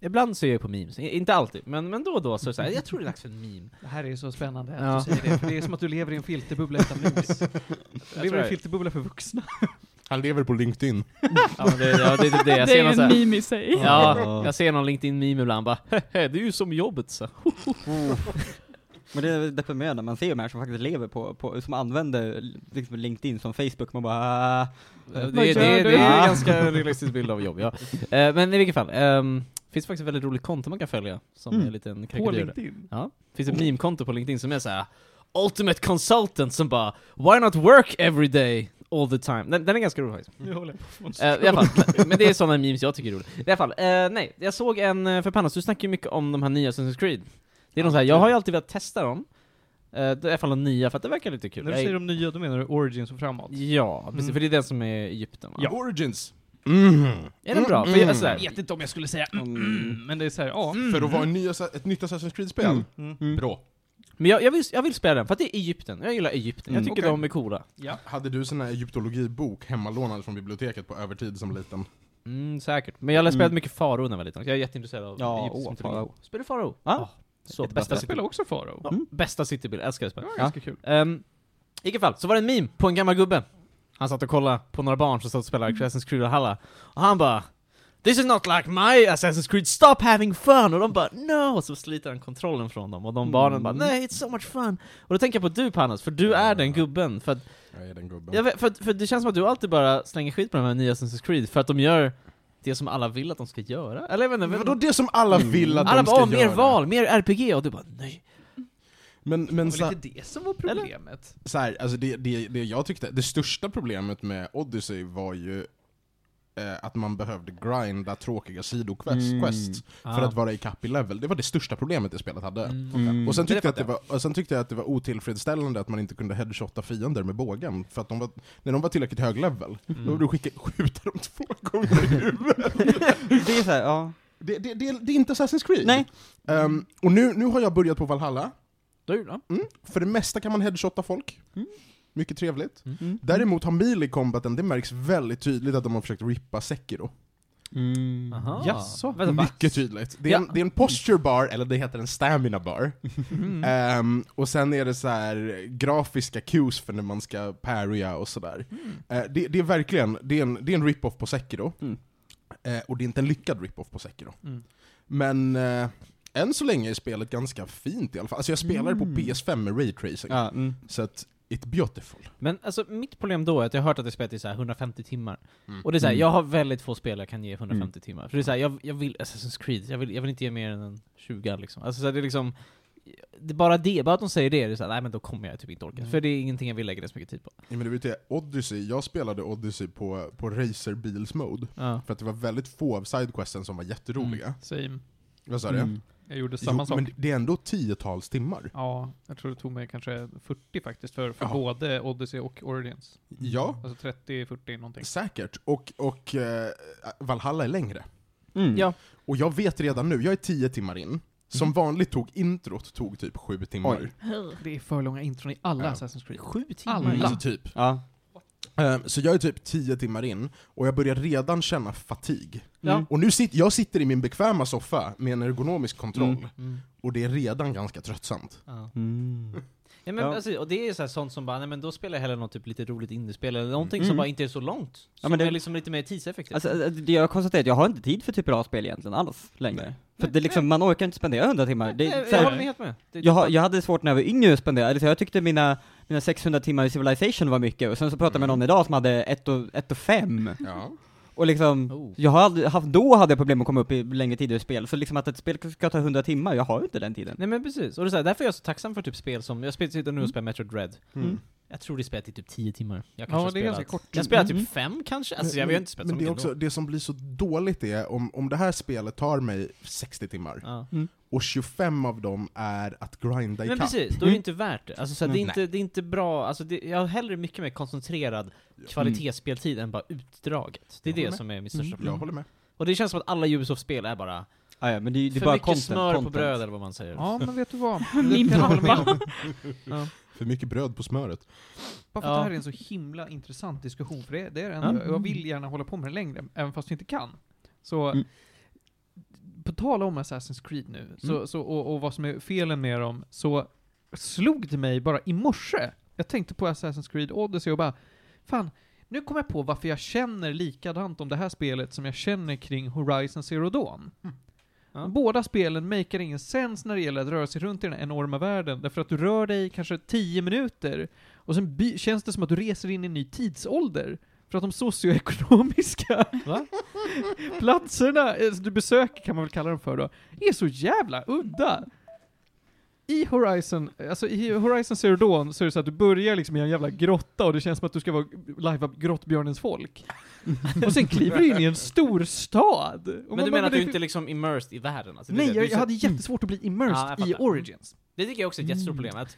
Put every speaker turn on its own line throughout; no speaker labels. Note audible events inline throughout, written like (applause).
Ibland så är jag på memes, I- inte alltid, men, men då och då så, är det så här, jag tror det är dags för en meme.
Det här är så spännande att
Ja.
du säger det, för det är som att du lever i en filterbubbla
(laughs)
utan memes. Du lever i
det.
en filterbubbla för vuxna.
Han lever på LinkedIn.
(laughs) Ja, men det, ja, det är typ det. Jag
det är
ser
ju
någon så
en
här,
meme i sig.
ja, jag ser någon LinkedIn-meme ibland bara, det är ju som jobbet så.
Mm. (laughs) Men det är deprimerande, man ser ju de här som faktiskt lever på, på som använder liksom LinkedIn som Facebook, man bara "Ah."
Det, det,
Vad
det,
gör
det,
du?
är
Ja.
en ganska realistisk bild av jobb, ja. Eh, Men i vilket fall, ehm, finns det faktiskt ett väldigt roligt konto man kan följa, som
Mm.
är en liten
(laughs) På
krakadur.
LinkedIn.
Ja. Finns ett meme-konto på LinkedIn som är såhär Ultimate Consultant som bara Why not work every day all the time? Den, den är ganska rolig faktiskt.
Jag håller på att
Eh, i alla fall, (laughs) men det är sådana memes jag tycker är roliga. I alla fall, eh, nej, jag såg en, eh, för Pannas, du snackar ju mycket om de här nya Assassin's Creed. Det är de så här, jag har ju alltid velat testa dem. Eh, I alla fall de nya, för att det verkar lite kul.
När du
Jag-
säger de nya, då menar du origins och framåt?
Ja, precis,
Mm.
för det är den som är Egypten va?
Origins! Mm.
Mm-hmm. Är den bra?
Mm.
För jag, alltså,
Jag
där,
vet inte om jag skulle säga
Mm.
mm, men det är såhär, ja.
För att vara en ny, Assa- ett nytt Assassin's Creed-spel?
Mm.
Mm.
Bra.
men jag, jag, vill, jag vill spela den, för att det är Egypten. Jag gillar Egypten, jag
Mm.
tycker
Okej.
de är coola.
Ja.
Hade du sån här egyptologibok hemmalånad från biblioteket på övertid som liten?
Mm, säkert. Men jag har spelat
Mm.
mycket Farao när jag var liten, jag är jätteintresserad av
Ja,
egyptisk
åh,
mytologi.
Farao.
Spelar du Farao?
Ja.
Så,
Ett
bästa
Jag
bästa
city,
spelar också Farao.
Mm.
ja, bästa citybild, älskar det
Det
spelet.
var
Ja.
ganska kul.
Ehm, I vilket fall, så var det en meme på en gammal gubbe. Han satt och kollade på några barn som satt och spelade
Mm.
Assassin's Creed och Halla. Och han bara This is not like my Assassin's Creed, stop having fun! Och de bara no! Och så sliter han kontrollen från dem, och
Mm.
de barnen bara nej, it's so much fun! Och då tänker jag på du Panos, för du är den gubben, för, att,
Jag är den gubben.
jag vet- för, att- för det känns som att du alltid bara slänger skit på de här nya Assassin's Creed, för att de gör det som alla vill att de ska göra. Eller jag vet inte, jag vet
Vadå
inte.
det som alla vill att
Alla
de ska
bara "Åh, mer
göra?
val, mer RPG, och du bara nej.
Men, men
Det
så,
var lite det som var problemet.
så här, alltså det, det, det jag tyckte, det största problemet med Odyssey var ju eh, att man behövde grinda tråkiga sidoquests
Mm.
quests
Ah.
för att vara i kapp i level. Det var det största problemet det spelet hade.
Mm.
Och sen
Det
tyckte, jag att det
fattar
var, och sen tyckte jag att det var otillfredsställande att man inte kunde headshotta fiender med bågen, för att de var, när de var tillräckligt hög level, då
Mm.
behövde du skicka, (laughs) skjuta dem två gånger i huvudet.
Det är såhär, ja.
Det, det, det, det är inte Assassin's Creed.
Nej.
Ehm, och nu, nu har jag börjat på Valhalla,
Du då?
för det mesta kan man headshotta folk. Mycket trevligt.
Mm.
Däremot har mil i combaten, det märks väldigt tydligt att de har försökt rippa Sekiro.
Aha.
Jaså? Mm.
Vänta, va?
Mycket tydligt. Det är, en,
Ja.
det är en posture bar, eller det heter en stamina bar.
Mm.
Eh, Mm.
Ehm, och sen är det så här grafiska cues för när man ska parrya och sådär.
Mm.
Eh, det, det är verkligen, det är en, det är en rip-off på Sekiro.
Mm.
Eh, och det är inte en lyckad rip-off på Sekiro.
Mm.
Men eh, än så länge är spelet ganska fint i alla fall. Alltså jag spelar
Mm.
på PS5 med raytracing.
ja mm.
Så att, it's beautiful.
Men alltså mitt problem då är att jag har hört att det spelet är så här 150 timmar.
Mm.
Och det är så här,
Mm.
jag har väldigt få spel jag kan ge 150
Mm.
timmar. För det är så här, jag, jag vill Assassin's Creed, jag vill, jag vill inte ge mer än en 20 liksom. Alltså så här, det är liksom, det är bara det, bara att de säger det, det är så här, nej men då kommer jag typ inte orka. För det är ingenting jag vill lägga så mycket tid på.
Ja, men du vet det, Odyssey, jag spelade Odyssey på, på racerbilsmode.
Ja.
För att det var väldigt få av sidequesten som var jätteroliga.
Mm.
Same.
Vad sa du?
Mm.
Jag gjorde
Jo,
samma sak.
Men det är ändå tiotals
Mm.
timmar.
Ja, jag tror det tog mig kanske 40 faktiskt för, för
Ja.
både Odyssey och Origins.
Ja,
Alltså 30-40 någonting.
säkert. Och, och eh, Valhalla är längre.
Mm.
Ja.
Och jag vet redan nu, jag är tio timmar in. Som
Mm.
vanligt tog introt tog typ sju timmar.
Oj.
Det är för långa intron i alla
Ja.
Assassin's Creed.
Sju timmar?
Alla.
Alltså typ.
Ja.
Eh, Så jag är typ tio timmar in, och jag börjar redan känna fatig.
Ja.
Och nu sitter jag sitter i min bekväma soffa med en ergonomisk kontroll,
Mm.
Mm.
och det är redan ganska tröttsamt.
Ja.
Mm.
Ja, men,
Ja.
Alltså, och det är så här, sånt som bara, nej men då spelar jag hellre något typ lite roligt indiespel, eller någonting som
Mm.
bara inte är så långt. Som
men det-
är liksom lite mer tidseffektivt.
Alltså, alltså, det jag konstaterar är att jag har inte tid för typer av spel egentligen alls längre. För det är liksom, man orkar inte spendera 100 timmar. Det,
Nej,
är så
jag
här,
håller helt med. Det,
jag, har- jag hade svårt när jag var yngre att spendera, eller så jag tyckte mina, mina 600 timmar i Civilization var mycket, och sen så pratade jag med någon idag som hade 1 och, ett och fem.
Ja.
Och liksom,
Oh.
jag har aldrig haft, då hade jag problem att komma upp i längre tider i spel, så liksom att ett spel ska ta 100 timmar, jag har ju inte den tiden.
Nej men precis, och det är så här, därför är jag så tacksam för typ spel som, jag spelar- sitter nu och spelar Metroid Red.
Mm.
Jag tror det spelet i typ 10 timmar. Jag
Ja,
kanske
det är
har spelat-
ganska kort.
Jag spelar
Mm.
typ 5 kanske? Alltså jag har ju inte spelat så
men det, är
mycket
också,
ändå.
det som blir så dåligt är, om, om det här spelet tar mig 60 timmar,
Ja.
och 25 av dem är att grinda i
Men
kapp.
precis, då är det inte värt det. Alltså, så här, det, är
Nej.
inte, det är inte bra, alltså, det, jag har hellre mycket mer koncentrerad kvalitetsspeltid än bara utdraget. Det är
Jag håller
det som är mitt största
Jag
problem.
håller med.
Och det känns som att alla Ubisoft-spel är bara
Ah, ja, men det, är ju- det är
för
bara
mycket
content,
smör
content.
på bröd eller vad man säger.
Ja, men vet du vad?
(laughs) Min
Det kan jag hålla med om.
pappa.
För mycket bröd på smöret.
Bara för
Ja.
att det här är en så himla intressant diskussion, för det, det är en,
Ja. Mm.
jag, jag vill gärna hålla på med det längre, även fast jag inte kan. Så,
Mm.
på tala om Assassin's Creed nu,
Mm.
så, så, och, och vad som är felen med dem, så slog det mig bara i morse. Jag tänkte på Assassin's Creed Odyssey och bara, fan, nu kommer jag på varför jag känner likadant om det här spelet som jag känner kring Horizon Zero Dawn.
Mm. Ja.
Båda spelen maker ingen sens när det gäller att röra sig runt i den här enorma världen, därför att du rör dig kanske 10 minuter, och sen by- känns det som att du reser in i en ny tidsålder. För att de socioekonomiska
Va?
(laughs) platserna eh, som du besöker, kan man väl kalla dem för då, är så jävla udda. I Horizon, alltså i Horizon Zero Dawn så är det så att du börjar liksom i en jävla grotta och det känns som att du ska vara lajva grottbjörnens
(laughs)
folk. och sen kliver du in i en stor stad. Och man
Men du
bara,
menar att du
det-
inte är liksom immersed i världen? Alltså, det är
Nej,
det. Du
jag,
är
jag
så-
hade jättesvårt att bli
Ja,
immersed
jag
i
fattar.
Origins.
Det tycker jag också är ett jättestort
Mm.
problem. Att,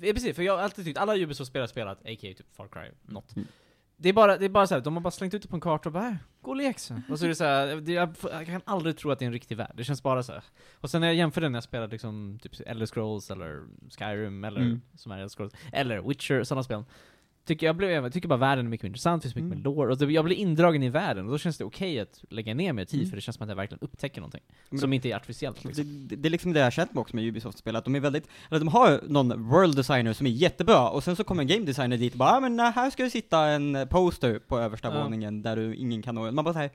ja, precis, för jag har alltid tyckt, alla Ubisoft-spelare har spelat, a.k.a. typ Far Cry, något.
Mm.
Det är bara, det är bara så här, de har bara slängt ut det på en karta och bara "Här, gå och lek sen. Och så är det så här, det, jag, får- jag kan aldrig tro att det är en riktig värld, det känns bara så här. Och sen när jag jämför den när jag spelade liksom typ Elder Scrolls eller Skyrim eller
Mm.
som är Elder Scrolls, eller Witcher, sådana spel. Tycker jag, blev, jag tycker bara världen är mycket mer intressant, finns mycket
Mm.
mer lore, och det, jag blir indragen i världen, och då känns det okej att lägga ner mer tid
Mm.
för det känns som att jag verkligen upptäcker någonting.
Men
som
då-
inte är artificiellt liksom.
Det, det, det är liksom det jag har känt mig också med Ubisoft-spel, att de är väldigt, eller de har någon world designer som är jättebra, och sen så kommer en game designer dit och bara ah, men äh, här ska det sitta en eh, poster på översta
Ja.
våningen där du ingen kan nå Man bara såhär,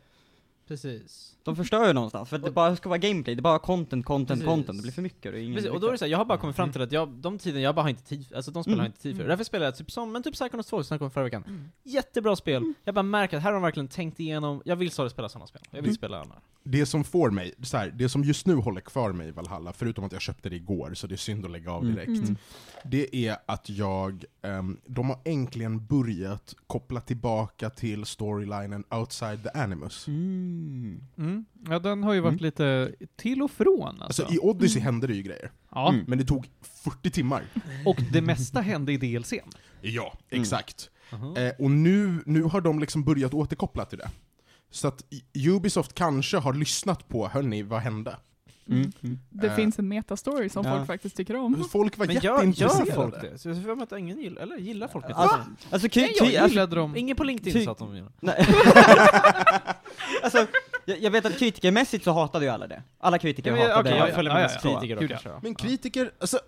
Precis.
de förstör ju någonstans, för att det
Och-
bara ska vara gameplay, det är bara content, content,
Precis.
content, det blir för mycket och Mm, det är ingen
Precis, och då är det så här, jag har bara kommit fram till att jag, de tiden jag bara har inte tid för, alltså de spelen har jag
Mm.
inte tid för.
Mm.
Därför spelar jag typ som, men typ Psychonauts 2 som jag kom förra veckan. Jättebra spel. Jag bara märker att här har de verkligen tänkt igenom, jag vill så spela sådana spel. Jag vill
Mm.
spela andra.
Det som får mig, så här, det som just nu håller kvar mig i Valhalla, förutom att jag köpte det igår, så det är synd att lägga av
Mm.
direkt.
Mm.
Det är att jag, ehm, de har äntligen börjat koppla tillbaka till storylinen Outside the Animus.
Mm.
Mm. Ja, den har ju varit
Mm.
lite till och från alltså.
Alltså i Odyssey
Mm.
hände det ju grejer,
ja.
Mm.
men det tog
(laughs)
40 timmar.
Och det mesta hände i DLCn.
Ja,
Mm.
exakt.
Aha.
Mm.
Eh, och nu, nu har de liksom börjat återkoppla till det. Så att i- Ubisoft kanske har lyssnat på, hörni, vad hände?
Mm. Mm.
Det
Eh.
finns en metastory som
Ja.
folk faktiskt tycker om.
Folk var
Men gör,
jätteintresserade.
gör folk det? Så jag får att ingen gillar, eller gillar folk det?
Alltså, alltså, kul,
Nej, jag
alltså,
gillade dem.
Ingen på LinkedIn
Ty-
sa att de gillar.
Nej. alltså, jag, jag vet att kritikermässigt så hatade ju alla det. Alla kritiker
Okej,
hatade
jag
det.
följer
Ja,
med
ja, ja.
kritiker då
Gud, ja.
kanske då.
Men kritiker,
(laughs)
alltså...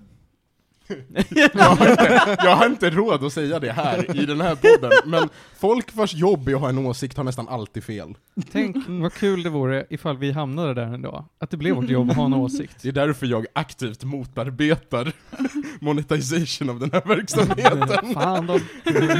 jag, har inte, jag har inte råd att säga det här i den här podden, men folk vars jobb är att ha en åsikt har nästan alltid fel.
Tänk vad kul det vore ifall vi hamnade där en dag. Att det blev vårt jobb att ha en
Mm.
åsikt.
(laughs)
Det är därför jag aktivt motarbetar monetization av den här verksamheten.
Fan då.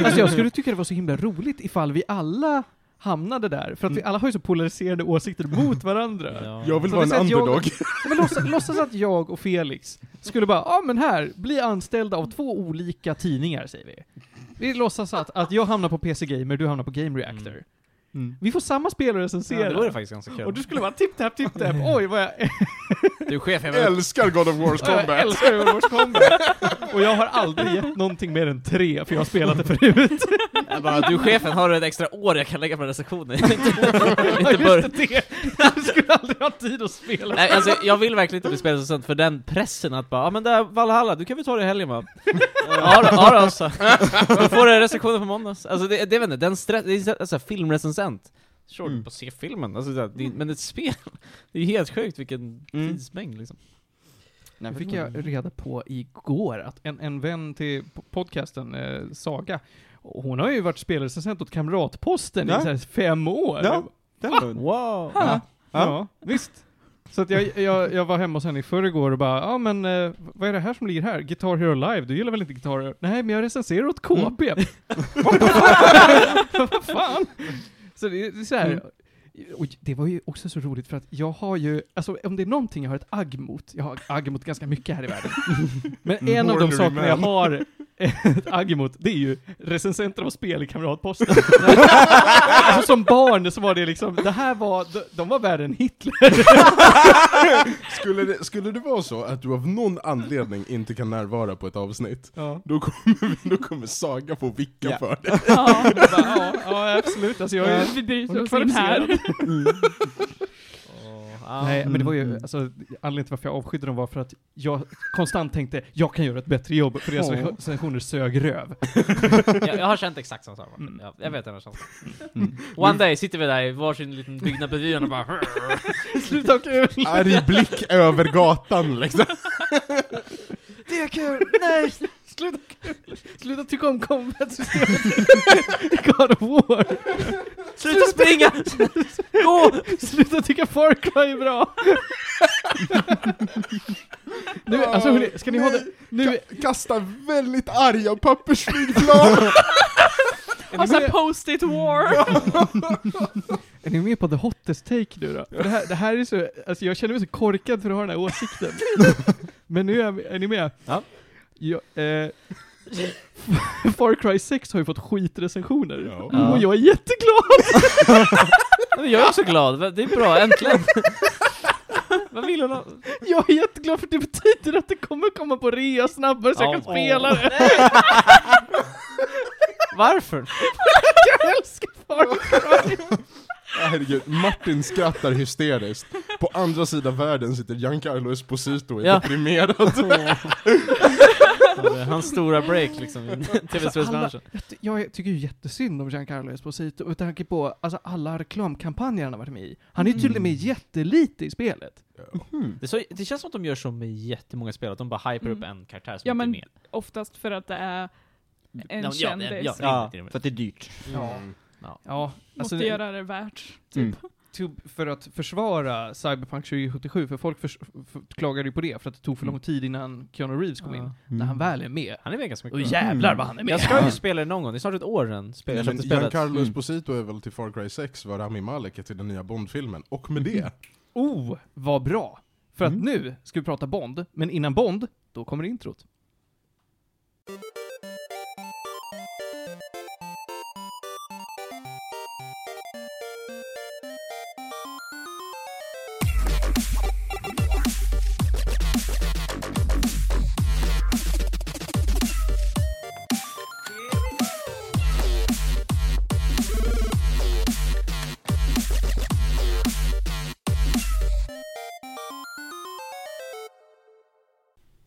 Alltså jag skulle tycka det var så himla roligt ifall vi alla hamnade där. För att vi alla har ju så polariserade åsikter mot varandra.
Mm. Ja.
Jag vill
Så
vara
det
en
säger att jag-
underdog.
Men låtsas, låtsas att jag och Felix skulle bara, ja ah, men här, bli anställda av två olika tidningar säger vi. Vi låtsas att, att jag hamnar på PC Gamer, du hamnar på Game Reactor.
Mm.
Mm.
Vi får samma spelare
Ja, det
recensera.
vore faktiskt ganska
och du
kul.
skulle vara tipp-tapp, tipp-tapp, oj vad jag
Du är chef, jag
Jag
vill...
älskar God of Wars
Ja, Jag
Combat.
älskar Overwatch Combat. Och jag har aldrig gett någonting mer än tre, för jag har spelat det förut.
Jag bara, du chefen, har du ett extra år jag kan lägga på den här sektionen? Inte
Just
bör...
det. Jag skulle aldrig ha tid att
(laughs)
spela.
Nej, alltså, jag vill verkligen inte bli spelrecensent för den pressen att bara ah, men där Valhalla, du kan vi ta det i helgen va?' ja då, ja, då så. Då får du recensionen på måndags. Alltså det, det vet inte, den stress, det är så- alltså, filmrecensent. Sure,
Mm.
på se filmen. Alltså, det, det, men ett spel, (laughs) det är ju helt sjukt vilken
Mm.
tidsmängd liksom.
Nej,
Det
för
fick
fan.
jag reda på igår, att en, en vän till po- podcasten, eh, Saga, hon har ju varit spelrecensent åt Kamratposten
Ja.
i så här fem år.
Ja, den var rund.
Wow!
Ja, ja, visst. Så att jag, jag, jag var hemma hos henne i förrgår och bara, ja ah, men eh, vad är det här som ligger här? Guitar Hero Live, du gillar väl inte Guitar Hero? Nej men jag recenserar åt KP. What the fuck? vad fan? Så det, det är så här. Och det var ju också så roligt för att jag har ju, alltså om det är någonting jag har ett agg mot, jag har agg mot ganska mycket här i världen. Men en av de
Ornery
sakerna jag
man.
har ett agg emot, det är ju recensenter av spel i Kamratposten. alltså, som barn så var det liksom, det här var, de, de var värre än Hitler.
Skulle det, skulle det vara så att du av någon anledning inte kan närvara på ett avsnitt, (laughs)
Ja,
då kommer, vi- då kommer Saga få vicka
Ja.
för det.
Ja,
bara, ja, ja absolut. Alltså jag är
vi bryter
Hon är
oss in här.
kvalificerad.
Åh, Ja.
Nej, men det var ju,
Mm.
alltså, anledningen till varför jag avskydde dem var för att jag konstant tänkte, jag kan göra ett bättre jobb, för deras
Åh.
recensioner sög röv.
jag, jag har känt exakt samma sak.
Mm.
Jag, jag vet den här känslan. One day sitter vi där i varsin liten byggnad bredvid varandra och bara (laughs)
(laughs) Sluta kul!
Arg blick över gatan liksom.
Det är kul! Nej! Sluta kul! Sluta tycka om combat-systemet! (laughs) God of War!
Sluta springa! Gå!
Sluta tycka Far Cry är bra! (laughs) nu, alltså hörni, ska ni ha det? Nu,
Ka- Kasta väldigt arga (laughs) pappersflygplan!
är,
Och
ni
såhär
med,
post-it war!
är ni med på the hottest take nu då? För Det här, det här är så, alltså jag känner mig så korkad för att ha den
(laughs)
här åsikten. Men nu är, är ni med?
Ja.
Jag, eh, (laughs) Far Cry 6 har ju fått skitrecensioner.
Ja.
Och
Mm.
jag är jätteglad!
(laughs) Men jag är också glad, det är bra, äntligen! (laughs) Vad vill hon ha?
Jag är jätteglad för det betyder att det kommer komma på rea snabbare så jag kan
Ja.
spela det.
(laughs)
(laughs)
Varför?
Jag älskar Far Cry!
Herregud, Martin skrattar hysteriskt. På andra sidan världen sitter Giancarlo Esposito och är
(laughs) Ja.
deprimerad.
Hans stora break liksom
(laughs)
i (laughs)
Alltså,
tv-spelsbranschen.
Jag ty- Jag tycker ju jättesynd om Giancarlo Esposito med tanke på alltså, alla reklamkampanjer han har varit med i. Han är ju tydligen med jättelite i spelet.
Mm.
Det, är så, det känns som att de gör så med jättemånga spel, att de bara hyper upp en karaktär som
Ja,
inte är
men
med.
Oftast för att det är en
Ja, ja,
kändis.
ja, ja.
Ja, alltså
rimligt.
för att det är dyrt.
Mm.
Ja,
Måste göra det värt.
Mm.
to- för att försvara Cyberpunk 2077, för folk förs- f- klagade ju på det för att det tog för lång tid innan Keanu Reeves kom in.
Ja.
När han väl är med.
Han är med ganska mycket.
Och jävlar vad han är med!
Jag ska ju spela det någon gång, det är snart ett år sedan spel- jag
Men
köpte spelet.
Giancarlo
Mm.
Esposito är väl till Far Cry 6 vad Rami Malek är till den nya Bond-filmen. Och med det,
Oh, vad bra! För att
Mm.
nu ska vi prata Bond, men innan Bond, då kommer introt.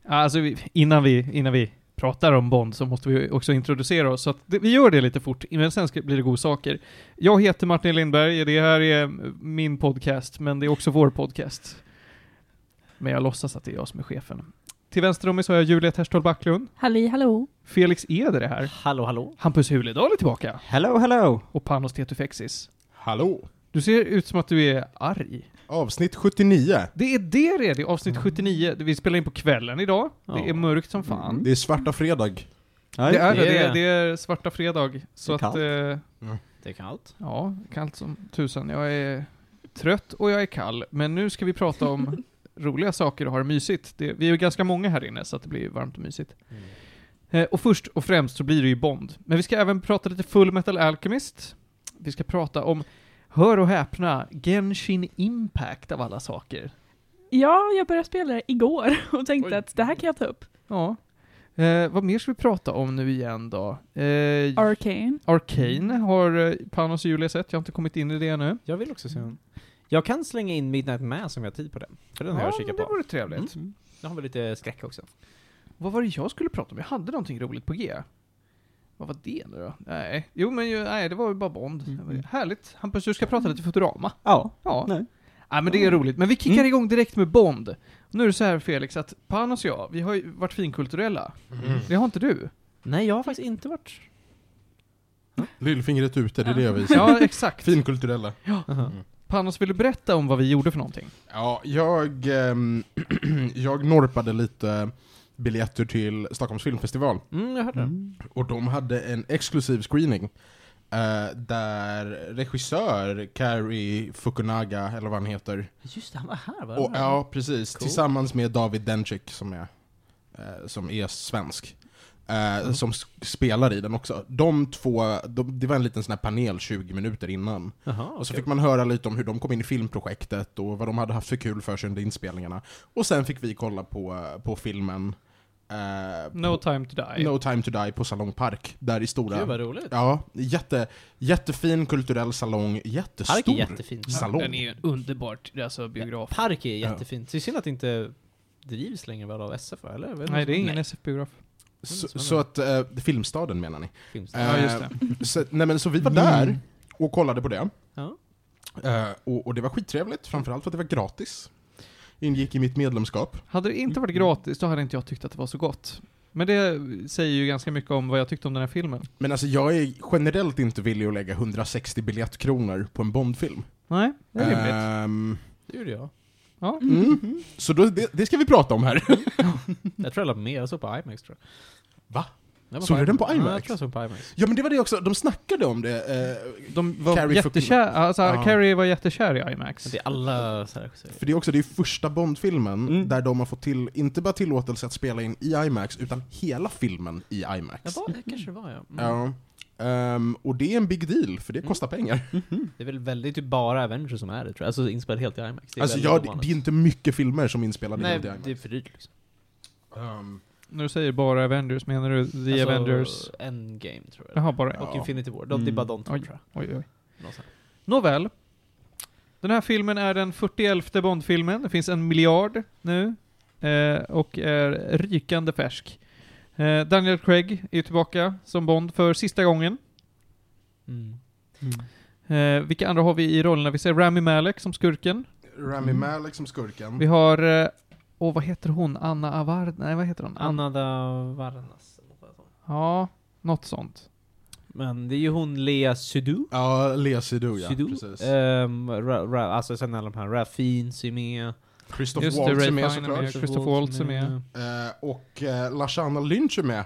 Alltså, vi, innan, vi, innan vi pratar om Bond så måste vi också introducera oss, så att det, vi gör det lite fort, men sen ska, blir det god saker. Jag heter Martin Lindberg, det här är mm, min podcast, men det är också vår podcast. Men jag låtsas att det är jag som är chefen. Till vänster om mig så har jag Julia Terstol Backlund.
Halli hallå!
Felix Eder är här.
Hallå hallå?
Hampus Huledal är tillbaka.
Hello, hello!
Och Panos Tetufexis.
hallå!
Du ser ut som att du är arg.
Avsnitt 79.
Det är det det är, det är avsnitt 79. Vi spelar in på kvällen idag. Det är
Ja.
mörkt som fan.
Det är svarta fredag.
Ja,
Det är
det.
det, det är, det är svarta fredag. Så
Det är
att,
kallt.
eh,
Det är kallt.
ja, kallt som tusan. Jag är trött och jag är kall. Men nu ska vi prata (laughs) om roliga saker och ha det mysigt. Det, vi är ju ganska många här inne så att det blir varmt och mysigt. Eh, och först och främst så blir det ju Bond. Men vi ska även prata lite Full Metal Alchemist. Vi ska prata om, hör och häpna, Genshin Impact av alla saker.
Ja, jag började spela det igår (laughs) och tänkte
Oj.
att det här kan jag ta upp.
Ja. Eh, vad mer ska vi prata om nu igen då? Eh,
Arcane.
Arcane har eh, Panos och Julia sett, jag har inte kommit in i det ännu.
Jag vill också se den. Jag kan slänga in Midnight Mass om jag har tid på den. För den har jag kikat
det
på.
vore trevligt.
Mm. Den har väl lite skräck också.
Vad var det jag skulle prata om? Jag hade någonting roligt på G. Vad var det nu då? Nej, jo men ju, nej, det var ju bara Bond.
Mm.
Det var ju- Härligt. Hampus, du ska prata lite Futurama.
Ja.
Ja.
Nej.
Nej, men det är roligt. Men vi kickar
Mm.
igång direkt med Bond. Nu är det så här Felix, att Panos och jag, vi har ju varit finkulturella. Det har inte du.
Nej, jag har faktiskt inte varit...
Lillfingret ute, det är det jag visar.
Ja, exakt.
Finkulturella.
Panos, vill du berätta om vad vi gjorde för någonting?
Ja, jag, ehm, (clears throat) jag norpade lite biljetter till Stockholms filmfestival.
Mm, jag hörde den.
Och de hade en exklusiv screening. eh, där regissör Cary Fukunaga, eller vad han heter,
Just det, han var här va?
och, ja precis,
Ah, Cool.
tillsammans med David Dencik som är, eh, som är svensk. eh, Som s- spelar i den också. De två, de, det var en liten sån här panel 20 minuter innan.
Jaha,
Och så
okej.
fick man höra lite om hur de kom in i filmprojektet och vad de hade haft för kul för sig under inspelningarna. Och sen fick vi kolla på, på filmen eh,
No time to die.
No Time To Die på Salong Park, där i stora...
Gud vad roligt.
Ja, jätte, jättefin kulturell salong,
Park är
jättestor
jättefint.
salong.
Den är ju en underbart, alltså biograf.
Park är
Ja.
jättefint. Det är synd att det inte drivs längre väl av SF, eller? Jag vet
Nej,
inte.
det är ingen SF-biograf.
Så, så att, eh, Filmstaden menar ni?
Films-
Eh,
Ja, just det.
Så, nej men så vi var
Mm.
där och kollade på det.
Ja.
Eh, och, och det var skittrevligt, framförallt för att det var gratis. Ingick i mitt medlemskap.
Hade det inte varit gratis, då hade inte jag tyckt att det var så gott. Men det säger ju ganska mycket om vad jag tyckte om den här filmen.
Men alltså jag är generellt inte villig att lägga 160 biljettkronor på en Bondfilm.
Nej, det är rimligt.
Ehm,
Det gjorde jag.
Ja.
mm. Så då, det, det ska vi prata om här. (laughs)
Jag tror jag la med, jag såg på IMAX tror jag.
Va?
Jag var
Såg
på
du den på
Ja, jag
IMAX?
tror jag såg på IMAX.
ja men det var det också, de snackade om det. eh,
De var
Carrie fucking-
jättekär, alltså
Ja.
Carrie var jättekär i IMAX.
Men det är alla så här, så här.
för det är också det är första Bondfilmen
Mm.
där de har fått till, inte bara tillåtelse att spela in i IMAX, utan hela filmen i IMAX.
Ja, var, det kanske det var ja. Mm.
Ja. Ehm, och det är en big deal, för det
Mm.
kostar pengar.
Mhm.
Det är väl väldigt typ bara Avengers som är det tror jag. Alltså inspelat helt i IMAX. Det är
Alltså
väldigt
ja, det,
ovanligt.
det är inte mycket filmer som är inspelade
Nej,
i IMAX.
det är för dyrt liksom.
Ehm,
När du säger bara Avengers, menar du The
Alltså,
Avengers?
Endgame tror jag.
Jaha, bara
Och
Ja.
Infinity War. De, Det är bara de två
Oj.
tror jag.
Oj, oj.
Någonstans.
Nåväl. Den här filmen är den 41 Bond-filmen. Det finns en miljard nu. Eh, och är rykande färsk. Eh, Daniel Craig är tillbaka som Bond för sista gången.
Mm.
Eh, vilka andra har vi i rollerna? Vi ser Rami Malek som skurken.
Mm.
Rami Malek som skurken.
Vi har... eh, Åh, vad heter hon? Anna Avard? Nej, vad heter hon?
Anna da Varnas.
Ja, något sånt.
Men det är ju hon Lea Seydoux.
Ja, Lea Seydoux Oh, ja.
Seydoux.
Precis.
Ehm, Ra- Ra- alltså sen alla de här, Ralph Fiennes är med.
Christoph
just det,
Waltz
Ray
är med
Fiennes är
såklart.
med. Christopher Waltz är med.
Eh, och eh, Lashana Lynch är med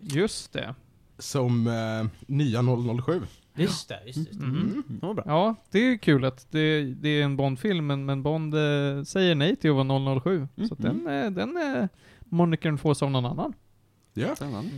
Just det.
som eh, nya 007.
Just det, just det. Just det.
Mhm.
Mm.
Hon var bra.
Ja, det är ju kul att det, det är en Bond-film, men, men Bond eh, säger nej till att vara 007. Så
Mm.
att den, eh, den eh, monikern fås av någon annan.
Ja,
Spännande.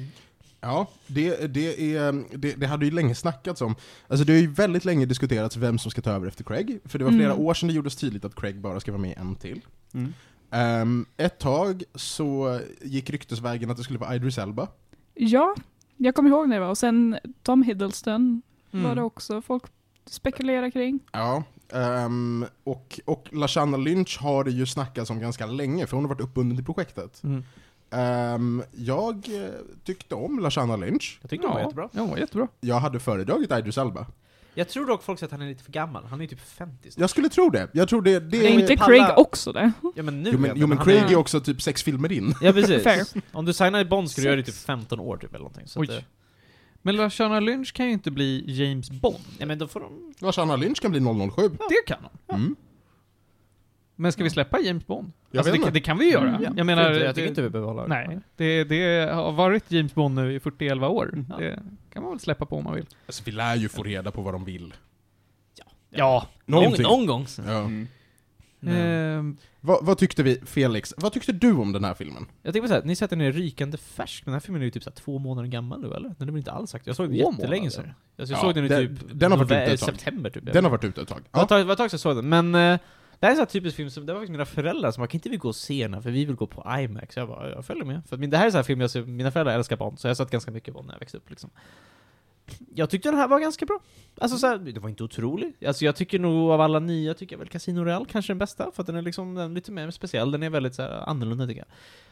ja det, det, är, det, det hade ju länge snackats om. Alltså det har ju väldigt länge diskuterats vem som ska ta över efter Craig. För det var flera
Mm.
år sedan det gjordes tydligt att Craig bara ska vara med i en till.
Mm.
Ehm, ett tag så gick ryktesvägen att det skulle vara Idris Elba.
Ja, jag kommer ihåg när det var. Och sen Tom Hiddleston
Mm.
var det också folk spekulerar kring.
Ja. ehm, och, och Lashana Lynch har det ju snackats om ganska länge, för hon har varit uppbunden till projektet.
Mm.
Ehm, jag eh, tyckte om Lashana Lynch.
Jag tyckte hon var jättebra.
Ja, jättebra.
Jag hade föredragit Idris Elba.
Jag tror dock folk säger att han är lite för gammal. Han är typ 50 snart.
Jag skulle tro det. Jag tror det... det
Är
men
inte
Palla-
Craig också det?
Ja men nu
jo, men,
vet jag,
jo, men
han
Craig
är-
är också typ sex filmer in.
Ja precis.
Fair.
Om du signar i Bond ska du göra det i typ
Sex.
15 år typ eller någonting. Så att,
Oj.
eh,
Men Lashana Lynch kan ju inte bli James Bond.
nej men då får de...
Lashana Lynch kan bli 007.
Det kan hon.
Mm.
Men ska vi släppa James Bond?
Jag
alltså,
vet
det,
inte.
det kan vi göra.
Mm, ja.
Jag menar... eh,
jag tycker
det-
inte vi behöver hålla
Nej, det, det har varit James Bond nu i 40-11 år.
Ja.
Det kan man väl släppa på om man vill.
Alltså, vi lär ju få reda på vad de vill.
Ja. Någon,
Någonting.
någon gång.
Eh.
så.
Ja.
Mm.
Men-
Ehm,
Vad, vad tyckte vi, Felix? Vad tyckte du om den här filmen?
Jag tänker på såhär, ni säger att den är rykande färsk, men den här filmen är ju typ såhär två månader gammal nu eller? Den är väl inte alls sagt. Jag såg den
Två månader?
jättelänge sedan. Alltså, jag
Ja,
såg den i
den-
typ...
den har varit
november-
ute ett tag.
September typ.
Den har varit ute ett tag.
Det var
Ja.
ett tag- det var ett tag sedan jag såg den, men eh, det här är en sån här typisk film som, det var faktiskt mina föräldrar som bara 'Kan inte vi gå och se den här, för vi vill gå på IMAX' Jag bara 'Jag följer med' För att min, det här är en sån här film jag ser, mina föräldrar älskar Bond, så jag satt ganska mycket Bond när jag växte upp liksom Jag tyckte den här var ganska bra Alltså så här, det var inte otrolig Alltså jag tycker nog av alla nya, tycker jag väl Casino Royale kanske är den bästa, för att den är liksom den är lite mer speciell, den är väldigt så här, annorlunda tycker jag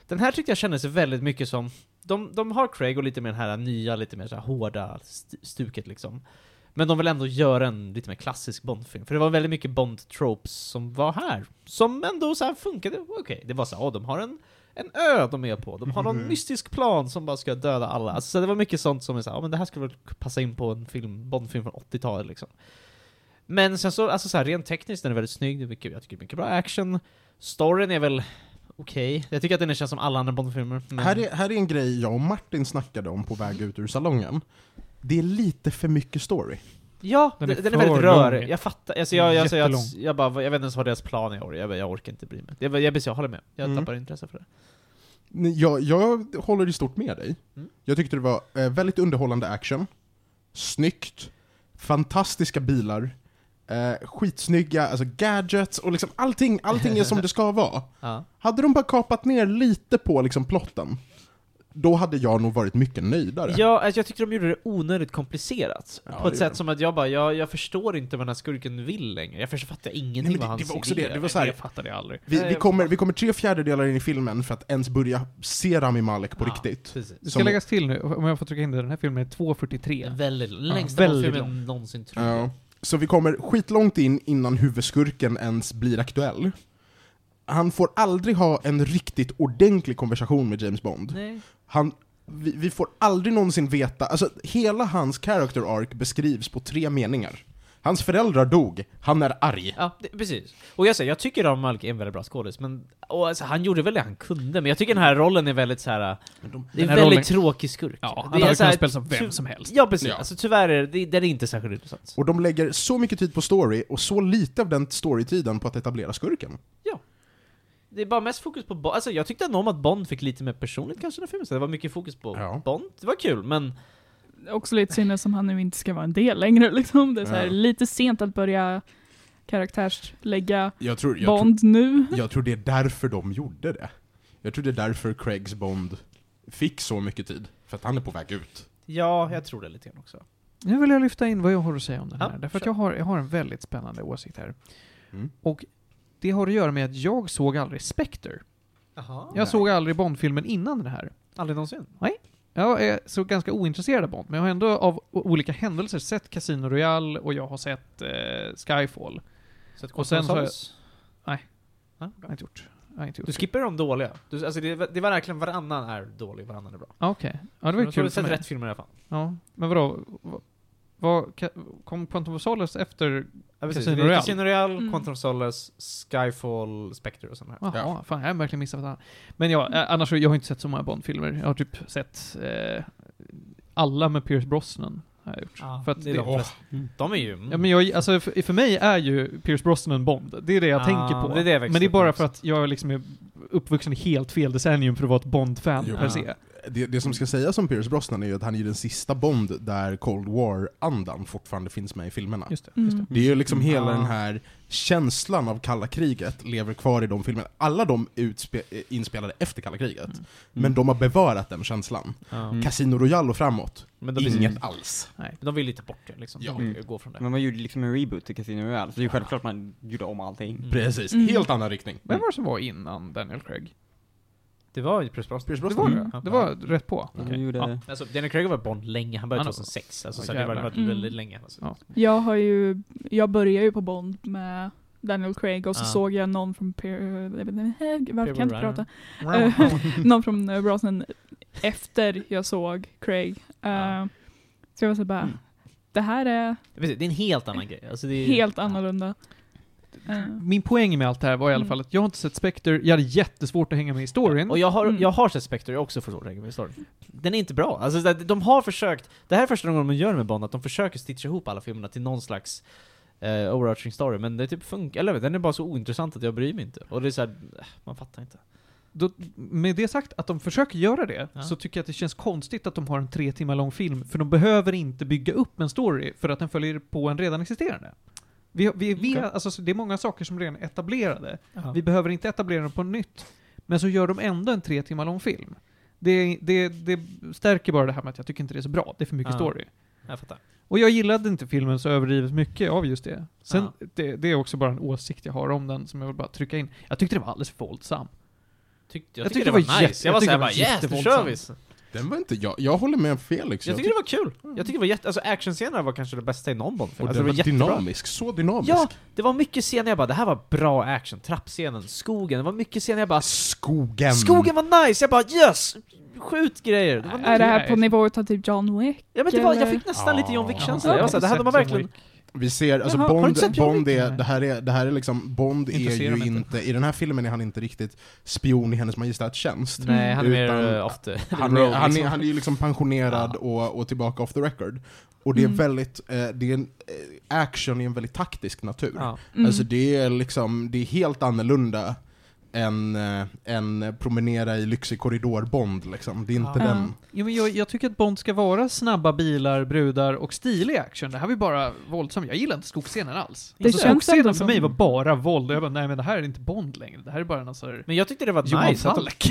Den här tyckte jag kändes väldigt mycket som de, de har Craig och lite mer den här nya, lite mer så här hårda st- stuket liksom men de vill ändå göra en lite mer klassisk Bond-film, för det var väldigt mycket Bond-tropes som var här. Som ändå så här funkade, okej, det var så här, åh, de har en, en ö de är på, de har
Mm.
någon mystisk plan som bara ska döda alla. Alltså, så det var mycket sånt som är såhär, ja men det här skulle väl passa in på en film, Bond-film från 80-talet liksom. Men sen så, alltså så här, rent tekniskt, den är väldigt snygg, det är mycket, jag tycker det är mycket bra action. Storyn är väl okej, jag tycker att den känns som alla andra Bond-filmer. men-
Här, är, här är en grej jag och Martin snackade om på väg ut ur salongen. Det är lite för mycket story.
Ja,
Den
den,
är
är, den är
för
väldigt
lång.
rörig. Jag fattar. Alltså jag, jag, alltså jag, jag,
Jättelång.
bara, jag vet inte ens vad deras plan är i år. Jag, jag orkar inte bry mig. Jag, jag, jag, jag håller med. Jag
Mm.
tappar intresse för det.
Nej, Jag, jag håller i stort med dig.
Mm.
Jag tyckte det var eh, väldigt underhållande action, snyggt, fantastiska bilar, Eh, skitsnygga, alltså gadgets och liksom allting, allting är som det ska vara.
Ja.
Hade de bara kapat ner lite på liksom plotten, då hade jag nog varit mycket nöjdare.
Ja, alltså jag tyckte de gjorde det onödigt komplicerat.
Ja,
på ett
det
sätt
gjorde de.
som att jag bara, jag, jag förstår inte vad den här skurken vill längre. Jag förstår- fattar ingenting
Nej, men det-
vad hans
det var också
idé
det. Det var så här-
Jag fattar det aldrig.
Vi, vi, kommer, vi kommer tre fjärdedelar in i filmen för att ens börja se Rami Malek på
Ja,
riktigt.
Precis.
Det ska
Som-
läggas till nu, om jag får trycka in det, den här filmen är 2.43.
Väldigt, längsta
väldigt
filmen jag någonsin tror jag.
Ja. Så vi kommer skitlångt in innan huvudskurken ens blir aktuell. Han får aldrig ha en riktigt ordentlig konversation med James Bond.
Nej.
Han, vi, vi får aldrig någonsin veta, alltså hela hans character arc beskrivs på tre meningar. Hans föräldrar dog, han är arg.
Ja, det, precis. Och jag säger, jag tycker Ram Malek är en väldigt bra skådis, men och alltså, han gjorde väl det han kunde, men jag tycker den här rollen är väldigt så här. det är en
här
väldigt
rollen-
tråkig skurk.
Ja, han
det är
hade
så
kunnat
här-
spela som vem
ty-
som helst.
Ja, precis.
Ja.
Alltså tyvärr är det, den är inte särskilt intressant.
Och de lägger så mycket tid på story och så lite av den storytiden på att etablera skurken.
Det är bara mest fokus på Bond. Alltså jag tyckte ändå om att Bond fick lite mer personligt kanske den här filmen, så det var mycket fokus på
Ja.
Bond. Det var kul, men
Också lite synd som han nu inte ska vara en del längre (laughs) liksom. Det är så här,
Ja.
lite sent att börja karaktärslägga
Jag tror,
Bond nu.
Jag tror det är därför de gjorde det. Jag tror det är därför Craigs Bond fick så mycket tid. För att han är på väg ut.
ja, jag tror det lite grann också.
Nu vill jag lyfta in vad jag har att säga om den
Ja,
här, därför att
kör.
jag har, jag har en väldigt spännande åsikt här.
Mm.
Och det har att göra med att jag såg aldrig Spectre.
Jaha.
Jag såg aldrig Bond-filmen innan den här.
Aldrig någonsin.
Jag är så ganska ointresserad av Bond, men jag har ändå av o- olika händelser sett Casino Royale och jag har sett eh, Skyfall.
Så att
Och sen så har jag-
Constance-
Nej.
Ja,
Jag
bra.
har inte gjort. Jag har inte gjort.
Du skippar de dåliga. Du, alltså det, det var verkligen varannan är dålig, varannan är bra.
Ah, Okej. Ja, det var
Men
ju
så har
kul
du
för
sett
mig.
rätt filmer i alla fall.
Ja, men vadå? Vad, vad, ka- kom Quantum of Solace efter?
Ja, precis.
Casino
Det är
Royale.
Casino Royale,
Mm.
Quantum of Solace, Skyfall, Spectre och sådana här.
Jaha,
Ja.
fan jag har verkligen missat vad det här- Men ja, eh, annars så- jag har inte sett så många Bond-filmer. Jag har typ sett eh, alla med Pierce Brosnan. Har jag gjort.
Ja,
för att
det
det
är de
åh.
flesta. De är ju... Mm.
Ja, men jag, alltså, för, för mig är ju Pierce Brosnan Bond. Det är det jag
Ah,
tänker på.
det är det jag växte
men det är
upp med
bara
också.
för att jag liksom är uppvuxen i helt fel decennium för att vara ett Bond-fan
Jo.
per se.
Det, det som ska sägas om Pierce Brosnan är ju att han är den sista Bond där Cold War-andan fortfarande finns med i filmerna.
Just det, just det.
Mm.
Det är ju liksom hela
Ja.
den här känslan av kalla kriget lever kvar i de filmerna. Alla de är utspe- eh, inspelade efter kalla kriget. Men de har bevarat den känslan.
Ja.
Mm.
Casino Royale och framåt,
Men de,
inget alls.
Men De vill ju ta bort det liksom.
Ja.
De vill ju gå från det.
Men man gjorde liksom en reboot till Casino Royale, så det är ju självklart man gjorde om allting.
Mm.
Precis,
Mm.
helt annan riktning.
Vem var det som var innan Daniel Craig?
Det var ju Pierce Brosnan. Mm.
Pierce
Det
Brosnan?
var
Ja.
det. Det var rätt på.
De
Okej.
gjorde-
Ja.
Alltså, Daniel Craig har varit Bond länge, han började
Han har-
2006. Alltså,
Ja,
så det har
jävlar.
varit
Mm.
väldigt länge. Alltså.
Ja.
Jag har ju, jag börjar ju på Bond med Daniel Craig och så
Ah.
Ja.
såg jag någon från Pier, varför kan jag inte
Brosnan.
prata? Eh, (laughs) någon från eh, Brosnan efter jag såg Craig. Eh,
Ah.
Ja.
Så jag var så bara,
Mm.
det här är
Precis, det är en helt annan grej. Alltså, det är,
helt annorlunda. Eh,
Min poäng med allt det här var i alla
Mm.
fall att jag har inte sett Spectre, jag hade jättesvårt att hänga med i storyn.
Och jag har,
Mm.
jag har sett Spectre, jag har också förstår Dragon Ball Story. Den är inte bra. Alltså, det- de har försökt, det här är första gången de gör med Bond, att de försöker stitcha ihop alla filmerna till någon slags eh, overarching story, men det typ funkar, eller jag vet, den är bara så ointressant att jag bryr mig inte. Och det är såhär, man fattar inte.
Då, med det sagt, att de försöker göra det,
Ja.
så tycker jag att det känns konstigt att de har en tre timmar lång film, för de behöver inte bygga upp en story för att den följer på en redan existerande. Vi, vi, vi,
Okej.
alltså, så det är många saker som redan är etablerade. Vi
Vi,
behöver inte etablera dem på nytt. Men så gör de ändå en tre timmar lång film. Det, det, det stärker bara det här med att jag tycker inte det är så bra. Det är för mycket
Ja.
story.
jag fattar.
Och jag gillade inte filmen så överdrivet mycket av just det. Sen, det, det är också bara en åsikt jag har om den som jag vill bara trycka in. Jag tyckte det var alldeles för våldsam.
Tyck, jag,
Jag
tyckte
tyckte
det var
det var
nice.
jätte-
jag var
jag
såhär
tyckte det
bara
var
'Yes, nu kör
jättevåldsam.
vi!' Jag,
Den var inte jag. Jag håller med Felix.
tyckte det var kul.
Mm.
Jag tyckte det var jätte, alltså actionscenerna var kanske det bästa i någon Bond-film.
Och
Alltså,
den var
jättebra.
dynamisk, så dynamisk.
Ja, det var mycket scener jag bara 'Det här var bra action' Trappscenen, skogen, det var mycket scener jag bara
Ah, Skogen!
Skogen var nice, jag bara 'Yes! Skjut grejer' det var
Är det här
Nej.
på nivå av typ John Wick?
Ja men det var, jag
Eller-
fick nästan lite John Wick-känsla.
Ja,
jag var såhär, det här hade man verkligen...
Vi ser, alltså
Jaha, har du
Bond,
inte sett John
Bond
Wick?
är, det här är, det här är liksom, Bond är
Intresserar
ju
mig inte.
inte, i den här filmen är han inte riktigt spion i Hennes Majestats tjänst.
Nej, han är mer
Utan-
eh, off the (laughs)
Han, är,
road,
han, är,
liksom.
han är ju liksom pensionerad
Ja.
och, och tillbaka off the record. Och det är
Mm.
väldigt, eh, det är en, eh, action i en väldigt taktisk natur.
Ja.
Mm.
Alltså det är liksom, det är helt annorlunda en, eh, en promenera i lyxig korridorbond liksom. Det är inte
Ah.
den.
Jo, men jag, jag tycker att Bond ska vara snabba bilar, brudar och stilig action. Det här var ju bara våldsam. Jag gillar inte skogsscenen alls.
Det
alltså,
känns
skogsscenen
ändå
för
som-
mig var bara våld. Jag bara, nej men det här är inte Bond längre. Det här är bara någon sån här...
Men jag tyckte det var
Johan
nice att de-
Falk.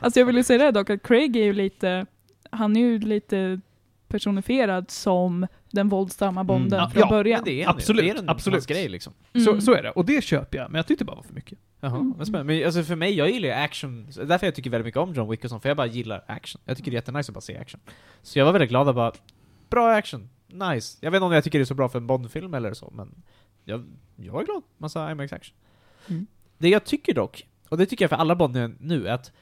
Alltså jag vill ju säga det dock, att Craig är ju lite, han är ju lite personifierad som den våldsamma Bonden
Ja,
från
Mm. ja,
början.
Men det är
Absolut,
det är en,
absolut.
hans grej liksom.
Mm.
så, så är det. Och det köper jag, men jag tyckte det bara var för mycket.
Jaha,
Mm.
men spännande. Men alltså för mig, jag gillar ju action, Så därför jag tycker väldigt mycket om John Wick och sånt, för jag bara gillar action. Jag tycker det är jättenice att bara se action. Så jag var väldigt glad att bara, bra action, nice. Jag vet inte om jag tycker det är så bra för en Bond-film eller så, men jag, jag är glad. Massa IMAX-action.
Mm.
Det jag tycker dock, och det tycker jag för alla Bond nu, nu är att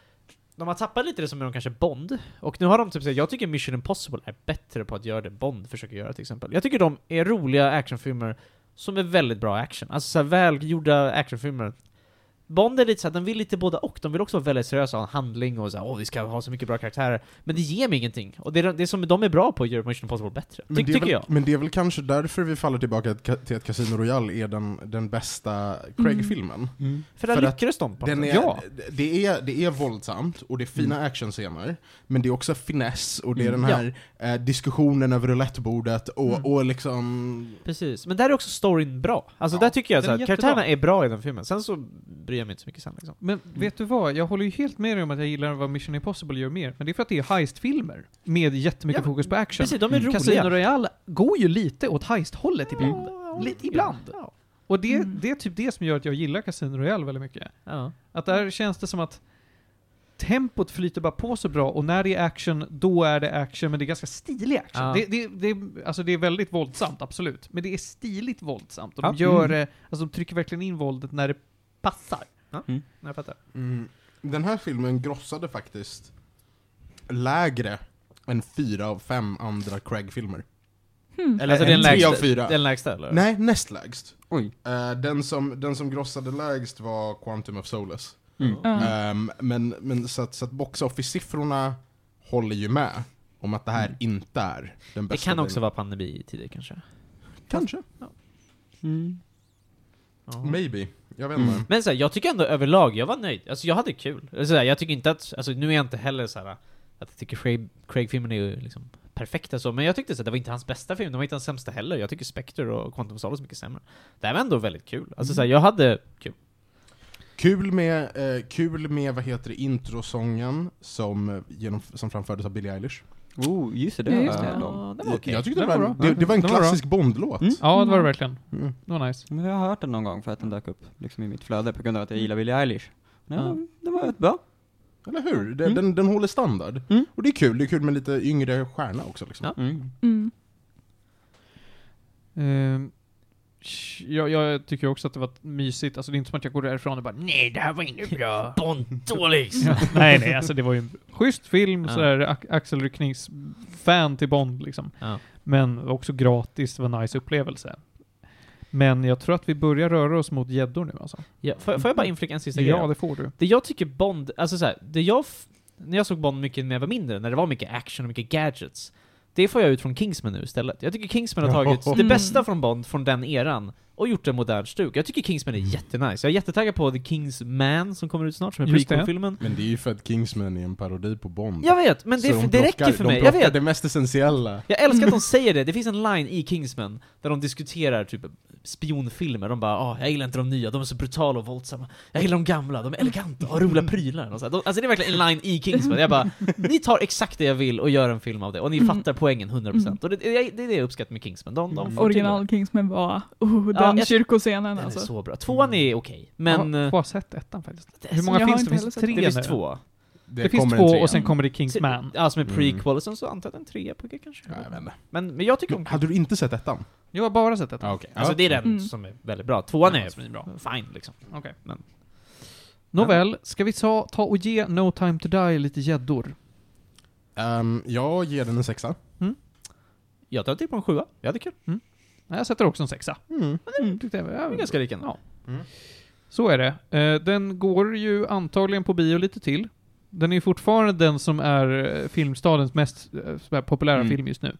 de har tappat lite det som är de kanske Bond, och nu har de typ såhär, jag tycker Mission Impossible är bättre på att göra det Bond försöker göra till exempel. Jag tycker de är roliga actionfilmer som är väldigt bra action. Alltså såhär välgjorda actionfilmer. Bond är lite såhär, de vill lite båda och, de vill också vara väldigt seriösa och ha en handling och såhär åh vi ska ha så mycket bra karaktärer. Men det ger mig ingenting. Och det, är, det som de är bra på gör Mission Impossible bättre. Ty,
Men det, är
tycker
väl,
jag.
men det är väl kanske därför vi faller tillbaka till ka- till att Casino Royale är den, den bästa
Mm.
Craig-filmen.
För där
för att
lyckades de på
Den
något
är,
sätt.
d- det, är, det är våldsamt, och det är fina actionscener, men det är också finess, och det är
Mm.
den här eh, diskussionen över roulettebordet, och,
Mm.
och liksom...
Precis. Men där är också storyn bra. Alltså
Ja,
där tycker jag
den
såhär,
är jättebra.
karaktärerna är bra i den filmen. Sen så bryr jag mig inte så mycket sen liksom.
Men vet du vad? Jag håller ju helt med dig om att jag gillar vad Mission Impossible gör mer. Men det är för att det är heistfilmer med jättemycket
Ja,
fokus på action.
Precis, de är roliga.
Casino Royale går ju lite åt heist-hållet ibland.
Ja,
Lite ibland.
Ja.
Och det,
Mm.
det är typ det som gör att jag gillar Casino Royale väldigt mycket.
Ja.
Att där känns det som att tempot flyter bara på så bra och när det är action, då är det action, men det är ganska stilig action.
Ja.
Det, det, det, alltså det är väldigt våldsamt, absolut. Men det är stiligt våldsamt och de
Ja.
gör
Mm.
det, alltså de trycker verkligen in våldet när det passar.
Jag fattar.
Mm. Den här filmen grossade faktiskt lägre än fyra av fem andra Craig-filmer.
Hmm.
Eller
Alltså, det är
än
den
tre av
lägsta-
fyra.
Den lägsta eller?
Nej, näst lägst.
Oj.
Eh, den, som, den som grossade lägst var Quantum of Solace.
Mm.
Ja.
Ehm, men men så att, så att box office-siffrorna håller ju med om att det här inte är den
Det
bästa.
kan också
filmen.
vara pandemitider kanske.
Kanske.
Mm.
Ja.
Maybe. Jag vet
Mm.
inte.
Men så här, jag tycker ändå överlag, jag var nöjd. Alltså jag hade kul. Så här, jag tycker inte att, alltså nu är jag inte heller så här att jag tycker Craig- Craig-filmen är ju liksom perfekta så, men jag tyckte så att det var inte hans bästa film, det var inte hans sämsta heller. Jag tycker Spectre och Quantum of Solace är mycket sämre. Det här var ändå väldigt kul. Alltså så här, jag hade kul.
Kul med, eh, kul med, vad heter det, introsången som, eh, genom, som framfördes av Billie Eilish.
Oh, just det.
Ja,
var-
just det.
Ja, det var
Jag-
okej.
Jag tyckte det
Den
var,
var
en-
bra.
det, det var en
Den var bra.
klassisk Bond-låt.
Mm.
Ja, det var det verkligen.
Mm.
Det var nice.
Men jag har hört den någon gång för att den dök upp liksom, i mitt flöde på grund av att jag gillar Billie Eilish. Men
Ja.
ja. den var rätt bra.
Eller hur? Den,
Mm.
den, den håller standard.
Mm.
Och det är kul, det är kul med lite yngre stjärna också liksom.
Ja.
Mm.
Mm.
Ehm, sh- jag, jag tycker också att det var mysigt. Alltså det är inte som att jag går därifrån och bara nej, det här var inte
(laughs)
bra.
Bond dålig!
(laughs) nej, nej, alltså det var ju en schysst film.
Ja.
Sådär, A- Axel Rycknings fan till Bond liksom.
Ja.
Men också gratis, det var en nice upplevelse. Men jag tror att vi börjar röra oss mot gäddor nu alltså.
Ja, får, får jag bara inflika en sista grej?
Ja, det får du.
Det jag tycker Bond, alltså så här, det jag, f- när jag såg Bond mycket när jag var mindre, när det var mycket action och mycket gadgets, det får jag ut från Kingsman nu istället. Jag tycker Kingsman har tagit
Mm.
det bästa från Bond från den eran och gjort en modern stuk. Jag tycker Kingsman är
Mm.
jättenice. Jag är jättetaggad på The Kingsman som kommer ut snart, som är
Just det.
prequel-filmen.
Men det är ju för att Kingsman är en parodi på Bond.
Jag vet, men det,
Mm. Så de
det
plockar-
räcker för mig.
De
Jag
plockar
vet.
det mest essentiella.
Jag älskar att de säger det. Det finns en line i Kingsman där de diskuterar typ spionfilmer. De bara ah, jag gillar inte de nya, de är så brutala och våldsamma. Jag gillar de gamla, de är eleganta och har roliga prylar. Och så här. De, alltså det är verkligen en line i Kingsman. Jag bara, ni tar exakt det jag vill och gör en film av det. Och ni
Mm.
fattar poängen 100%. Och det, det, det är det jag uppskattar med Kingsman. De, de får
Mm.
till det.
Original Kingsman var, oh, den
Ja, jag-
kyrkoscenen
Den är
alltså.
så bra. Tvåan är okej, men...
Jag har
eh,
bara sett ettan faktiskt. Hur
jag
många
har
finns det?
inte
Finns
heller
Det
det tre
sett
finns
nu?
två.
Det, finns
kommer
två
en trea.
och sen kommer det Kingsman.
Ja, som är
Mm.
prequel, och sen så antar jag en trea på det kanske.
Ja, jag vet inte.
Men, men jag tycker om...
Hade du inte sett ettan?
Jag har bara sett ettan.
Ja, okej.
Alltså
Ja.
det är den
Mm.
som är väldigt bra. Tvåan är
är bra.
fine liksom.
Okej.
Men-
Nåväl, ska vi ta, ta och ge No Time To Die lite gäddor?
Ehm, jag ger den en sexa.
Jag tar till på en sjua. Jag hade kul.
Nej, Jag sätter också en sexa.
Mm.
Mm.
Mm, Tyckte jag,
Det
ja,
är ganska lika ändå.
Ja. Så är det. Eh, Den går ju antagligen på bio lite till. Den är ju fortfarande den som är eh, filmstadens mest eh, så här populära
Mm.
film just nu.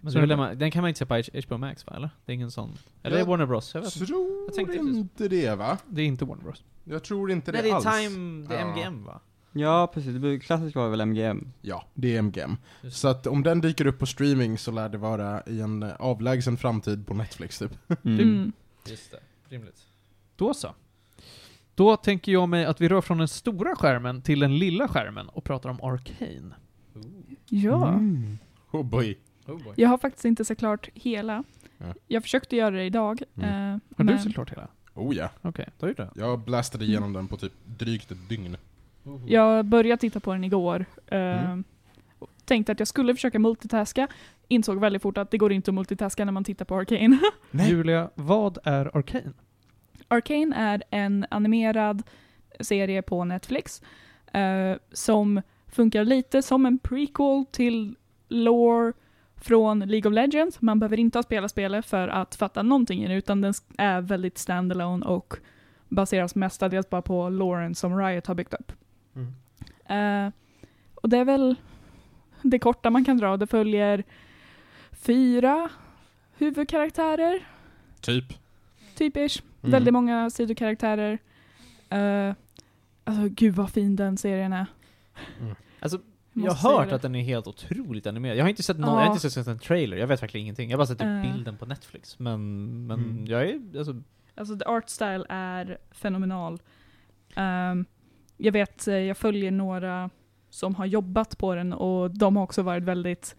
Men det
Så
är väl
den-
den man- den kan man inte se på H- HBO Max va, eller? Det är ingen sån... Eller
Ja.
är det Warner Bros? Jag vet inte.
Tror
Jag tänkte precis.
inte det va?
Det är inte Warner Bros.
Jag tror inte det,
Nej, det
alls.
är Time, det är
Ja.
MGM va?
Ja, precis. Det blir- klassiskt var väl MGM.
Ja, det är MGM.
Just.
Så att om den dyker upp på streaming så lär det vara i en eh, avlägsen framtid på Netflix typ.
Mm.
Just det, rimligt.
Då så. Då tänker jag mig att vi rör från den stora skärmen till den lilla skärmen och pratar om Arcane.
Ja.
Mm.
Oh boy.
Oh boy.
Jag har faktiskt inte så klart hela.
Ja.
Jag försökte göra det idag.
Mm.
eh,
Har
men
du såklart hela?
Oh ja.
Okej.
Då gjorde jag.
Jag blastade igenom den på typ drygt ett dygn.
Jag började titta på den igår. eh,
Mm.
och Tänkte att jag skulle försöka multitaska. Insåg väldigt fort att det går inte att multitaska när man tittar på Arcane. (laughs)
Julia, vad är Arcane?
Arcane är en animerad serie på Netflix eh, som funkar lite som en prequel till lore från League of Legends. Man behöver inte ha spelat spelet för att fatta någonting i det, utan den sk- är väldigt standalone och baseras mestadels bara på loren som Riot har byggt upp.
Mm.
Eh, och det är väl det korta man kan dra. Det följer fyra huvudkaraktärer
Typ.
typ ish.
Mm.
Väldigt många sidokaraktärer. Eh, alltså gud vad fin den serien är. (laughs)
Alltså,
Måste
jag har hört
säga
att
det.
den är helt otroligt animerad. Jag har inte sett någon,
Ja.
jag har inte sett en trailer, jag vet verkligen ingenting. Jag har bara sett
Eh.
upp bilden på Netflix. Men, men
Mm.
jag är, alltså,
Alltså the art style är fenomenal. Ehm, jag vet, eh, jag följer några som har jobbat på den och de har också varit väldigt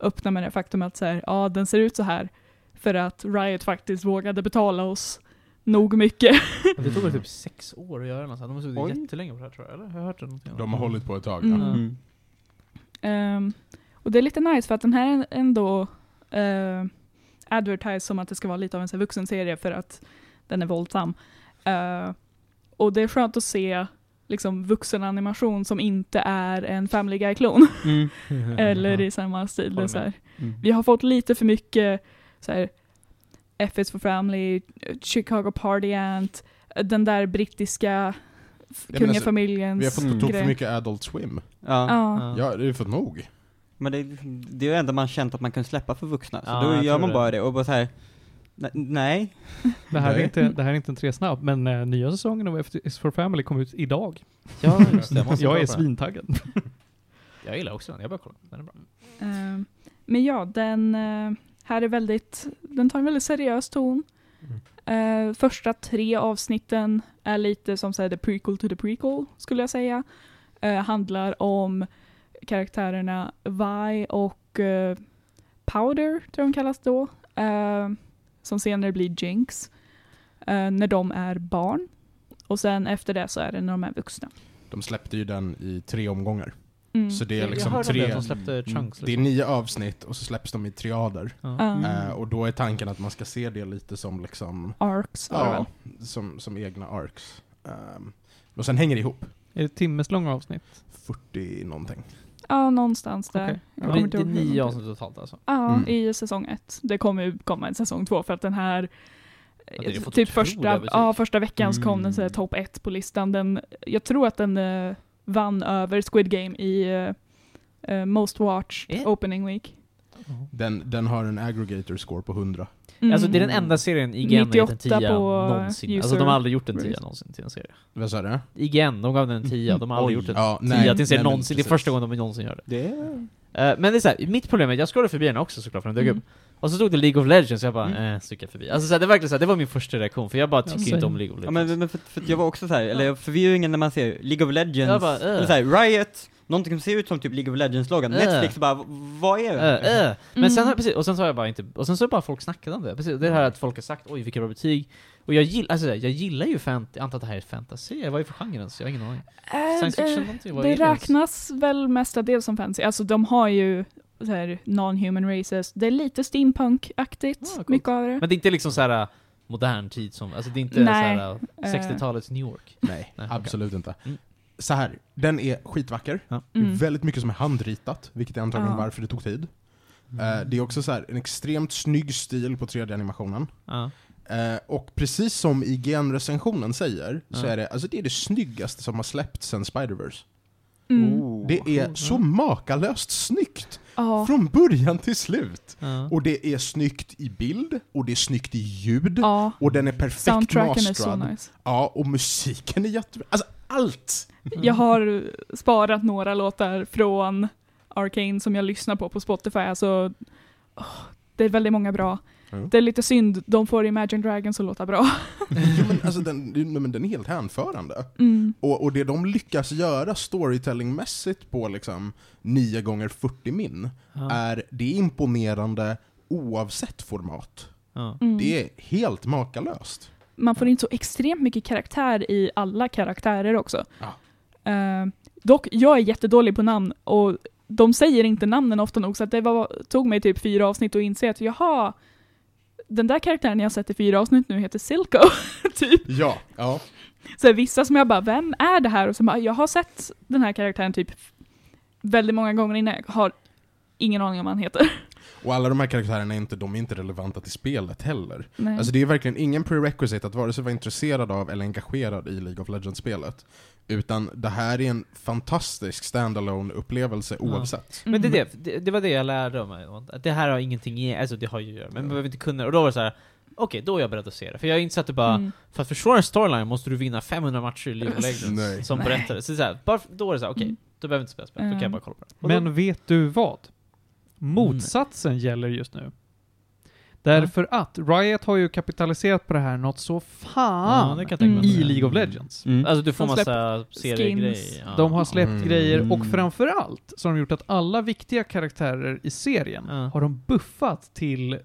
öppna med det faktum att så här, ja den ser ut så här för att Riot faktiskt vågade betala oss nog mycket.
det tog väl typ sex år att göra något sånt. De har suttit
Oj.
jättelänge på det här tror jag, eller? Jag har hört det någonting
De har hållit på ett tag.
Mm.
Ja.
Mm.
Ehm, och det är lite nice för att den här är ändå uh, advertised som att det ska vara lite av en så här vuxenserie för att den är våldsam. Eh, och det är skönt att se liksom vuxenanimation som inte är en
(laughs)
Family Guy-klon.
Mm.
Eller i samma stil. Det är
Håller
så
med.
här.
Mm.
Vi har fått lite för mycket så här, F is for Family, Chicago Party Ant, den där brittiska f-
men alltså,
kungafamiljens...
Vi har fått på
Mm.
tok för
Grej.
mycket Adult Swim.
Ja.
Ja.
Ja, det är fått nog.
Men det, är liksom- det är det enda man känt att man kan släppa för vuxna. Så
Ja,
då
jag
gör
tror
man
det.
bara det och bara så här. "Ne- Nej.
Det här, är
Nej.
inte, det här är inte en tresnabb, men eh, nya säsongen av F is for Family kom ut idag.
Ja, just det. Jag,
(laughs)
måste
jag
kolla
är
på den.
svintaggad.
Jag gillar också den, jag bara kollar. Den är bra.
Eh, Men ja, den eh, här är väldigt, den tar en väldigt seriös ton.
Mm.
Eh, första tre avsnitten är lite som så här, the prequel to the prequel, skulle jag säga. Eh, handlar om karaktärerna Vi och eh, Powder, tror jag de kallas då. Eh, som senare blir Jinx. Eh, när de är barn. Och sen efter det så är det när de är vuxna.
De släppte ju den i tre omgångar.
Mm.
Så det är
jag
liksom
hörde om det, att
tre...
de släppte Chunks.
Det är
Liksom.
nio avsnitt och så släpps de i triader.
Ja.
Ja,
Mm.
Eh, och då är tanken att man ska se det lite som liksom...
Arcs var det väl?
Ja, som, som egna arcs. Ehm, och sen hänger det ihop.
Är det timmeslånga avsnitt?
40 någonting.
Ja, någonstans där.
Okej.
Jag kommer
Men
inte
Det är
ihåg hur
nio
långt.
avsnitt totalt alltså.
Ja,
Mm.
i säsong ett. Det kommer ju komma en säsong två för att den här
det har fått
Typ
otroliga
första,
betyg.
ja, första veckan så kom
Mm.
den så här topp ett på listan. Den, jag tror att den eh, vann över Squid Game i eh, eh, Most Watched
Eh?
Opening Week.
Den, den har en aggregator score på 100.
Mm.
Alltså det är den enda serien IGN har gett en
98
tia
på
någonsin.
user
Alltså de har aldrig gjort en tia
rating.
någonsin till en serie.
Vad sa du?
IGN, de gav den en tia, de har aldrig gjort en
Ja, nej,
tia till en serie
nej, men
någonsin. Det är
precis.
första gången de någonsin gör det.
Det är...
Eh, men det är så här, mitt problem är att jag scrollade förbi den också såklart för den dök
Mm.
upp. Och så stod det League of Legends så jag bara
Mm.
eh, suckar förbi. Alltså så här, det är verkligen så här, det var min första reaktion för jag bara tycker
same.
inte om League of
Ja,
Legends.
men, men för, för att jag var också så här, eller förvirringen när man ser League of
Jag
Legends,
bara, äh.
eller så här, Riot, någonting som ser ut som typ League of Legends-loggan,
Äh.
Netflix bara, v- vad är det?
Eh, eh. Men sen,
Mm.
har- precis, och sen så har jag bara inte, och sen så har bara folk snackat om det. Precis, det är det här att folk har sagt oj vilka bra betyg. Och jag gillar, alltså, så här, jag gillar ju fantasy, jag antar att det här är fantasy, vad är det för genre ens? Jag har ingen aning.
Eh,
Science fiction
eh,
någonting? Vad är
det
ens?
räknas väl mestadels som fantasy. Alltså de har ju så här non-human races. Det är lite steampunk-aktigt,
Ah, coolt.
mycket av det.
Men det är inte liksom så här äh, modern tid som, alltså det är inte
Nej.
så här äh, 60-talets New York.
Nej,
Nej,
absolut inte.
Mm.
Så här, den är skitvacker.
Mm.
Väldigt mycket som är handritat, vilket är antagligen
Ja.
varför det tog tid. Eh, det är också så här, en extremt snygg stil på 3D-animationen.
Ja.
Eh, och precis som IGN-recensionen säger, så
Ja.
är det, alltså det är det snyggaste som har släppts sen Spider-Verse.
Mm.
Oh.
Det är så makalöst snyggt!
Ja.
Från början till slut.
Ja.
Och det är snyggt i bild, och det är snyggt i ljud,
ja.
och den är perfekt
Soundtracken är så
mastrad.
nice.
Ja, och musiken är jättebra. Alltså allt! (laughs)
Jag har sparat några låtar från Arcane som jag lyssnar på på Spotify. Alltså, åh, det är väldigt många bra.
Mm.
Det är lite synd, de får Imagine Dragons att låta bra.
jo, men, alltså, den, nej, men den är helt hänförande.
Mm.
Och, och det de lyckas göra storytellingmässigt på liksom 9 gånger 40 min,
Ja.
är det är imponerande oavsett format.
Ja.
Mm.
Det är helt makalöst.
Man får in så extremt mycket karaktär i alla karaktärer också.
Ja.
Eh, dock, jag är jättedålig på namn och de säger inte namnen ofta nog så att det var, tog mig typ fyra avsnitt att inse att jaha, den där karaktären jag har sett i fyra avsnitt nu heter Silco. (laughs) typ.
Ja. ja.
Så här, vissa som jag bara, vem är det här? Och så bara, jag har sett den här karaktären typ väldigt många gånger innan, jag har ingen aning om vad han heter.
Och alla de här karaktärerna är inte, de är inte relevanta till spelet heller.
Nej.
Alltså det är verkligen ingen prerequisite att vare sig vara intresserad av eller engagerad i League of Legends-spelet. Utan det här är en fantastisk standalone upplevelse
Ja.
oavsett.
Men det, är
Mm.
det, det, det var det jag lärde mig. Att det här har ingenting i, alltså det har ju att göra, men man behöver inte kunna Och då var det så här. okej, då är jag beredd att se det. För jag insåg att det bara,
Mm.
för att förstå en storyline måste du vinna 500 matcher i League of
Nej.
Legends som
Nej.
berättare. Så, det är så här, bara, då är det så här, okej,
Mm.
då behöver jag inte spela spel, då kan jag
Mm.
bara kolla på det. Och då-
Men vet du vad? Motsatsen gäller just nu. Därför att Riot har ju kapitaliserat på det här något så
ja,
fan
det kan jag tänka mig.
i League of Legends.
Mm.
Alltså du får
De
massa
skins.
seriegrejer. Ja.
De har släppt
Mm.
grejer och framförallt så har de gjort att alla viktiga karaktärer i serien
Ja.
har de buffat till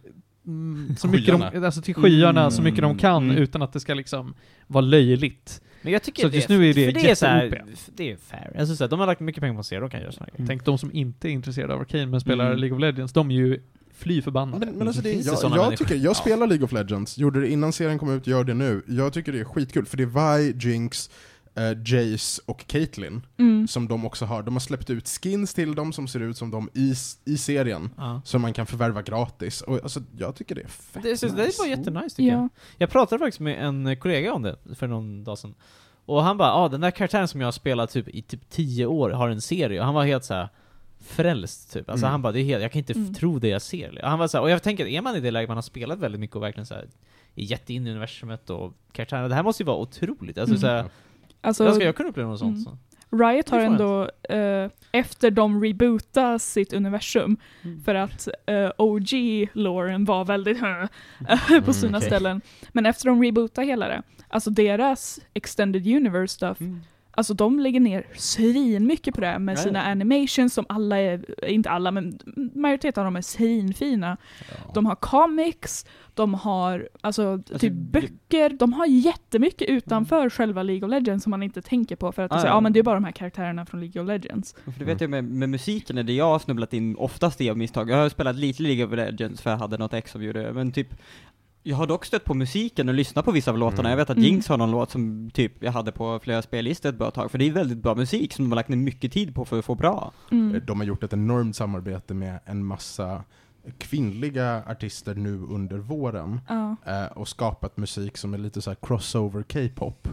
mm, så mycket de,
Skyarna.
alltså till skyarna så
Mm.
mycket de kan
Mm.
utan att det ska liksom vara löjligt.
Men jag tycker
Så
det,
just nu är det
för det är så här,
jätte-OP.
f- det är fair. Alltså så här, de har lagt mycket pengar på en serie, de kan göra såna här grejer.
Mm.
Tänk de som inte är intresserade av Arcane men spelar
Mm.
League of Legends, de är ju fly förbannade.
(laughs) Men, men alltså det,
Mm. Finns det
jag,
såna
jag,
människor?
tycker, jag spelar League of Legends, gjorde det innan serien kom ut, gör det nu. Jag tycker det är skitkul, för det är Vi, Jinx, eh, Jace och Caitlyn
Mm.
som de också har. De har släppt ut skins till dem som ser ut som dem i, i serien,
Ja.
som man kan förvärva gratis. Och, alltså, jag tycker det är fett
Det, så, det
nice.
var jättenice tycker jag.
Ja.
Jag pratade faktiskt med en kollega om det för någon dag sedan. Och han bara ah, den där karaktären som jag har spelat typ, i typ 10 år har en serie, och han var helt så här frälst typ. Alltså
Mm.
han bara det är helt, jag kan inte f-
Mm.
tro det jag ser. Och han var så här, och jag tänker att är man i det läget man har spelat väldigt mycket och verkligen så här är jätteinne i universumet och karaktärerna, det här måste ju vara otroligt. Alltså
Mm.
så här,
Alltså,
jag ska jag kunna uppleva något sånt.
Mm.
Så.
Riot
Det
har
får
ändå, eh, efter de rebootade sitt universum,
Mm.
för att eh, OG-loren var väldigt (laughs) (laughs)
Mm,
Mm,
på sina
okej.
ställen. Men efter de rebootade hela det, alltså deras extended universe stuff, alltså de lägger ner svin mycket på det med
Mm. Ja, ja.
sina animations som alla är, inte alla men majoriteten av dem är svinfina.
Ja.
De har comics, de har alltså, typ
det-
böcker, de har jättemycket utanför själva League of Legends som man inte tänker på för att
Ja,
ah, säga,
ja.
ja men det är bara de här karaktärerna från League of Legends.
För det vet jag med, med musiken är det jag har snubblat in oftast är av misstag. Jag har spelat lite League of Legends för jag hade något ex som gjorde det, men typ jag har dock stött på musiken och lyssnat på vissa av låtarna.
Mm.
Jag vet att
Mm.
Jinx har någon låt som typ jag hade på flera spellistor ett bra tag, för det är väldigt bra musik som de har lagt ner mycket tid på för att få bra.
Mm.
De har gjort ett enormt samarbete med en massa kvinnliga artister nu under våren
Ja.
eh, och skapat musik som är lite så här crossover K-pop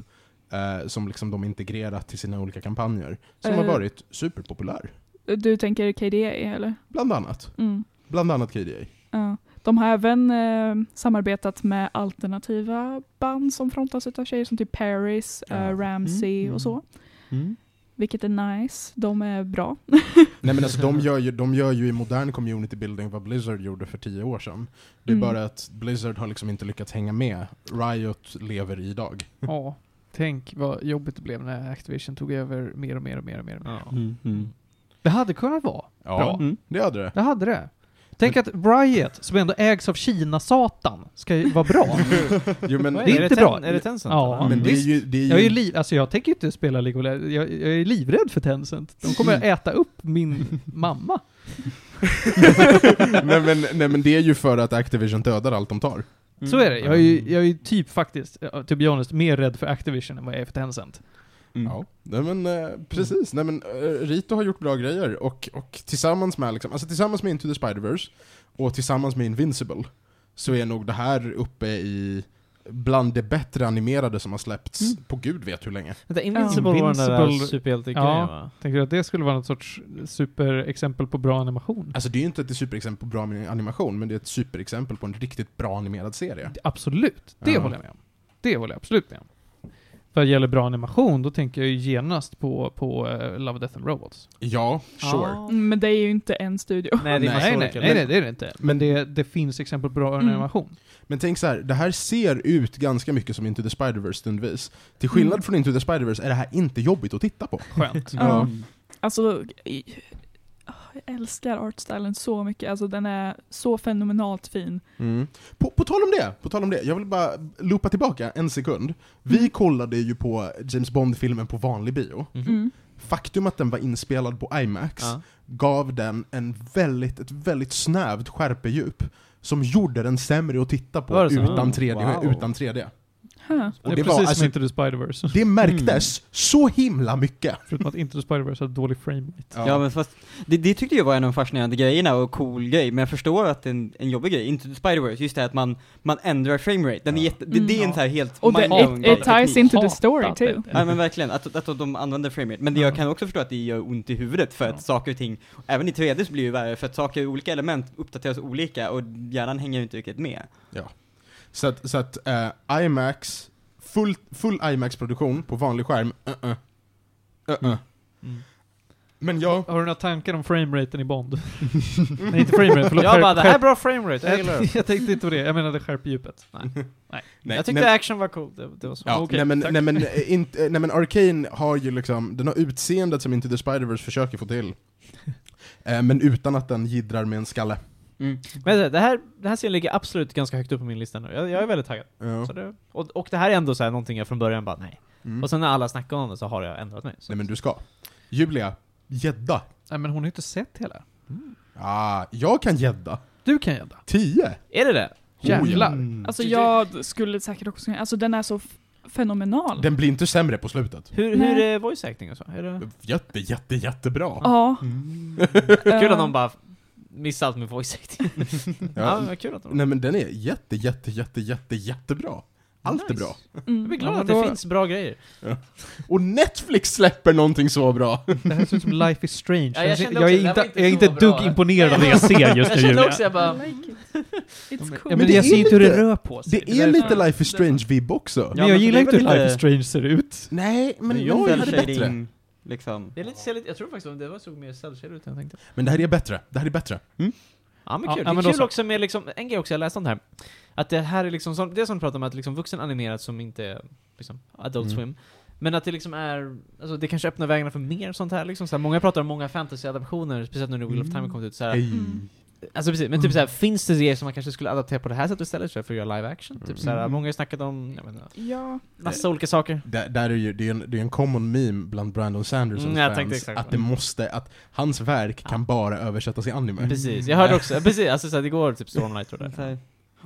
eh, som liksom de integrerat till sina olika kampanjer som har
Eh.
varit superpopulär.
Du tänker KDA eller?
Bland annat.
Mm.
Bland annat KDA.
Ja. De har även eh, samarbetat med alternativa band som frontas utav tjejer som typ Paris,
Ja.
eh, Ramsey
Mm.
och så. Vilket är nice. De är bra.
Nej men alltså de gör ju, de gör ju i modern community building vad Blizzard gjorde för tio år sedan. Det är
Mm.
bara att Blizzard har liksom inte lyckats hänga med. Riot lever idag.
Ja, tänk vad jobbigt det blev när Activision tog över mer och mer och mer och mer. Och mer.
Ja.
Det hade kunnat vara.
Ja,
Bra.
Mm.
det hade det.
Det hade det. Tänk att Riot, som ändå ägs av Kina-satan, ska ju vara
(laughs)
bra.
Jo, men,
Vad
det är inte
Ten-
bra.
Är det Tencent?
Ja.
eller?
men det är ju... Det är
Jag är
ju
ju liv, alltså jag tänker ju inte spela League of Legends. Jag, jag är livrädd för Tencent. De kommer att äta upp min mamma.
(laughs) nej, men, nej men det är ju för att Activision dödar allt de tar.
Mm.
Så är det. Jag är ju, jag är ju typ faktiskt, ja, to be honest, mer rädd för Activision än vad jag är för Tencent.
Mm.
Ja. Nej men eh, precis, nej men eh, Rito har gjort bra grejer och, och tillsammans med liksom, alltså tillsammans med Into the Spider-Verse och tillsammans med Invincible så är nog det här uppe i bland det bättre animerade som har släppts på gud vet hur länge.
Vänta, Invincible, var den där
Invincible-
superhjältegrejen
Ja.
va?
Tänker du att det skulle vara något sorts superexempel på bra animation?
Alltså det är ju inte ett superexempel på bra animation, men det är ett superexempel på en riktigt bra animerad serie.
Absolut, det
Ja.
håller jag med om. Det håller jag absolut med om. Vad gäller bra animation, då tänker jag ju genast på, på eh, Love, Death and Robots.
Ja, sure.
Ah.
Mm, Men det är ju inte en studio.
Nej, det är
Nej,
massa
nej, nej,
olika.
nej, nej, det är det inte.
Men-
Men det, det finns exempel på bra
Mm.
animation.
Men tänk så här, det här ser ut ganska mycket som Into the Spider-Verse stundvis. Till skillnad
Mm.
från Into the Spider-Verse är det här inte jobbigt att titta på.
Skönt.
Ja. (laughs) Alltså, i- ah, jag älskar artstylen så mycket. Alltså den är så fenomenalt fin.
Mm.
På, på, tal om det, på tal om det, jag vill bara loopa tillbaka en sekund. Vi
Mm.
kollade ju på James Bond-filmen på vanlig bio.
Mhm.
Mm.
Faktum att den var inspelad på IMAX
Ja.
gav den en väldigt, ett väldigt snävt skärpedjup som gjorde den sämre att titta på
Var det så?
utan
Mm.
3D.
Wow.
Utan 3D.
Huh.
Det
Och
är
det,
precis
var,
som
alltså,
Into the Spider-Verse.
det märktes
Mm.
så himla mycket.
Förutom att Into the Spider-Verse har dålig frame rate.
Ja, men fast, det, det tyckte jag var en av de fascinerande grejerna och cool grej, men jag förstår att det är en, en jobbig grej, inte Spider-Verse, just det här att man, man ändrar framerate, den är
Ja.
jätte, det, det är en
Mm.
så här helt
Och det,
mind-blowing
it, it ties
teknik.
into the
Hatat
story
det.
too.
Ja men verkligen, att, att de använder framerate. Men det, jag
Ja.
kan också förstå att det gör ont i huvudet för att
Ja.
saker och ting, även i 3D så blir det ju värre för att saker, olika element uppdateras olika och hjärnan hänger ju inte riktigt med.
Så att, så att eh, IMAX, full, full IMAX-produktion på vanlig skärm, uh-uh. Uh-uh.
Mm.
Men ja,
Har du några tankar om frameraten i (laughs) Bond? Nej, inte framerate, förlåt.
Jag
Skärp-
bara, det här är
skärp-
bra framerate, jag gillar det.
(laughs) jag tänkte inte på det, jag menade skärpedjupet.
nej,
jag tyckte
nej,
action var cool, det, det var så.
ja,
Okej,
nej, men,
tack.
nej, men, eh, inte, eh, nej men Arcane har ju liksom, den har utseendet som inte The Spider-Verse försöker få (laughs) till. Eh, men utan att den jiddrar med en skalle.
Men det här, det här serien ligger absolut ganska högt upp på min lista nu, jag, jag är väldigt taggad.
Ja.
Så det, och, och det här är ändå så här någonting jag från början bara, nej.
Mm.
Och sen när alla snackar om det så har jag ändrat mig. Så.
Nej men du ska. Julia, gädda.
Nej men hon har ju inte sett hela.
Ah, jag kan gädda.
Du kan gädda.
Tio!
Är det det?
Jävlar.
Mm.
Alltså jag skulle säkert också alltså den är så f- fenomenal.
Den blir inte sämre på slutet.
Hur,
Nej.
hur är voice acting och så? Är (laughs) det...
Jätte, jätte, jättebra.
Ja.
Kul
Eh,
att de bara missar allt med voice acting. ja, men kul att de...
Nej men den är jätte, jätte, jätte, jätte, jättebra. Allt är bra.
Jag
mm.
blir glad
Ja, men
att det
då-
finns bra grejer.
Och Netflix släpper någonting så bra!
Det här ser ut som Life is Strange.
Ja, jag
jag,
kände
jag
också,
är
det här var
inte,
inte
jag är
så
inte ett dugg
bra.
imponerad av det jag
(laughs) Jag
ser just nu
kände
Julia.
också, jag bara...
I like it.
Ja, men-
It's cool.
Ja, men
det
jag
är
ser inte hur
lite-
det rör på sig.
Det är
därför-
lite Life is Strange-vibb också.
Ja,
Men jag
men
gillar
det är
inte hur
väl
Life
lite-
is Strange ser ut.
Nej, men
Det är ju
jag
cell
gillar det bättre.
shading, Liksom.
Det är lite, ser lite, jag tror faktiskt att det var såg mer cellshaded ut än jag tänkte.
Men det här är bättre, det här är bättre.
Ja men
Ja,
kul.
ja,
det är
men då
kul
så.
också med liksom, en grej också jag läste om det här. Att det här är liksom, som, det som du pratar om att liksom vuxen animerat som inte är liksom adult
Mm.
swim. Men att det liksom är, alltså det kanske öppnar vägarna för mer sånt här liksom. Så här, många pratar om många fantasy-adaptioner, speciellt nu när Wheel of Time har kommit ut. Så här,
Hej.
Mm.
Alltså precis, men typ såhär, finns det grejer som man kanske skulle adaptera på det här sättet istället för att göra live action? Typ såhär,
Mm.
många har snackat om, jag vet inte,
Ja.
massa olika saker.
Där, där är ju, det är en, det är en common meme bland Brandon Sandersons
Mm, jag tänkte
fans,
exakt
att
på
det
det.
måste, att hans verk kan bara översättas i anime.
Precis, jag hörde också, precis, alltså såhär, det går typ Stormlight och det
Så
Mm.
där.
här.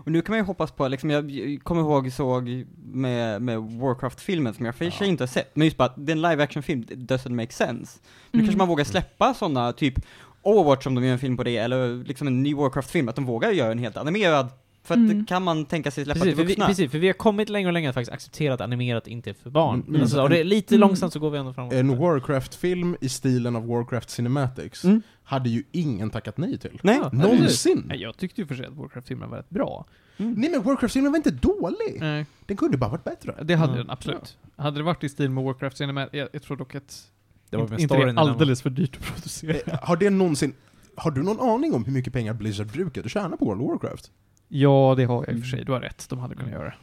Och nu kan man ju hoppas på, liksom, jag jag kommer ihåg såg med, med Warcraft-filmen som jag för sig inte har sett, men just bara, att det är en live action-film, it doesn't make sense. Nu
Mm.
kanske man vågar släppa sådana, typ Overwatch om de gör en film på det, eller liksom en ny Warcraft-film, att de vågar göra en helt animerad, för att
Mm.
det kan man tänka sig släppa
Precis för,
till
vi,
vuxna.
precis, för vi har kommit längre och längre att faktiskt acceptera att animerat inte är för barn.
Mm, mm.
Alltså, och det är lite
Mm.
långsamt så går vi ändå framåt.
En Warcraft-film i stilen av Warcraft Cinematics
Mm.
hade ju ingen tackat nej till.
Nej,
Ja.
Någonsin!
Nej, jag tyckte ju för sig att Warcraft-filmen var rätt bra.
Nej men Warcraft-filmen var inte dålig!
Nej,
Den kunde bara varit (laughs) bättre.
det hade
Ja.
den absolut. Hade det varit i stil med Warcraft Cinema, jag, jag tror dock att
det var
inte-
med
inte det
storyn
är
innan.
alldeles för dyrt att producera.
Eh, Har det någonsin... Har du någon aning om hur mycket pengar Blizzard brukade tjäna på World of Warcraft?
Ja, det har jag i och för sig. Du har rätt. De hade kunnat göra det.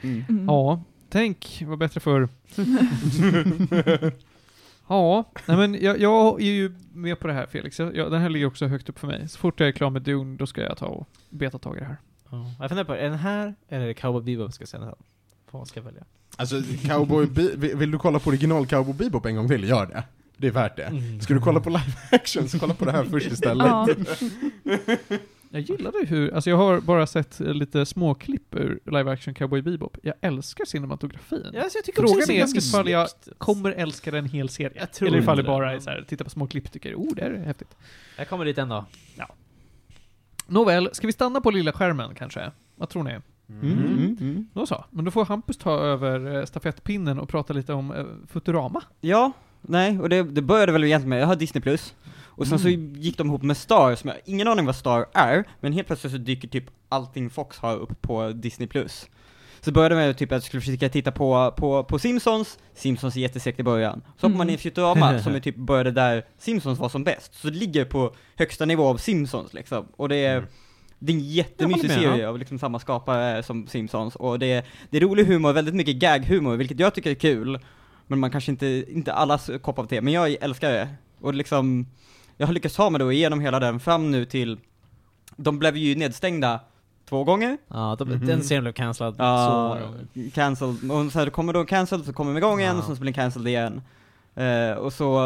Mm.
Mm.
Ja, tänk vad bättre (laughs) för Ja, nej men jag, jag är ju med på det här Felix. Jag, jag, den här ligger också högt upp för mig. Så fort jag är klar med Dune, då ska jag ta och beta tag i det här.
Ja. Jag funderar på, är den här eller är det Cowboy Bebop ska jag säga den här? Vad ska jag välja?
Alltså, Cowboy Be- vill vill du kolla på original Cowboy Bebop en gång till, gör det. Det är värt
Mm.
det. Ska du kolla på live (laughs) action, så kolla på det här först istället.
Ja.
Jag gillade hur, alltså jag har bara sett eh, lite småklipp ur live action Cowboy Bebop. Jag älskar cinematografin.
Ja, alltså, jag tycker också
Frågan
det
är
ganska
ifall jag
snyggt.
kommer älska den hel serie.
Jag tror
Eller ifall det
inte det.
bara är så här, titta på små klipp och tycker oh det här är häftigt.
Jag kommer dit en dag.
Nåväl, ska vi stanna på lilla skärmen kanske? Vad tror ni? Mm. Då så. Men då får Hampus ta över eh, stafettpinnen och prata lite om eh, Futurama.
Ja, nej, och det, det började väl egentligen med, jag har Disney plus, och sen så gick de ihop med Star, som jag har ingen aning vad Star är, men helt plötsligt så dyker typ allting Fox har upp på Disney plus. Så började med typ att jag skulle försöka titta på, på, på Simpsons, Simpsons är jättesegt i början. Så hoppar man in i Futurama, som är typ började där Simpsons var som bäst, så det ligger på högsta nivå av Simpsons liksom, och det är det är en jättemysig
Jag håller med,
serie av liksom samma skapare som Simpsons, och det är, det är rolig humor, väldigt mycket gag-humor, vilket jag tycker är kul. Men man kanske inte, inte allas kopp av te, men jag älskar det. Och liksom, jag har lyckats ta mig då igenom hela den fram nu till, de blev ju nedstängda två gånger.
Ja, då,
Mhm.
den serien blev cancellad så
Ja,
många gånger.
cancelled. Och sen kommer då cancelled, så kommer de igång igen,
Ja.
och sen så blir den cancelled igen. Eh, och så,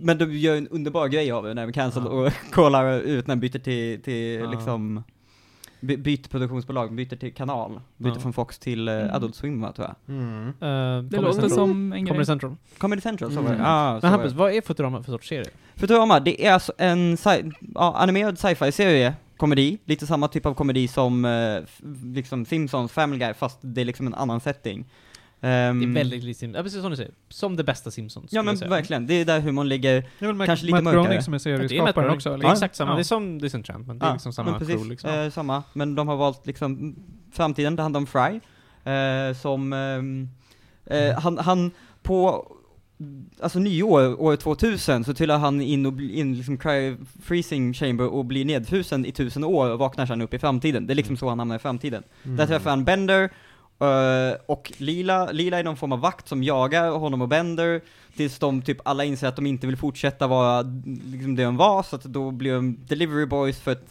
men de gör en underbar grej av det när vi cancelled
Ja.
och (laughs) kollar ut när de byter till, till
Ja.
liksom, by, byter produktionsbolag, byter till kanal, byter
Ja.
från Fox till eh,
Mm.
Adult Swim va, tror jag.
Mm.
Eh,
Det
Comedy
låter
Central.
som en grej.
Comedy Central.
Comedy Central, så
Mm.
var det. Ah, så
Men
var
Hampus,
det.
vad är Futurama för sorts serie?
Futurama, det är alltså en sci- ja, animerad sci-fi-serie, komedi, lite samma typ av komedi som eh, f- liksom Simpsons, Family Guy, fast det är liksom en annan setting. Ehm,
Det är väldigt likt Simpsons, ja, precis som du säger. Som det bästa Simpsons.
Ja
skulle
men
jag säga.
verkligen, det är där humorn ligger.
Det är väl Mac-
Kanske lite
Matt
mörkare.
Groening som är
Ja, det är Matt
serieskaparen
Groening.
också, liksom. eller?
Det är exakt samma,
Ja.
det är som Disenchantment, det
Ja,
är liksom samma
men precis,
crew liksom.
eh, samma, men de har valt liksom framtiden, det handlar om Fry, eh, som, ehm,
Mm.
eh, han, han på, alltså nyår, år 2000, så trillar han in och blir in liksom cry, freezing chamber och blir nedfrusen i tusen år och vaknar sen upp i framtiden. Det är liksom
Mm.
så han hamnar i framtiden.
Mm.
Där träffar han Bender, eh, och Lila, Lila är någon form av vakt som jagar honom och Bender, tills de typ alla inser att de inte vill fortsätta vara liksom det de var, så att då blir de delivery boys för ett,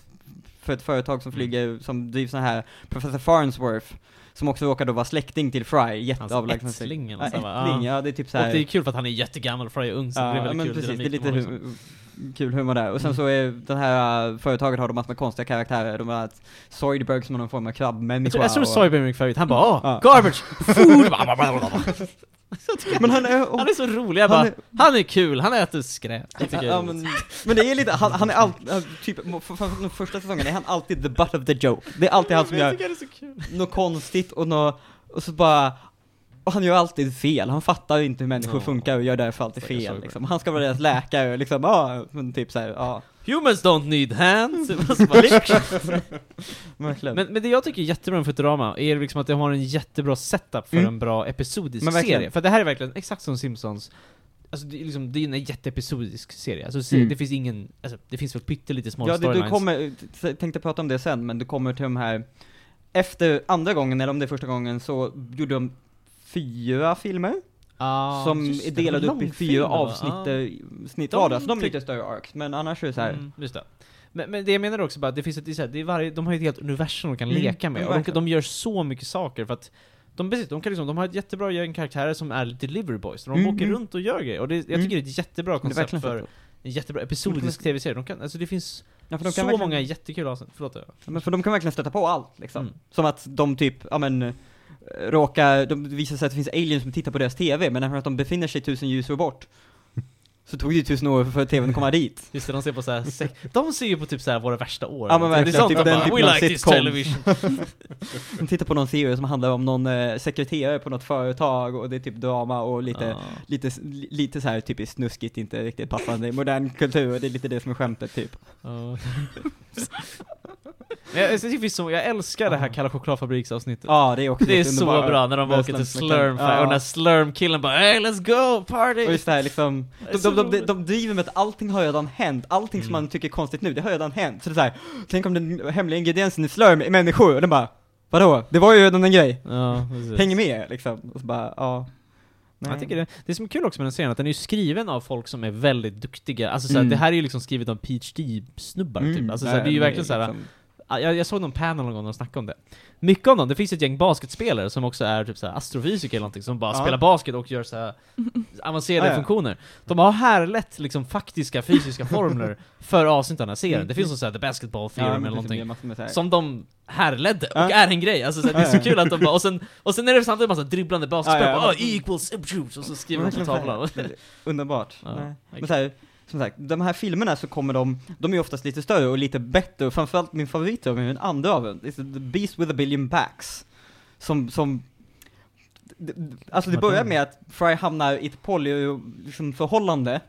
för ett företag som
Mm.
flyger, som drivs sån här, Professor Farnsworth, som också råkar då vara släkting till Fry,
Hans
jätteavlägsna släkting.
ättling eller
Ja,
så, va?
ättling, ja det är typ så här.
Och det är kul för att han är jättegammal, Fry är ung, så det är
Ja,
väldigt
men
kul
precis, det är
dynamik
lite
på honom, liksom.
hu- kul humor där. Och
Mm.
sen så är det här eh, företaget har de massor med konstiga karaktärer, de har ett Zoidberg som är någon form av
Jag
krabbmänniska.
tror- jag tror
och-
Soybean är min favorit, han bara åh,
Ja.
garbage, food! (laughs)
(laughs)
Så jag tycker-
Men han är,
han är så rolig, jag
Han
bara,
är-
han är kul, han äter skräp. Det tycker jag
Ja,
är roligt.
men, men det är lite, han, han är alltid, typ, må- för- för- för- den första säsongen är han alltid the butt of the joke. Det är alltid han som
Jag
gör
tycker det är så kul.
något konstigt och något, och så bara, och han gör alltid fel, han fattar inte hur människor
Ja.
funkar och gör därför alltid
Stackars
fel
Zoidberg.
liksom. Han ska vara deras läkare, liksom, ja, men typ såhär, ja.
Humans don't need hands! (laughs) Så bara, liksom.
(laughs) Verkligen.
men, men det jag tycker är jättebra med Futurama är liksom att det har en jättebra setup för
Mm.
en bra episodisk
Men verkligen.
serie. För det här är verkligen exakt som Simpsons. Alltså det är, liksom, det är en jätteepisodisk serie. Alltså, se-
Mm.
det finns ingen, alltså, det finns väl pyttelite små
Ja, du,
storylines.
du kommer, t- tänkte prata om det sen, men du kommer till de här, efter andra gången, eller om det är första gången, så gjorde de fyra filmer.
Ah,
som
just
är
det,
delade
det var
upp i fyra
långfilmer, va?
avsnitt,
Ah.
eh, snitt
De
var det, så de är
tyck-
lite större arcs, men annars är det så här.
Mm, just det. Men, men det jag menar också bara att det finns ett, det är så här, det är varje, de har ju ett helt universum de kan
Mm,
leka med,
men
och de,
verkligen.
de gör så mycket saker för att de, precis, de, kan liksom, de har ett jättebra gäng karaktärer som är delivery boys, de
Mm,
åker
mm.
runt och gör grejer, och det, jag tycker
Mm.
det är ett jättebra
det är
koncept
verkligen
för
fett.
en jättebra
Men de
episodisk
kan-
tv-serie, de kan, alltså det finns
ja, för de
så
kan verkligen-
många jättekul avsnitt, förlåt jag.
Ja, Men för de kan verkligen stöta på allt liksom.
Mm.
Som att de typ, ja men, eh, råkar, de det visar sig att det finns aliens som tittar på deras TV, men eftersom att de befinner sig tusen ljusår bort, så tog det ju tusen år för TVn att komma dit.
Just det, de ser på så här, sex- de ser ju på typ så här våra värsta år.
Ja, men
Det är
verkligen,
sånt
typ
de
den
bara,
typen
We
av
like this
sitcom."
television.
De tittar på någon serie som handlar om någon eh, sekreterare på något företag, och det är typ drama och lite
Ja.
Lite, s- li- lite så här typiskt snuskigt, inte riktigt passande i modern kultur, det är lite det som är skämtet typ.
Ja. Men (laughs) jag, jag, tycker så, jag älskar det här kalla chokladfabriksavsnittet.
Ja, det är också
Det är
ett
så
underbart-
bra när de åker till
Westlands-
Slurm,
Ja.
och när Slurm-killen bara 'Hey let's go party!'
Och just det här liksom,
Det är
de,
så
de, de, de,
roligt.
de driver med att allting har redan hänt, allting som
Mm.
man tycker är konstigt nu, det har redan hänt. Så det är så här, tänk om den hemliga ingrediensen i Slurm är människor, och den bara Vadå? Det var ju redan en grej,
Ja, precis.
hänger med liksom. Och så bara, ja. Nej.
jag tycker det, det som är kul också med den serien är att den är ju skriven av folk som är väldigt duktiga, alltså såhär,
Mm.
det här är ju liksom skrivet av PhD-snubbar typ, alltså, såhär, det är ju verkligen såhär,
liksom-
Ja, jag, jag såg någon panel någon gång och snackade om det. Mycket av dem, det finns ett gäng basketspelare som också är typ så här astrofysiker eller någonting, som bara
Ja.
spelar basket och gör så
(laughs)
här avancerade
Ah, ja.
funktioner. De har härlett liksom faktiska fysiska
(laughs)
formler för avsnitt av den här serien. Det finns någon så här the basketball
Mm. ja,
theorem
men
eller
precis, det
någonting.
är massor med så här-
Som de härledde, och
Ja.
är en grej. Alltså, så här, det är
Ja,
så kul att de bara, och sen, och sen är det samtidigt en massa dribblande basketspelare,
Ja, ja.
bara, "Ah, E equals obtuse, och så skriver de på
Verkligen så här,
tavlan.
Underbart.
Ja.
Nej. Men så här, som sagt, de här filmerna så kommer de, de är ju oftast lite större och lite bättre, och framförallt min favorit av dem är den andra av dem, det är The Beast with a Billion Backs. Som, som, d- d- alltså det börjar med att Fry hamnar i ett polyförhållande, liksom, förhållande.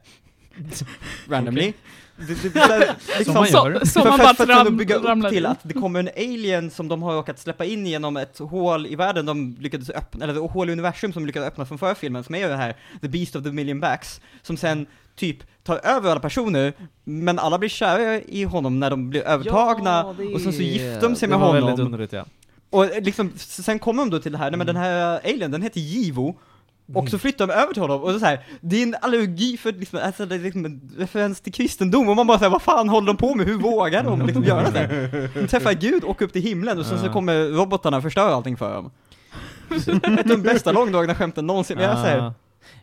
randomly. Det, det, det,
Som man gör.
(laughs) Så, så
för,
man
för,
bara
för, att kunna
ram,
bygga upp
ramlar
till
in.
att det kommer en alien som de har råkat släppa in genom ett hål i världen de lyckades öppna, eller ett hål i universum som de lyckades öppna från förra filmen, som är ju det här The Beast of the Million Backs, som sen typ tar över alla personer, men alla blir kära i honom när de blir övertagna, och sen så gifter de sig med
Det var väldigt
honom.
underligt ja.
Och eh, liksom, s- sen kommer de då till det här, nej men
Mm.
den här alien, den heter Givo, och så flyttar de över till honom, och så här, det är en allergi för liksom, alltså det är liksom en referens till kristendom, och man bara säger vad fan håller de på med, hur vågar de liksom göra det? De träffar Gud, åker upp till himlen, och sen så
Ja.
kommer robotarna och förstör allting för dem. (laughs) Ett av de bästa långdragna skämten någonsin, jag säger.
Ah.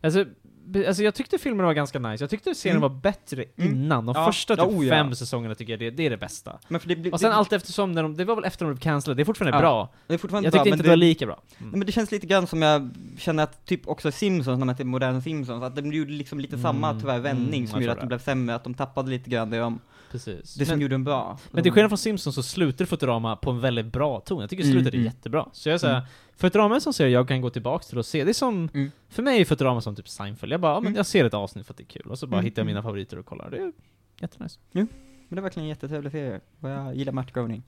Alltså, be- alltså jag tyckte filmen var ganska nice, jag tyckte serien
Mm.
var bättre
Mm.
innan, de
Ja.
första typ
Ja, oh ja.
fem säsongerna tycker jag det, det är det bästa.
Men för det, blir-
Och sen
det,
allt eftersom, när de, det var väl efter de blev cancellade, det är fortfarande
Ja.
bra.
det Mm. är fortfarande
Jag
bra,
tyckte
men
inte det var lika bra. Mm.
Nej, men det känns lite grann som jag känner att typ också Simpsons, när man till moderna Simpsons, att de gjorde liksom lite samma
Mm,
tyvärr vändning
mm,
som
jag tror
gjorde att de
det.
blev sämre, att de tappade lite grann det, de,
Precis.
det som
men,
gjorde dem bra.
men till skillnad från Simpsons så slutar Futurama på en väldigt bra ton. Jag tycker slutet
Mm,
är
mm.
jättebra. Så jag säger, Futurama är en sån serie jag kan gå tillbaks till och se. Det är som,
Mm.
för mig är Futurama som typ Seinfeld. Jag bara, ja, men
Mm.
jag ser ett avsnitt för att det är kul. Och så bara
Mm,
hittar jag
mm.
mina favoriter och kollar. Det är jättenice.
Men det var verkligen en jättetrevlig serie, och jag gillar Matt Groening.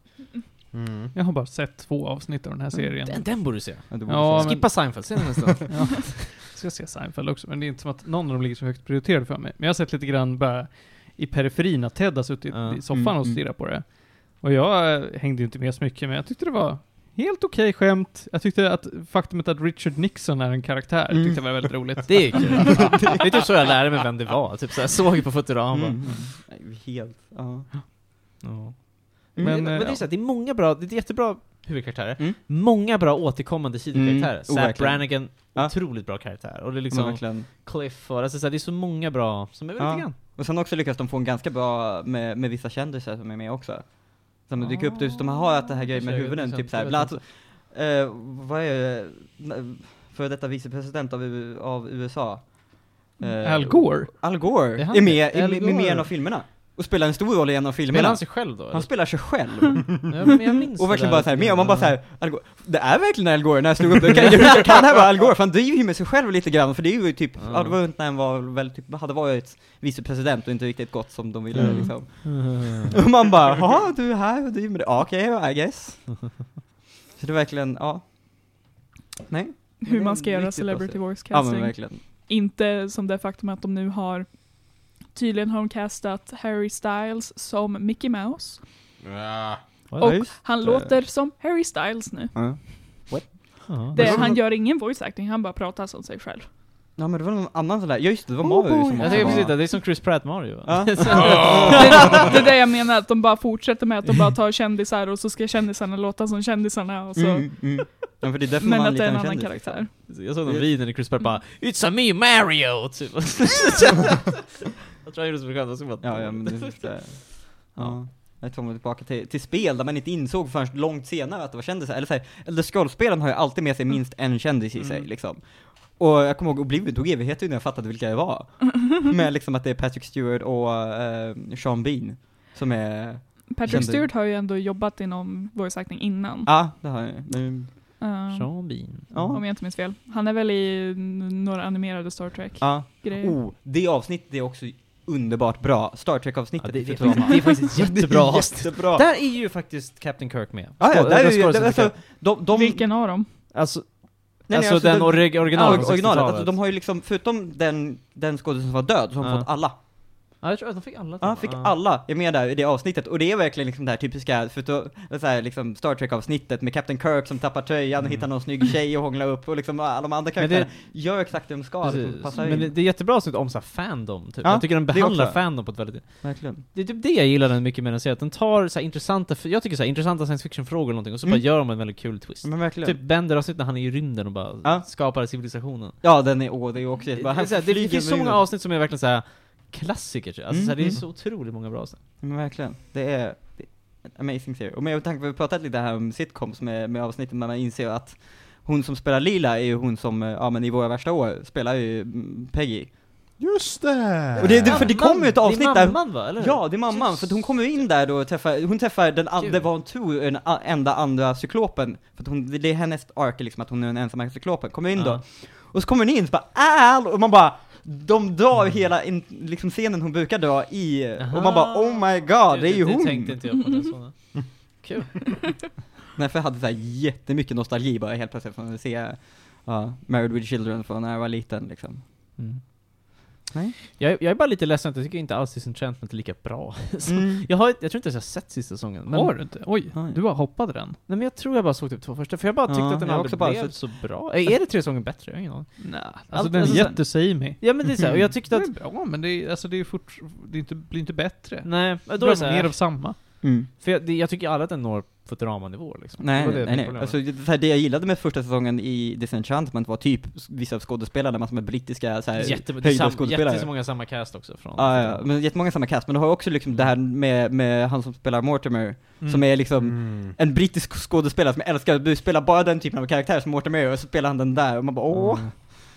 Mm.
Jag har bara sett två avsnitt av den här serien.
Den, den borde du se.
Ja, det borde
Ja,
jag säga.
Skippa Seinfeld, se den nästan.
Ja. (laughs) Ska se Seinfeld också, men det är inte som att någon av dem ligger så högt prioriterad för mig. Men jag har sett lite grann bara i periferin att Ted har suttit
Ja.
i soffan
Mm,
och
mm.
stirrat på det. Och jag eh, hängde ju inte med så mycket, men jag tyckte det var helt okej skämt. Jag tyckte att faktumet att Richard Nixon är en karaktär
Mm.
tyckte jag var väldigt
(laughs)
roligt.
Det är kul. det är typ så jag lärde mig vem det var. Typ så här, såg på Futurama.
Mm. Nej, Helt, ja.
Ja.
Men,
Men,
eh,
Mm. men, det,
ja.
är så här, det är många bra, det är jättebra huvudkaraktärer.
Mm.
Många bra återkommande sidokaraktärer.
Mm,
Zap
overkligen.
Brannigan,
Ja.
otroligt bra karaktär. Och det är
Liksom.
liksom
verkligen.
Cliff och, alltså, så här, det är så många bra som är väldigt
Ja.
lite grann.
Och sen också lyckas de få en ganska bra med, med vissa kändisar som är med också. Som
Ah.
dyker upp, typ, de har haft det här grejen med
Jag vet
huvuden,
inte,
typ såhär,
jag
bland
vet
annat, eh, vad är det, N- före detta vicepresident av, U- av USA? Eh,
Al Gore.
Al
Det
Gore
är
är,
han
med,
det.
är
Al
med, med, med i en
Gore.
av filmerna. Och spelar en stor roll i en av filmerna.
Spelar han sig själv då?
Han
eller?
spelar
(laughs)
sig själv.
Ja, men jag minns
Och verkligen
det
bara
där.
såhär med, och man
(laughs)
bara såhär, Al Gore, det är verkligen Al Gore när jag slog upp det, kan, hur kan det här vara Al Gore? För han driver ju med sig själv lite grann, för det är ju typ,
Ja.
ja det var runt när han var väl typ, hade varit vicepresident och inte riktigt gått som de ville
Mm.
liksom.
Mm.
Och man bara, jaha du är här och driver med det, ja okej
(laughs)
I guess. Så det är verkligen, ja. Nej.
hur man ska
Det är en
göra
riktigt
celebrity voice
Ja
casting.
men verkligen.
inte som det faktum att de nu har Tydligen har de castat Harry Styles som Mickey Mouse.
Ja.
Ja,
Och
just
han
det.
låter som Harry Styles nu.
Ja.
Ja.
Det,
Men-
han gör ingen voice acting, han bara pratar som sig själv.
Ja men det var någon annan sån där, ja just det, det var Mario som
Jag
också
tänker
var-
precis Oh det, det är som Chris Pratt Mario. (laughs)
Ja.
Det, det är det jag menar, att de bara fortsätter med att de bara tar kändisar och så ska kändisarna låta som kändisarna. Och så.
Mm, mm. Ja, för det är därför
Men
man
att det är en
lite
annan
kändis,
karaktär.
liksom.
Jag såg den videon i Chris Pratt bara 'It's a me Mario' typ. (laughs) Jag tror han gjorde det som skämt, jag såg bara
Ja, ja men det, det, ja.
Ja.
Jag kommer tillbaka till, till spel där man inte insåg förrän långt senare att det var kändisar, eller såhär, Elder Scrolls-spelen har ju alltid med sig
Mm.
minst en kändis i sig liksom. Och jag kommer ihåg Oblivion tog evigheter innan jag fattade vilka
(laughs)
det var. Med liksom att det är Patrick Stewart och eh, Sean Bean som är,
Patrick
Kändis.
Stewart har ju ändå jobbat inom voice acting innan.
ja det har jag mm,
Eh,
Sean Bean.
ja.
Om jag inte minns fel. Han är väl i n- några animerade Star
ja.
Trek-grejer.
Oh, det avsnittet är också underbart bra, Star Trek-avsnittet
Ja, det, det,
i
är faktiskt- (laughs)
Futurama.
det är faktiskt ett jättebra
(laughs)
avsnitt.
Jättebra!
Där är ju faktiskt Captain Kirk med.
Ja, ja,
Skå-
där är
den
ju,
skådespelaren
alltså, de, de,
Vilken av dem?
Alltså,
nej,
alltså, den
de-
orig- originalen
Ja,
från
originalet.
60-talet.
Alltså, de har ju liksom, förutom den, den skådespelaren som var död, så har de
Ja.
fått alla.
Ja, jag tror att de fick alla.
Ja,
tror jag.
fick
Ja.
alla är med där i det avsnittet. Och det är verkligen liksom det här typiska, förutom, så här, liksom Star Trek-avsnittet med Captain Kirk som tappar tröjan och hittar någon snygg tjej och hånglar upp och liksom alla de andra
Mm. Men det-
karaktärerna gör exakt det de ska, liksom,
Precis.
passar
Men det,
in.
det är jättebra avsnitt om så här fandom, typ.
Ja,
Jag tycker den
det
behandlar
också.
fandom på ett väldigt...
Verkligen.
Det är typ det jag gillar den mycket med den serien, att den tar så här intressanta, jag tycker så här, intressanta science fiction-frågor och någonting, och så
Mm.
bara gör de en väldigt kul twist.
Men verkligen.
Typ Bender-avsnittet när han är i rymden och bara
Ja.
skapar civilisationen.
Ja, den är, åh, det är också
Det, det,
jättebra.
är
Han
så här, det,
flyger
finns så
med
många
rymden.
avsnitt som är verkligen så här klassiker, alltså,
Mm,
så här, det är
mm.
så otroligt många bra avsnitt.
Men verkligen, det är det är en amazing serie. Och med tanke på att vi pratat lite här om sitcoms med, med avsnittet när man inser att hon som spelar Lila är ju hon som, eh, ja men i våra värsta år, spelar ju mm, Peggy.
Just det!
Och det- det- för det kom ju ett avsnitt
det är
där-
mamman va? Eller hur?
Ja, det är mamman, för att hon kommer ju in där då och träffar, hon träffar den, an-
Kul.
det var hon tror, den a- enda andra cyklopen. För att hon, det är hennes ark liksom, att hon är den ensamma cyklopen. Kommer in då,
Ja.
och så kommer hon in så bara Al! Och man bara, de drar
Mm.
hela in, liksom scenen hon brukar dra i, och man bara
Aha.
oh my god,
Du,
det är ju
du
hon!
tänkte inte jag på det såna. Kul.
Nej, för jag hade så här jättemycket nostalgi bara helt plötsligt från att se ja, Married with Children från när jag var liten liksom. Nej.
Mm. Jag, jag är bara lite ledsen att jag tycker inte alls Disenchantment är lika bra. (laughs)
Mm.
Så, jag, har, jag tror inte ens jag har sett sista säsongen. Men,
Har du inte? Oj,
Nej.
du bara hoppade den.
Nej men jag tror jag bara såg typ två första, för jag bara tyckte
Ja,
att den
jag har
aldrig
också bara
blev
sett-
så bra. Eh, Är det tre säsonger bättre? Jag har ingen aning.
Nej, alltså
Allt-
den
alltså,
är jättesamey.
Ja men det är såhär, och jag tyckte
Mm. Det
att...
är bra, men det är, alltså, det är fort, det är inte, blir inte bättre.
Nej, men då är
Bra,
det
mer
såhär,
av samma.
Mm.
för jag, det, jag tycker aldrig att den når Futurama-nivå liksom. Det
Nej,
var det
nej,
mitt
nej.
problem var.
Alltså, det, så här, det jag gillade med första säsongen i Disenchantment var typ s- vissa av skådespelarna, massor med brittiska så här,
Jätte, det är
höjda
sam,
skådespelare.
jättemånga samma cast också från...
Ja, ja, men jättemånga samma cast, men du har också liksom det här med, med han som spelar Mortimer, som är liksom
Mm.
en brittisk skådespelare som jag älskar att spela bara den typen av karaktär som Mortimer är, och så spelar han den där, och man bara åh!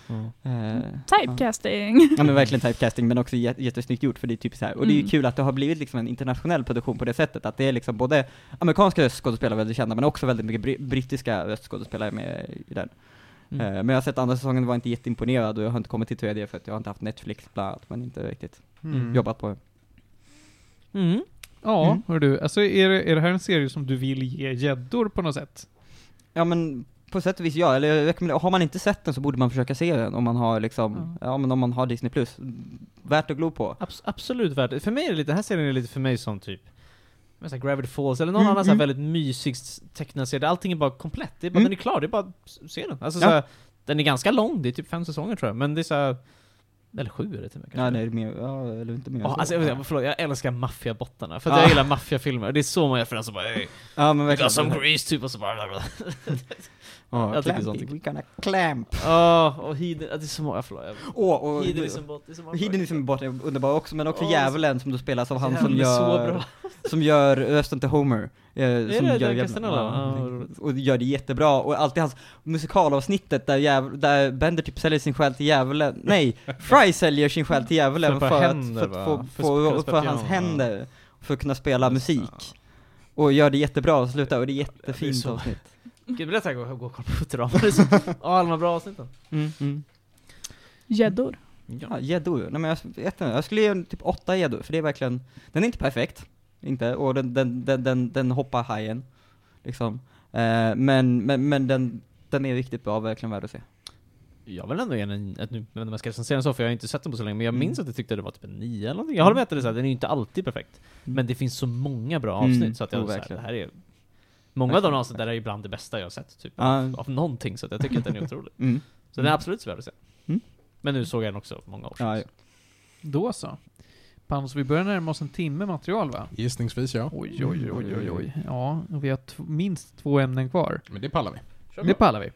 Mm.
Eh,
Typecasting.
Ja men verkligen typecasting, men också jä- jättesnyggt gjort för det är typ så här. och det är ju
Mm.
kul att det har blivit liksom en internationell produktion på det sättet, att det är liksom både amerikanska röstskådespelare väldigt kända, men också väldigt mycket bri- brittiska röstskådespelare med i den.
Mm.
Eh, Men jag har sett andra säsongen och var inte jätteimponerad och jag har inte kommit till tredje för att jag har inte haft Netflix bland annat, men inte riktigt
Mm.
jobbat på det.
Mm.
Ja,
Mm.
hör du. Alltså är det, är det här en serie som du vill ge gäddor på något sätt?
Ja men på sätt och vis ja, eller jag rekommenderar, har man inte sett den så borde man försöka se den om man har liksom,
Mm.
ja men om man har Disney plus. Värt att glo på.
Abs- absolut värt det. För mig är det lite, den här serien är lite för mig som typ men så här Gravity Falls eller någon
Mm,
annan så här
mm.
väldigt mysig s- tecknad serie, där allting är bara komplett, det är bara,
Mm.
den är klar, det är bara att se den. Alltså,
Ja.
så här, den är ganska lång, det är typ fem säsonger tror jag, men det är så här, eller sju är det till och med
Ja,
kanske.
nej, mer, ja, eller inte mer. än
Ja,
så.
alltså, jag, vill- förlåt, jag älskar maffiabottarna, för att
Ja.
jag gillar maffiafilmer, det är så många föräldrar som bara hey,
ja men
we got
verkligen.
some grease typ och så bara
(laughs) Ja,
Jag tycker
clampy,
sånt är-
We gonna clamp.
Ja, och Hidden, ja, det är så många, förlåt. jag-
Åh, och
Hedonism bot, det är så många
Hedonism bort är underbar också, men också
Åh,
Djävulen som då spelas av han som
Djävulen är alltså, så
gör,
bra.
som gör rösten till Homer. Eh, som
det
gör
Doug
Djävulen.
Castanella? Ja, vad roligt.
och gör det jättebra, och alltid hans musikalavsnittet där, djävul, där Bender typ säljer sin själ till Djävulen, nej, Fry säljer sin själ till Djävulen
För
för,
ett par händer,
att, för att få,
va?
för,
För att kunna
för,
spela
hans
piano,
händer, för att kunna spela
Just det,
musik. Och gör det jättebra och slutar, och det är jättefint
så-
avsnitt.
Gud, jag blir såhär, gå gå och kolla på Futurama, det är
(laughs)
så, ja, alla de här bra avsnitten.
Mm, mm.
Gäddor.
Ja, gäddor. Nej men jag vet inte, jag skulle ge en typ åtta gäddor, för det är verkligen, den är inte perfekt, inte, och den, den, den, den, den hoppar hajen, liksom. Eh, men, men, men den, den är riktigt bra, verkligen värd att se.
Jag vill ändå ge den, att nu, men om jag ska recensera den så, för jag har inte sett den på så länge, men jag
Mm.
minns att jag tyckte det var typ en 9 eller någonting. Jag håller med att det är så här, den är ju inte alltid perfekt. Men det finns så många bra avsnitt
Mm,
så att jag
jo,
så här, det
verkligen.
här är... Många av de avsnitten där är ju bland det bästa jag har sett, typ.
Ja.
Av någonting, så att jag tycker att
(laughs)
den är otrolig.
Mm.
Så den är absolut värd att se.
Mm.
Men nu såg jag den också för många år sedan.
Ja, ja.
Då så. Panos, vi börjar närma oss en timme material va?
Gissningsvis ja.
Oj, oj, oj, oj, oj. Ja, och vi har t- minst två ämnen kvar.
Men det pallar vi.
Det pallar vi.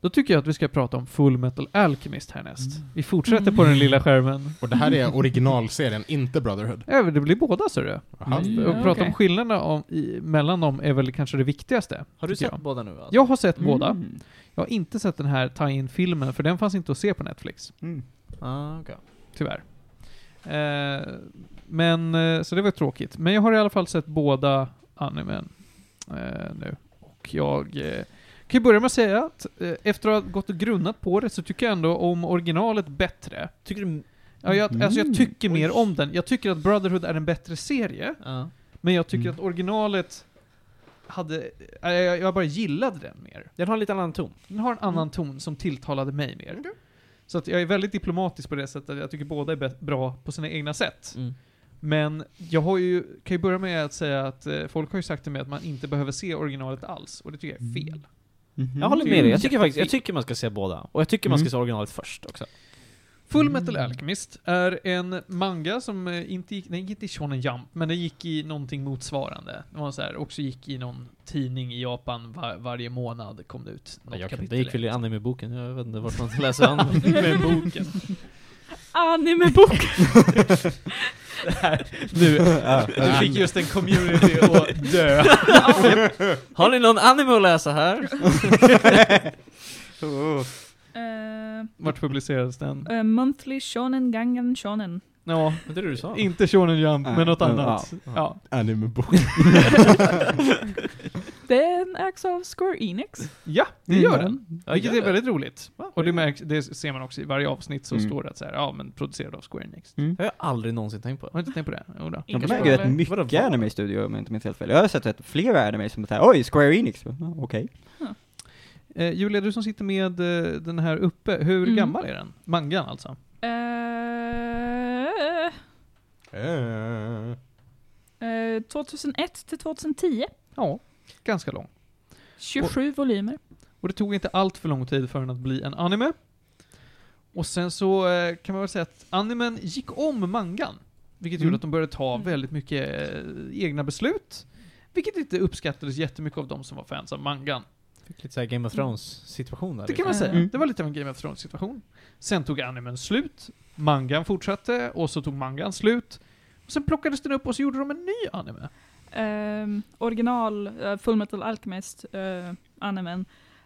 Då tycker jag att vi ska prata om Full Metal Alchemist härnäst. Vi fortsätter på den lilla skärmen.
Och det här är originalserien, inte Brotherhood.
Ja, men det blir båda ser du.
Jaha.
Att
Mm,
att prata
okej.
om skillnaderna om, i, mellan dem är väl kanske det viktigaste.
Har du
tycker
sett
Jag.
båda nu? Alltså?
jag har sett
Mm.
båda. Jag har inte sett den här tie-in-filmen, för den fanns inte att se på Netflix.
Mm.
Ah, okej.
Tyvärr. Eh, men, eh, så det var tråkigt. Men jag har i alla fall sett båda animen eh, nu. Och jag eh, kan ju börja med att säga att eh, efter att ha gått och grunnat på det så tycker jag ändå om originalet bättre.
Tycker du...
Ja, jag, Alltså jag tycker
Mm.
mer om den. Jag tycker att Brotherhood är en bättre serie,
Ja.
men jag tycker
Mm.
att originalet hade... eh, jag, jag bara gillade den mer.
Den har en lite annan ton.
Den har en annan ton som tilltalade mig mer. Så att jag är väldigt diplomatisk på det sättet, att jag tycker båda är bä- bra på sina egna sätt.
Mm.
Men jag har ju, kan ju börja med att säga att eh, folk har ju sagt till mig att man inte behöver se originalet alls, och det tycker jag är fel.
Mm-hmm.
Jag håller med dig, jag tycker
Jättefint.
faktiskt jag tycker man ska se båda. Och jag tycker man ska
Mm.
se originalet först också.
Full Metal Alchemist är en manga som eh, inte gick, den gick inte i Shonen Jump, men den gick i någonting motsvarande. Det var så här, också gick i någon tidning i Japan var, varje månad kom det ut något
Jag kan, det
kapitel.
gick väl i anime-boken, jag vet inte
(laughs)
vart man läser anime.
(laughs) med boken.
(laughs)
Animebok.
(laughs) Nu,
Ja.
du fick just en community att dö.
Har ni någon anime att läsa här?
Eh, eh,
Vart publicerades den?
eh, Monthly Shonen Gangan Shonen.
Ja,
Men det är det du sa.
inte Shonen Jump,
Nej,
men något
men,
annat.
ja.
Ja.
Anime-bok.
Den ägs av Square Enix.
ja, det
Mm.
gör den.
Ja,
Vilket
gör
är
det.
väldigt roligt.
Ja,
Och det, märks, det ser man också i varje avsnitt så
Mm.
står det att så här, ja men producerad av Square Enix.
Det har jag aldrig någonsin tänkt på.
Har du inte tänkt på det? Jo, då.
De
Kanske
äger rätt
var-
var
mycket
det var?
anime-studior om jag inte minns helt fel. Jag har sett rätt flera anime som är såhär, oj, Square Enix. Ja, Okej.
Eh, Julia, du som sitter med eh, den här uppe, hur
Mm.
gammal är den? Mangan alltså?
Eh,
Eh.
eh, 2001 till 2010.
Ja, ganska lång.
27 volymer.
Och det tog inte allt för lång tid för den att bli en anime. Och sen så eh, kan man väl säga att animen gick om mangan. Vilket gjorde
Mm.
att de började ta
Mm.
väldigt mycket eh, egna beslut. Vilket inte uppskattades jättemycket av de som var fans av mangan.
Fick lite såhär Game of Thrones-situation där. liksom.
Det kan man
Mm.
säga.
Mm.
Det var lite av en Game of Thrones-situation. Sen tog animen slut, mangan fortsatte, och så tog mangan slut. Och sen plockades den upp och så gjorde de en ny anime.
Ehm, original uh, Fullmetal Alchemist uh, animen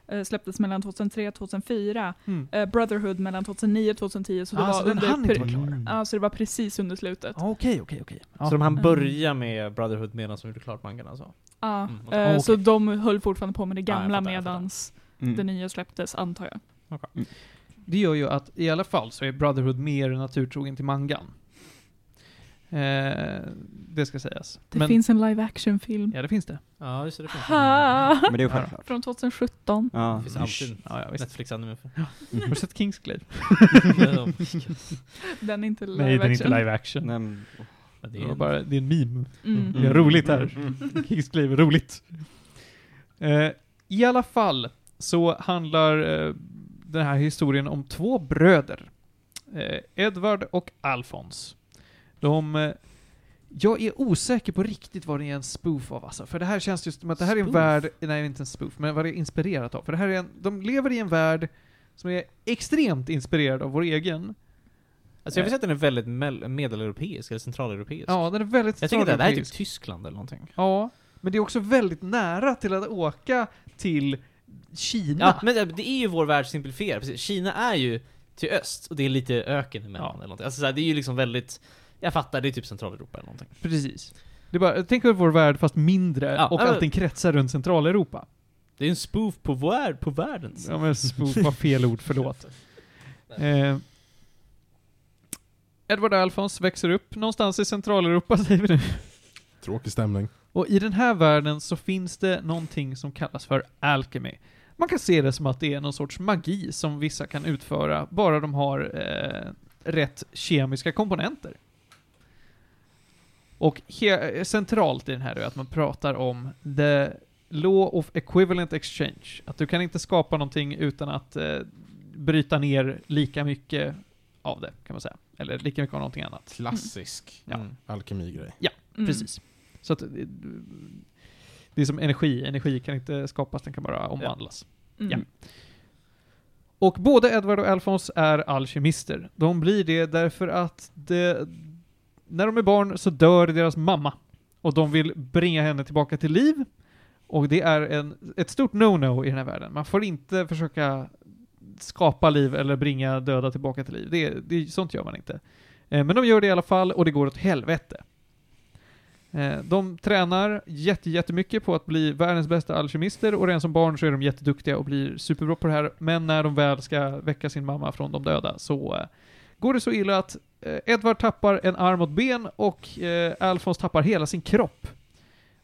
eh, släpptes mellan 2003 och 2004.
Mm.
Eh, Brotherhood mellan 2009 och 2010. Så det,
Ah,
var
så den
under
hann inte
peri-
vara klar.
Ja, så det var precis under slutet.
Ah, Okej, okej, okej.
Så de hann
Mm.
börja med Brotherhood medan de gjorde klart mangan alltså?
Ja,
Mm,
eh,
Ah, okej.
Så de höll fortfarande på med det
Ja, jag
gamla
fattar, jag
medans det
Mm.
nya släpptes, antar jag.
Det gör ju att i alla fall så är Brotherhood mer naturtrogen till mangan. Eh, det ska sägas.
Det
Men-
finns en live action-film.
Ja, det finns det.
Ja, just det. Mm. Det finns,
Ha!
Men det är ju självklart.
Från 2017.
Ja.
det finns alltid
Ja, ja,
(laughs)
visst.
Netflix-anime. för-
Har du sett Kingsglaive?
Den är inte live
Nej,
action.
den är inte live action.
Nej, men-
Men det
Det
är
är, bara, det är en meme.
Mm.
Det är roligt här. (laughs) Kingsglaive är roligt. Eh, I alla fall så handlar eh, den här historien om två bröder. Eh, Edvard och Alfons. De... Eh, jag är osäker på riktigt vad det är en spoof av alltså, för det här känns just som att det här är en
Spoof?
värld, nej inte en spoof, men vad det är inspirerat av. För det här är en, de lever i en värld som är extremt inspirerad av vår egen.
Alltså jag vill säga att den är väldigt mel- medeleuropeisk, eller centraleuropeisk.
Ja, den är väldigt
jag tycker att det här är typ
centraleuropeisk.
Tyskland eller någonting.
Ja, men det är också väldigt nära till att åka till Kina.
Ja, men eh, det- det är ju vår värld simplifierad. Precis. Kina är ju till öst, och det är lite öken emellan
Ja.
eller någonting. Alltså så här, det är ju liksom väldigt... Jag fattar, det är typ centraleuropa eller någonting.
Precis. Det är bara, tänk er vår värld fast mindre
Ja,
och
ja, men-
allting kretsar runt Centraleuropa.
Det är en spoof på, vär- på världens.
Ja men spoof var fel ord, förlåt. Eh, Edward Alphons växer upp någonstans i Centraleuropa säger vi nu.
Tråkig stämning.
Och i den här världen så finns det någonting som kallas för alchemy. Man kan se det som att det är någon sorts magi som vissa kan utföra, bara de har eh, rätt kemiska komponenter. Och he- centralt i den här är att man pratar om the law of equivalent exchange. Att du kan inte skapa någonting utan att eh, bryta ner lika mycket av det, kan man säga. Eller lika mycket av någonting annat.
Klassisk
Ja.
Mm.
alkemigrej.
Mm.
Precis. Så att det, det är som energi. Energi kan inte skapas, den kan bara omvandlas.
Mm.
Och både Edward och Alphonse är alkemister. De blir det därför att det, när de är barn så dör deras mamma. Och de vill bringa henne tillbaka till liv. Och det är en, ett stort no-no i den här världen. Man får inte försöka skapa liv eller bringa döda tillbaka till liv. Det, det, sånt gör man inte. Eh, Men de gör det i alla fall och det går åt helvete. Eh, De tränar jätte, jättemycket på att bli världens bästa alkemister och redan som barn så är de jätteduktiga och blir superbra på det här. Men när de väl ska väcka sin mamma från de döda så eh, går det så illa att eh, Edvard tappar en arm och ett ben och eh, Alfons tappar hela sin kropp.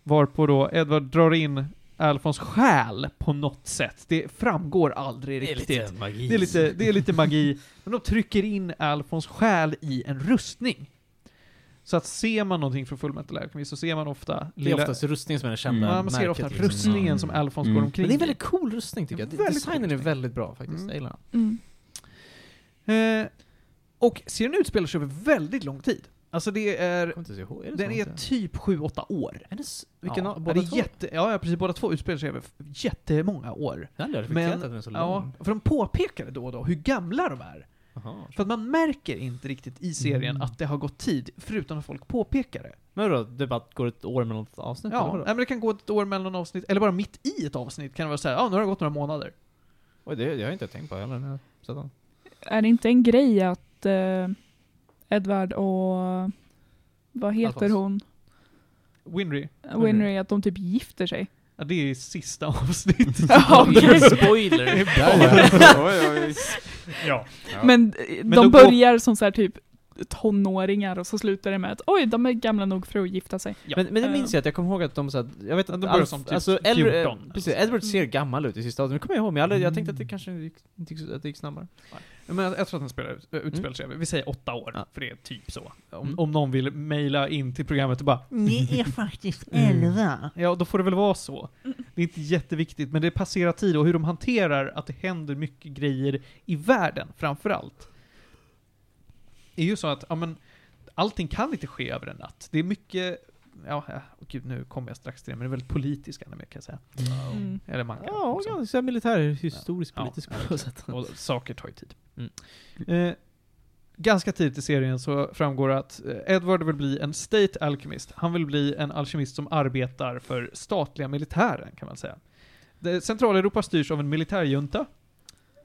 Varpå då Edvard drar in Alfons själ på något sätt. Det framgår aldrig
Det är
riktigt.
lite magi.
Det är, lite, det är lite magi, men de trycker in Alfons själ i en rustning. Så att ser man någonting från Fullmetal Alchemist så ser man ofta...
Det är oftast rustningen som är den kända
ja, man ser
märket,
ofta
liksom.
rustningen
Mm.
som Alfons
Mm.
går omkring
Men det är en
i.
väldigt cool rustning tycker jag.
Väldigt cool
Designen är
rustning.
väldigt bra faktiskt.
Mm.
Jag gillar den.
Mm.
Eh, och serien utspelar sig över väldigt lång tid. Alltså det är...
Jag kommer inte ihåg. Är det
den
så
är
långt?
typ 7-8 år.
Är det s- vilken
ja,
av, båda
det är
två?
Jätte, ja, ja, precis. Båda två utspelar sig över f- jättemånga år.
Jag har aldrig
Men-
reflekterat att den är så
Ja,
lång.
för de påpekar då och då hur gamla de är.
Jaha.
För att man märker inte riktigt i serien
Mm.
att det har gått tid, förutom att folk påpekar det.
Men då, det bara går ett år mellan ett avsnitt? eller
Ja,
vadå?
nej, men det kan gå ett år mellan avsnitt, eller bara mitt i ett avsnitt kan det vara såhär, ja ah, nu har det gått några månader.
Oj, det, det har jag inte tänkt på heller. när jag sett den.
är det inte en grej att eh, Edward och vad heter
Alphonse.
hon?
Winry.
Winry, att de typ gifter sig.
Ja, det är sista (laughs) avsnitt.
Ja,
(laughs)
okej.
Spoiler!
(laughs)
oj, oj, oj.
ja.
Men, eh, de
då går-
börjar som så här typ tonåringar och så slutar det med att oj, de är gamla nog för att gifta sig.
Ja.
Men, men det minns jag att jag kommer ihåg att de så att, jag vet
Ja,
att
de börjar
Alf-
som typ
alltså, äldre-
14.
eh, precis, Edward ser gammal ut i sista avsnittet, det kommer jag ihåg, men jag, aldrig, jag tänkte att det kanske gick, inte gick, så- att det gick snabbare.
Men jag, jag tror att den spelar, ut- äh, utspelar sig, vi säger åtta år,
Ja.
för det är typ så. Om,
Mm.
om någon vill mejla in till programmet och bara
(laughs)
Ni är faktiskt
Mm.
elva.
Ja, då får det väl vara så. Det är inte jätteviktigt, men det passerar tid och hur de hanterar att det händer mycket grejer i världen, framförallt. Det är ju så att, ja men, allting kan inte ske över en natt. Det är mycket, ja, ja, åh gud nu kommer jag strax till det, men det är väldigt politisk anime kan jag säga.
Mm.
Eller liksom. man kan
Ja,
också.
ganska militärhistoriskt
Ja.
politiskt
Ja,
på något sätt.
Och saker tar ju tid.
Mm.
Eh, ganska tidigt i serien så framgår att eh, Edward vill bli en state alchemist. Han vill bli en alkemist som arbetar för statliga militären, kan man säga. Det, Centraleuropa styrs av en militärjunta.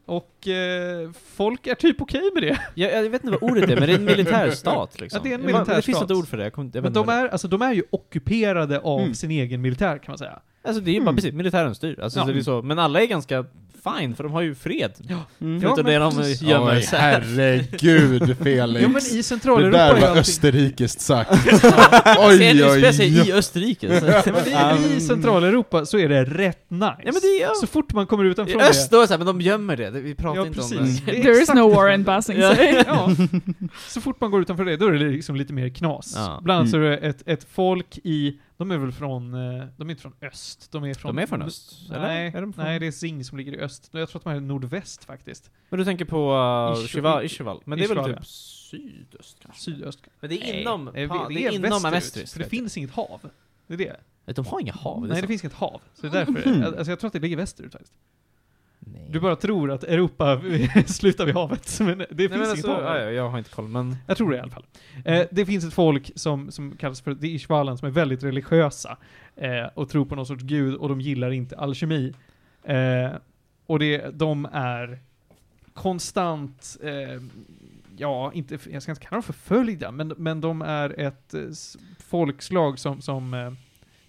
Och eh, folk är typ okej med det.
Jag, jag vet inte vad ordet är, men det är en militärstat liksom.
(laughs) Ja, det är en
Jag bara- Det finns
militärstat.
inte ord för det, jag, kommer inte- jag
Men
vet
de
inte vad
är, alltså, de är ju ockuperade av
Mm.
sin egen militär, kan man säga.
det är. Alltså det är ju bara
Mm.
precis, militären styr. Alltså,
Ja.
så det är så. Men alla är ganska fine, för de har ju fred. (laughs)
(laughs)
Mm.
Förutom
men
det de
precis.
gömmer
Oj,
sig.
herregud Felix. (laughs)
Ja, men i
det
Centraleuropa
där
är ju
var
allting-
österrikiskt (laughs) sagt.
Ser
oj,
ni
oj,
utspelar sig
oj.
i
(laughs)
Österrike? Så. ja,
(laughs) Ja, men det är, I
Um.
Centraleuropa så är det rätt nice.
men det är
Alltså, Så fort man kommer
I
utanför
öst då, är det så här, men de gömmer det. Det- Vi pratar
Ja,
inte
precis.
om det.
Det är
Mm. There is
exakt
no
det som
war
(laughs)
in
händer.
Basing.
Ja.
säger-
Ja. Så fort man går utanför det, då är det liksom lite mer knas.
Ja. Mm.
Bland annat så är det ett, ett folk i, de är väl från, eh, de är inte från öst, de är från...
De är från öst? Eller?
Nej,
Är de från...
nej, det är Zing som ligger i öst. Jag tror att de är nordväst faktiskt.
Men du tänker på uh,
Ishu-
Shiva, Ishival? Men det är väl
Ishval,
typ
ja.
sydöst kanske?
Sydöst.
Men det är inom,
Nej,
pa, det är inom
västerut,
Amestris.
För det finns inget hav. Det är det.
De har inga hav,
nej, det
finns...
finns inget hav. Så det är därför.
Mm.
Alltså jag tror att det ligger västerut faktiskt.
Nej.
Du bara tror att Europa (laughs) slutar vid havet, men det finns
Nej, men
inget
alltså,
hav.
ja, ja, jag har inte koll, men...
Jag tror det i alla fall. Eh, det finns ett folk som, som kallas för de Ishvalan som är väldigt religiösa eh, och tror på någon sorts gud och de gillar inte alkemi. Eh, och det, de är konstant, eh, ja, inte, jag ska inte kalla dem förföljda, men, men de är ett eh, s- folkslag som, som eh,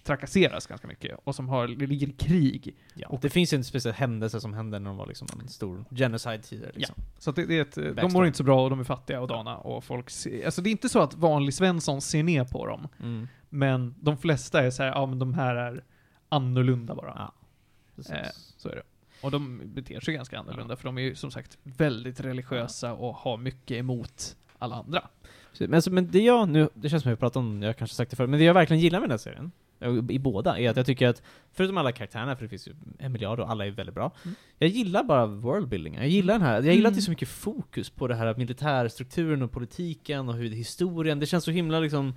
trakasseras ganska mycket och som har, ligger i krig.
Och det finns ju en speciell händelse som hände när de var liksom en stor genocide tidigare liksom.
Så att det, det är ett, eh, de mår
Backstory.
inte så bra och de är fattiga och dana och folk ser, alltså det är inte så att vanlig Svensson ser ner på dem.
Mm.
Men de flesta är så här, ja men de här är annorlunda bara.
Ja, precis.
Eh, Så är det. Och de beter sig ganska annorlunda, för de är ju som sagt väldigt religiösa och har mycket emot alla andra.
Precis, Men, alltså, men det jag nu, det känns som jag pratat om, jag kanske sagt det förut, men det jag verkligen gillar med den här serien, eh, i båda, är att jag tycker att, förutom alla karaktärerna, för det finns ju en miljard och alla är väldigt bra,
Mm.
jag gillar bara worldbuilding. Jag gillar den här, jag gillar att det är
Mm.
så mycket fokus på det här militärstrukturen och politiken och hur det, historien, det känns så himla liksom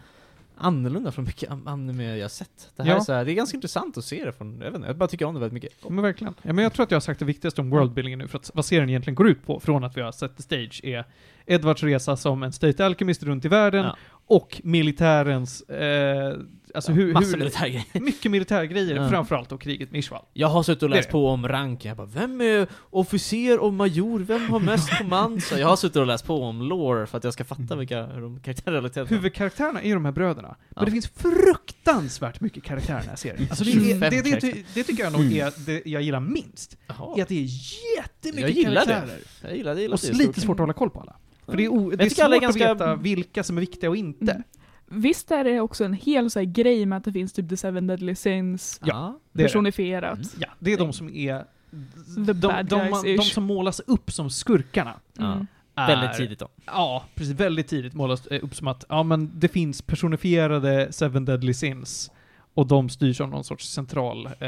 annorlunda från mycket an- anime jag sett. Det här
Ja.
är så här, det är ganska intressant att se det från, jag vet inte, jag bara tycker om det väldigt mycket.
Men verkligen. Ja, men jag tror att jag har sagt det viktigaste om worldbuildingen nu, för att vad serien egentligen går ut på, från att vi har sett the stage, är Edwards resa som en state alchemist runt i världen,
Ja.
och militärens, eh, alltså
Ja,
hur,
Massa
hur
militärgrejer.
mycket militärgrejer,
Ja.
framförallt och kriget med Ishval.
Jag har suttit och
Det är
läst
det.
på om ranken, jag bara Vem är officer och major? Vem har
(laughs)
mest kommand? Så jag har suttit och läst på om lore för att jag ska
Mm.
fatta vilka hur de karaktärer relaterar till
Huvudkaraktärerna är ju de här bröderna.
Ja.
Men det finns fruktansvärt mycket karaktärer i den här serien.
(laughs)
Alltså det, är,
25
det, det,
karaktärer. Mm.
ty- det tycker jag nog är det jag gillar minst. Är
varandra.
att det är
Jag
jättemycket
gillar det.
karaktärer.
Jag gillar det, jag gillar
Och
det. Mm.
lite svårt att hålla koll på alla. För det är, o, det är
tycker alla
svårt
är ganska-
att veta vilka som är viktiga och inte.
Mm. Visst är det också en hel så här, grej med att det finns typ The Seven Deadly Sins
Ja. Mm.
Det är, det.
personifierat.
Ja, det är de som är... De, de,
bad
de, de
guys-ish.
som målas upp som skurkarna.
Ja.
Mm.
är-
Väldigt tidigt då.
Ja, precis. Väldigt tidigt målas eh, upp som att ja, men det finns personifierade Seven Deadly Sins och de styrs av någon sorts central eh,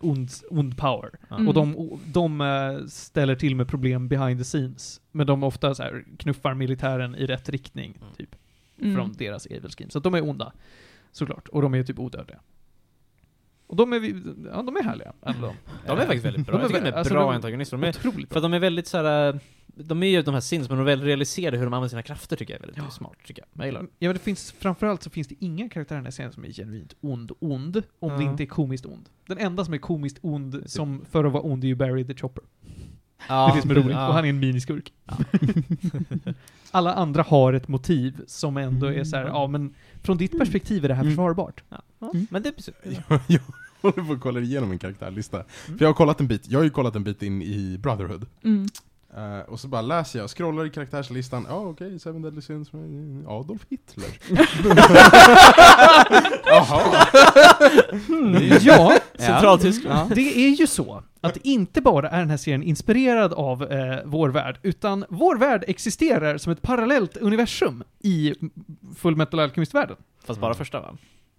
ond, ond power.
Ja.
Mm.
Och de, o- de eh, ställer till med problem behind the scenes. Men de ofta så här, knuffar militären i rätt riktning,
Mm.
typ,
Mm.
från deras evil scheme. Så att de är onda, såklart. Och de är typ odödliga. Och de är, vi- ja, de är härliga, alla de.
De är faktiskt väldigt bra.
De
Jag
är,
tycker de är
vä- alltså,
bra
de-
antagonister. De är,
otroligt
för
bra.
att de är väldigt så här. äh, De är ju de här sins, men de är väldigt realiserade hur de använder sina krafter tycker jag är väldigt
Ja.
smart. Tycker jag. jag
(laughs)
gillar det.
Ja, men det finns, framförallt så finns det ingen karaktär i den här serien som är genuint ond, ond, om det
Ja.
inte är komiskt ond. Den enda som är komiskt ond
Typ-
som för att vara ond är ju Barry the Chopper.
Ja,
det är det som är roligt.
ja.
Och han är en miniskurk. (laughs) Alla andra har ett motiv som ändå är så här, ja men från ditt perspektiv är det här
Mm.
försvarbart.
Mm. Ja, Men det är precis-
Jag, jag håller på att kolla igenom min karaktärlista. För jag har kollat en bit, jag har ju kollat en bit in i Brotherhood.
Mm.
Eh, och så bara läser jag, scrollar i karaktärslistan, ja okej, Seven Deadly Sins, eh, Adolf Hitler. Jaha.
Mm. Ja,
Centraltyskland.
Ja. Mm.
det är ju så att det inte bara är den här serien inspirerad av eh, vår värld, utan vår värld existerar som ett parallellt universum i Full Metal Alchemist-världen.
Fast bara första va?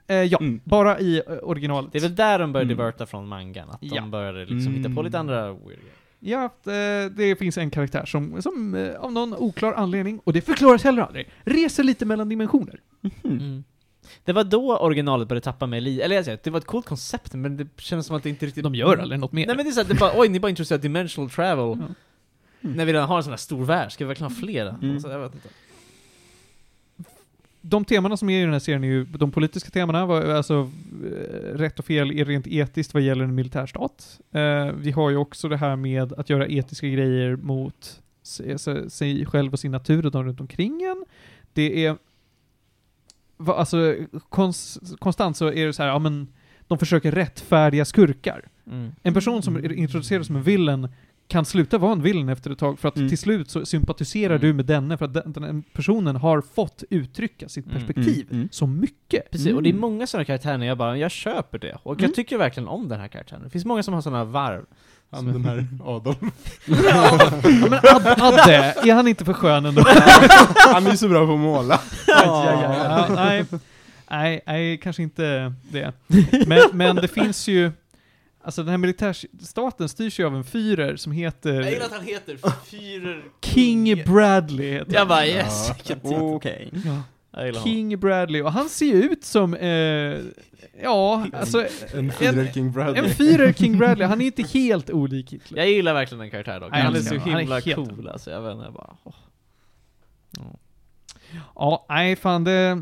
Eh, ja,
Mm.
bara i eh, originalet.
Det är väl där de började
Mm.
diverta från mangan, att de
Ja.
började liksom hitta på
Mm.
lite andra weird grejer.
Ja, det, det finns en karaktär som, som eh, av någon oklar anledning, och det förklaras heller aldrig, reser lite mellan dimensioner.
Mm. Det var då originalet började tappa mig li- Eller jag säger, det var ett coolt koncept men det kändes som att det inte riktigt...
De gör aldrig något mer.
Nej men det är såhär, det är bara, oj ni är bara intresserade av dimensional travel.
Ja. Mm.
När vi redan har en sån här stor värld, ska vi verkligen ha flera?
Mm.
Alltså, jag vet inte.
De temana som är i den här serien är ju de politiska temana, vad- alltså eh, rätt och fel är rent etiskt vad gäller en militärstat. Eh, vi har ju också det här med att göra etiska grejer mot se- alltså, sig själv och sin natur och de runt omkring en. Det är, va, alltså kons, konstant så är det så här, ja men de försöker rättfärdiga skurkar.
Mm.
En person som är introducerad som en villain kan sluta vara en villain efter ett tag för att
Mm.
till slut så sympatiserar
Mm.
du med denne för att den, den personen har fått uttrycka sitt
Mm.
perspektiv
Mm. Mm.
så mycket.
Precis, och det är många sådana karaktärer när jag bara, jag köper det. Och
Mm.
jag tycker verkligen om den här karaktären. Det finns många som har sådana varv.
Han den här Adolf.
Ja, men Ad, Adde, är han inte för skön ändå?
(laughs) Han är ju så bra på att måla.
Ja, nej, nej, nej, kanske inte det. Men, men det finns ju, alltså den här militärstaten styrs ju av en fyrer som heter
han heter Führer
King Bradley. heter
Jag
han.
bara yes,
Ja.
vilken tid.
Oh,
Okej.
Ja.
Jag gillar honom.
King Bradley, och han ser ju ut som, eh, ja, alltså
En Führer King
En
Bradley.
fyrer King Bradley, han är inte helt olik Hitler.
Jag gillar verkligen den karaktären dock.
Nej,
Han är
jag
så
älskar honom.
himla
Han är helt
cool alltså, jag vet inte, jag bara... åh.
Ja, nej fan det...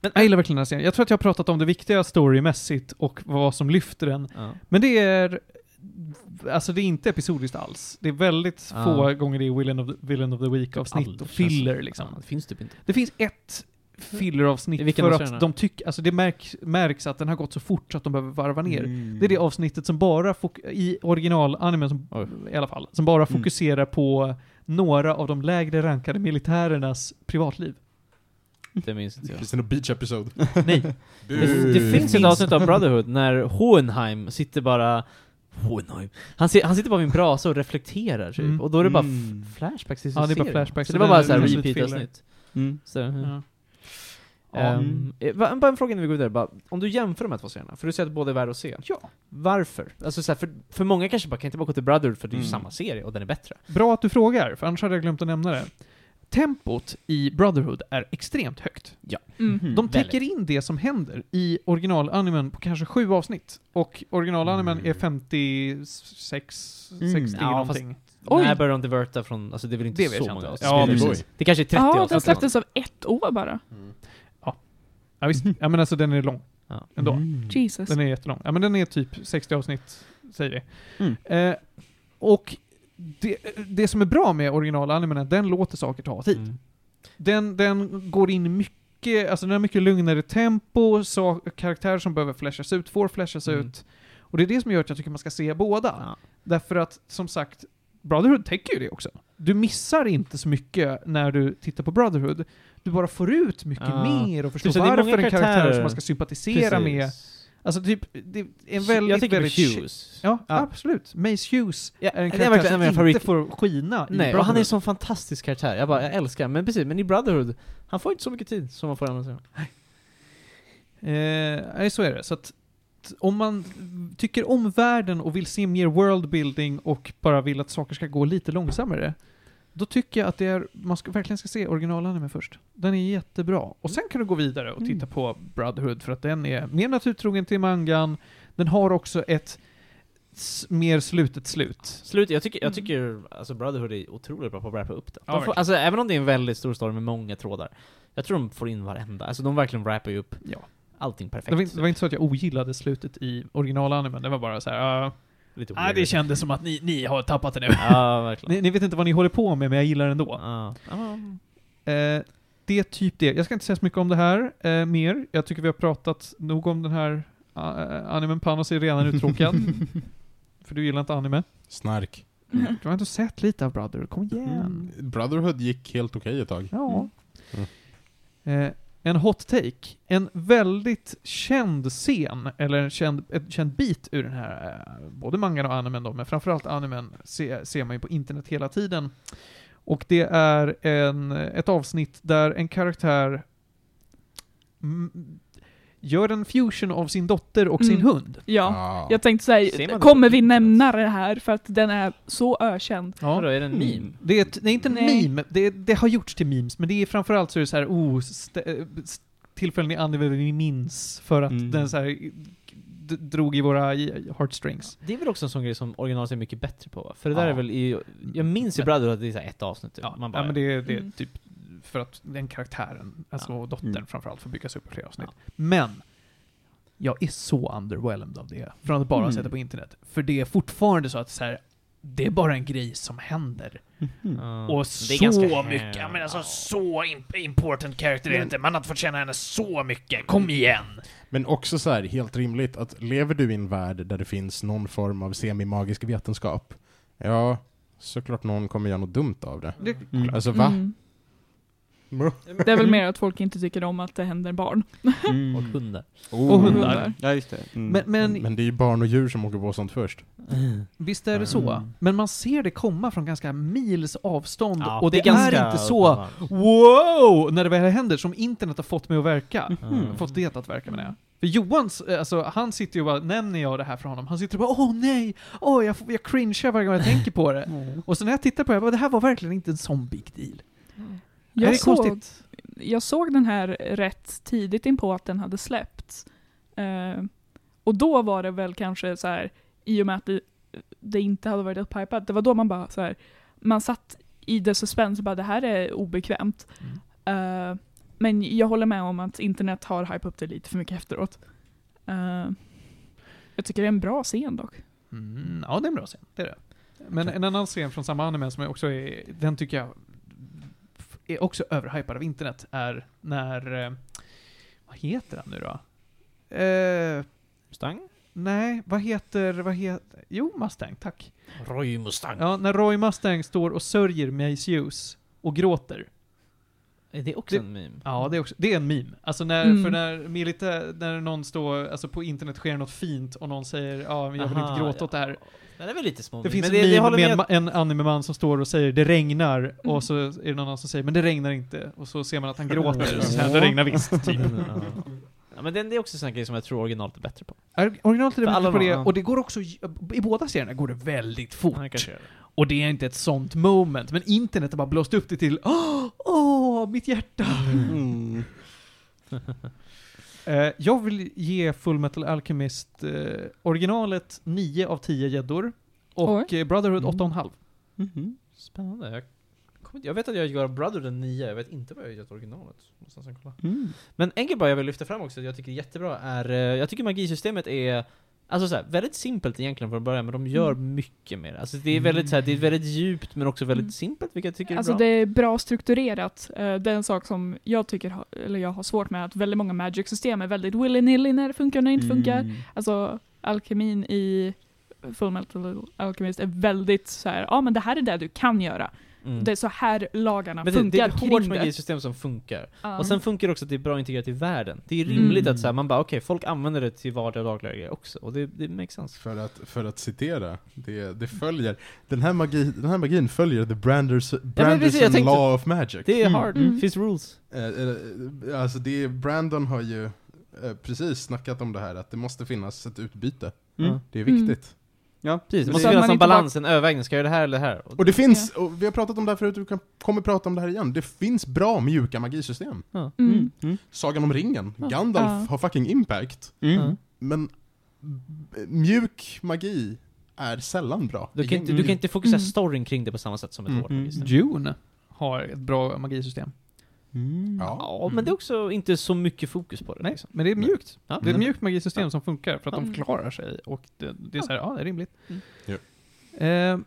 Men, jag gillar verkligen den här serien. Jag tror att jag har pratat om det viktiga storymässigt och vad som lyfter den.
Ja.
Men det är... Alltså det är inte episodiskt alls. Det är väldigt
Ja.
få gånger det är Villain of the, villain of the Week-avsnitt och
Aldrig,
filler
Ah. känns-
liksom.
Ja, det finns typ inte.
Det finns ett
I
filleravsnitt
vilken
för
av serierna?
att de tycker... Alltså det märks, märks att den har gått så fort så att de behöver varva ner.
Mm.
Det är det avsnittet som bara, fok- i originalanimen som,
Oj.
i alla fall, som bara
Mm.
fokuserar på några av de lägre rankade militärernas privatliv.
Det minns inte jag.
Kristina Beach episode.
(laughs)
Nej. Det, det finns ett avsnitt av Brotherhood när Hohenheim sitter bara... Hohenheim? Han, si- han sitter bara vid en brasa och reflekterar typ.
Mm.
Och då är det bara
Mm.
f- flashbacks till
Ja, det är bara
serien.
flashbacks.
Så det var bara
Det är
såhär
absolut
repeat-avsnitt.
Mm.
Så, ja.
Ja.
Ehm, eh, va- bara en fråga när vi går vidare. Bara, om du jämför de här två serierna, för du säger att båda är värda att se.
Ja.
Varför? Alltså såhär, för, för många kanske bara kan inte bara gå till Brotherhood för det är ju
Mm.
samma serie och den är bättre.
Bra att du frågar, för annars hade jag glömt att nämna det. Tempot i Brotherhood är extremt högt.
Mm.
Mm.
De täcker
väldigt.
in det som händer i originalanimen på kanske sju avsnitt. Och originalanimen
Mm.
är 56,
Mm.
60
Ja,
någonting. Oj.
När börjar de diverta från, alltså det är väl inte
Det vet
så
jag
många
inte.
avsnitt.
Ja,
Baby
precis.
Boy.
Det kanske är 30
Ja, den
avsnitt.
släpptes av ett år
Mm.
bara.
Mm.
Ja, visst. ja men alltså den är lång
Ja.
ändå.
Mm. Typ.
Jesus.
Den är jättelång. Ja men den är typ 60 avsnitt, säger vi.
Mm.
Eh, och det, det som är bra med originalanimen är att den låter saker ta tid.
Mm.
Den, den går in mycket, alltså den har mycket lugnare tempo, så, karaktärer som behöver flashas ut får flashas
Mm.
ut. Och det är det som gör att jag tycker man ska se båda.
Ja.
Därför att, som sagt, Brotherhood täcker ju det också. Du missar inte så mycket när du tittar på Brotherhood. Du bara får ut mycket
Ja.
mer och förstår
så det är många
varför en karaktär
karaktärer.
som man ska sympatisera med.
Precis.
Alltså typ, det är en
Hu-
väldigt,
jag tänker
väldigt...
på Hughes.
Ja,
Ja.
absolut. Mace Hughes
Ja,
är en
det är
karaktär
verkligen en av mina
som inte
favorit-
får skina i
Nej, och
Brotherhood.
han är en sån fantastisk karaktär. Jag bara, jag älskar Men precis, men i Brotherhood, han får inte så mycket tid som man får i andra serier.
Eh, nej, så är det. Så att t- om man tycker om världen och vill se mer worldbuilding och bara vill att saker ska gå lite långsammare, då tycker jag att det är, man ska, verkligen ska se originalanimen först. Den är jättebra. Och sen kan du gå vidare och
Mm.
titta på Brotherhood för att den är mer naturtrogen till mangan. Den har också ett s- mer slutet slut.
Slut, jag tycker,
Mm.
jag tycker alltså Brotherhood är otroligt bra på att wrappa upp det. De
Ja,
får,
verkligen.
alltså även om det är en väldigt stor story med många trådar, jag tror de får in varenda. Alltså de verkligen wrappar ju upp
Ja.
allting
Det
perfekt.
var, inte, det var inte så att jag ogillade slutet i originalanimen, det var bara så här. ah,
Lite
Nej, det
weird.
kändes som att ni, ni har tappat det nu.
Ja, verkligen.
Ni, ni vet inte vad ni håller på med, men jag gillar det ändå.
Ja.
Eh, det är typ det. Jag ska inte säga så mycket om det här eh, mer. Jag tycker vi har pratat nog om den här uh, animen. Panos är redan uttråkad.
(laughs)
(laughs)
Mm.
För du gillar inte anime.
Snark.
Du har ändå sett lite av Brother. Kom igen.
Mm. Brotherhood gick helt okej ett tag.
Ja.
Mm.
Eh, en hot take. En väldigt känd scen, eller en känd, ett känd bit ur den här, eh, både mangan och animen då, men framförallt animen se, ser man ju på internet hela tiden. Och det är en, ett avsnitt där en karaktär mm, gör en fusion av sin dotter och sin
Mm.
hund.
Ja,
Ah.
jag tänkte
Ser
säga,
man
kommer
det?
vi nämna det här för att den är så ökänd?
Ja. Vadå, är det en meme?
Mm. Det är, ett, det är inte en
Nej.
meme, det, det har gjorts till memes, men det är framförallt så är det så här, oh, st- eh, st- tillfällen i anime vi minns för att
Mm.
den så här eh, d- drog i våra i- heartstrings.
Det är väl också en sån grej som originalet är mycket bättre på va? För det där
Ja.
är väl i, Jag minns ju Brotherhood att det är så här ett avsnitt typ.
Ja,
Man bara,
ja, men det, är- det är
Mm.
typ för att den karaktären, alltså dottern
Mm.
framförallt, får byggas upp på flera avsnitt. Men jag är så underwhelmed av det, från att bara ha sett det på internet. För det är fortfarande så att så här, det är bara en grej som händer.
Mm. Ja.
Och
Det är
så
ganska-
mycket, ja, men alltså
Ja.
så imp- important character är det inte. Man har inte fått känna henne så mycket. Kom igen!
Men också så här, helt rimligt, att lever du i en värld där det finns någon form av semimagisk vetenskap, ja, såklart någon kommer göra något dumt av det.
Det,
Alltså va?
Mm.
Mm.
Det är väl mer att folk inte tycker om att det händer barn.
Mm. Och hundar.
och hundar.
Hundar.
Ja, just det. Mm.
Men, men
Men det är ju barn och djur som åker på sånt först.
Visst är det så.
Mm.
Men man ser det komma från ganska mils avstånd
Ja,
och det, är,
ganska
inte så wow när det väl händer som internet har fått mig att verka.
Mm.
Fått det att verka menar jag. För Johans, eh, alltså han sitter ju och bara, nämner jag det här för honom, han sitter och bara åh nej, åh jag, får- jag cringear varje gång jag tänker på det.
Mm.
Och så när jag tittar på det, jag bara, det här var verkligen inte en sån big deal.
Jag,
det är
såg,
konstigt.
jag såg den här rätt tidigt inpå att den hade släppts. Eh, och då var det väl kanske så här, i och med att det, det inte hade varit upphypat, det var då man bara så här, man satt i det suspense och bara det här är obekvämt. Eh, men jag håller med om att internet har hypat upp det lite för mycket efteråt. Eh, jag tycker det är en bra scen dock.
Mm, ja, det är en bra scen. Det är det. Men en annan scen från samma anime som jag också är, den tycker jag f- är också överhypad av internet, är när... eh, Vad heter han nu då? Eh,
Stang?
nej, vad heter, vad heter... Jo, Mustang, tack.
Roy Mustang.
Ja, när Roy Mustang står och sörjer Mace Hughes och gråter.
Är det också
Det-
en meme?
Ja, det är, också, det är en meme. Alltså när,
Mm.
för när militär, när någon står, alltså på internet sker något fint och någon säger ja, men jag vill
Aha,
inte gråta
ja.
åt det här.
Men Det är väl lite små
Det
meme,
finns
men
en meme
håller
med, en ma- en animeman som står och säger det regnar
Mm.
och så är det någon annan som säger men det regnar inte och så ser man att han gråter och
(laughs)
så
Ja.
säger det regnar visst.
(laughs)
Typ.
Ja. Ja, men det, det är också en sån grej som jag tror originalet är bättre på.
Är- Originalet är det
För alla
mycket på det
de- ja.
och det går också, i båda serierna går det väldigt fort.
Ja, kanske gör det.
Och det är inte ett sånt moment, men internet har bara blåst upp det till åh, åh mitt hjärta.
Mm.
Eh, jag vill ge Full Metal Alchemist eh, originalet 9 av 10 gäddor och eh, Brotherhood
Mm.
8,5.
Mhm.
Spännande. Jag, kommer inte- jag vet att jag gör Brotherhood en 9, jag vet inte vad jag gör originalet. Måste nästan kolla.
Mm.
Men en grej bara jag vill lyfta fram också, jag tycker är jättebra, är... eh, Jag tycker magisystemet är... Alltså såhär, väldigt simpelt egentligen från början, men de gör mycket mer. Alltså det är väldigt såhär, det är väldigt djupt men också väldigt
Mm.
simpelt, vilket jag tycker är
Alltså
bra.
det är bra strukturerat. Eh, Det är en sak som jag tycker, ha- eller jag har svårt med, att väldigt många magic-system är väldigt willy-nilly när det funkar och när det inte
Mm.
funkar. Alltså alkemin i Fullmetal Alchemist är väldigt så här, ja men det här är det du kan göra.
Mm.
Det är så här
men
lagarna
det, det
funkar
är ett hårt
kring det.
magisystem som funkar.
Ja.
Och sen funkar det också att det är bra integrerat i världen. Det är rimligt
Mm.
att så här, man bara okej, folk använder det till vardag och dagliga grejer också. Och det, det makes sense.
För att, för att citera, det, det följer, den här, magi, den här magin följer the Branders,
men
Branderson
precis, jag tänkte-
law of magic.
Det är
Mm.
hard,
Mm.
det finns rules.
Eh, eh, Alltså det är, Brandon har ju eh, precis snackat om det här att det måste finnas ett utbyte.
Mm.
Det är
Mm.
viktigt.
Ja,
Precis, det
Men
måste
det-
finnas
man
en
inte bara-
balans, en övervägning. Ska jag göra det här eller det här? Och
Och det finns, och vi har pratat om det här förut, vi kan, kommer prata om det här igen. Det finns bra mjuka magisystem.
Mm.
Mm.
Sagan om ringen, Gandalf
Ja.
har fucking impact.
Ja.
Mm.
Men b- mjuk magi är sällan bra.
du, kan inte, du
Mm.
kan inte fokusera
Mm.
storyn kring det på samma sätt som ett
Mm.
hårt
Mm.
magisystem.
June har ett bra magisystem.
Ja.
Ja, men det är också inte så mycket fokus på det.
Nej,
liksom.
men det är mjukt.
Ja.
Det är ett mjukt magisystem som funkar för att de
Mm.
klarar sig och det, det är så här, ja det är rimligt.
Mm.
Ja.
Eh,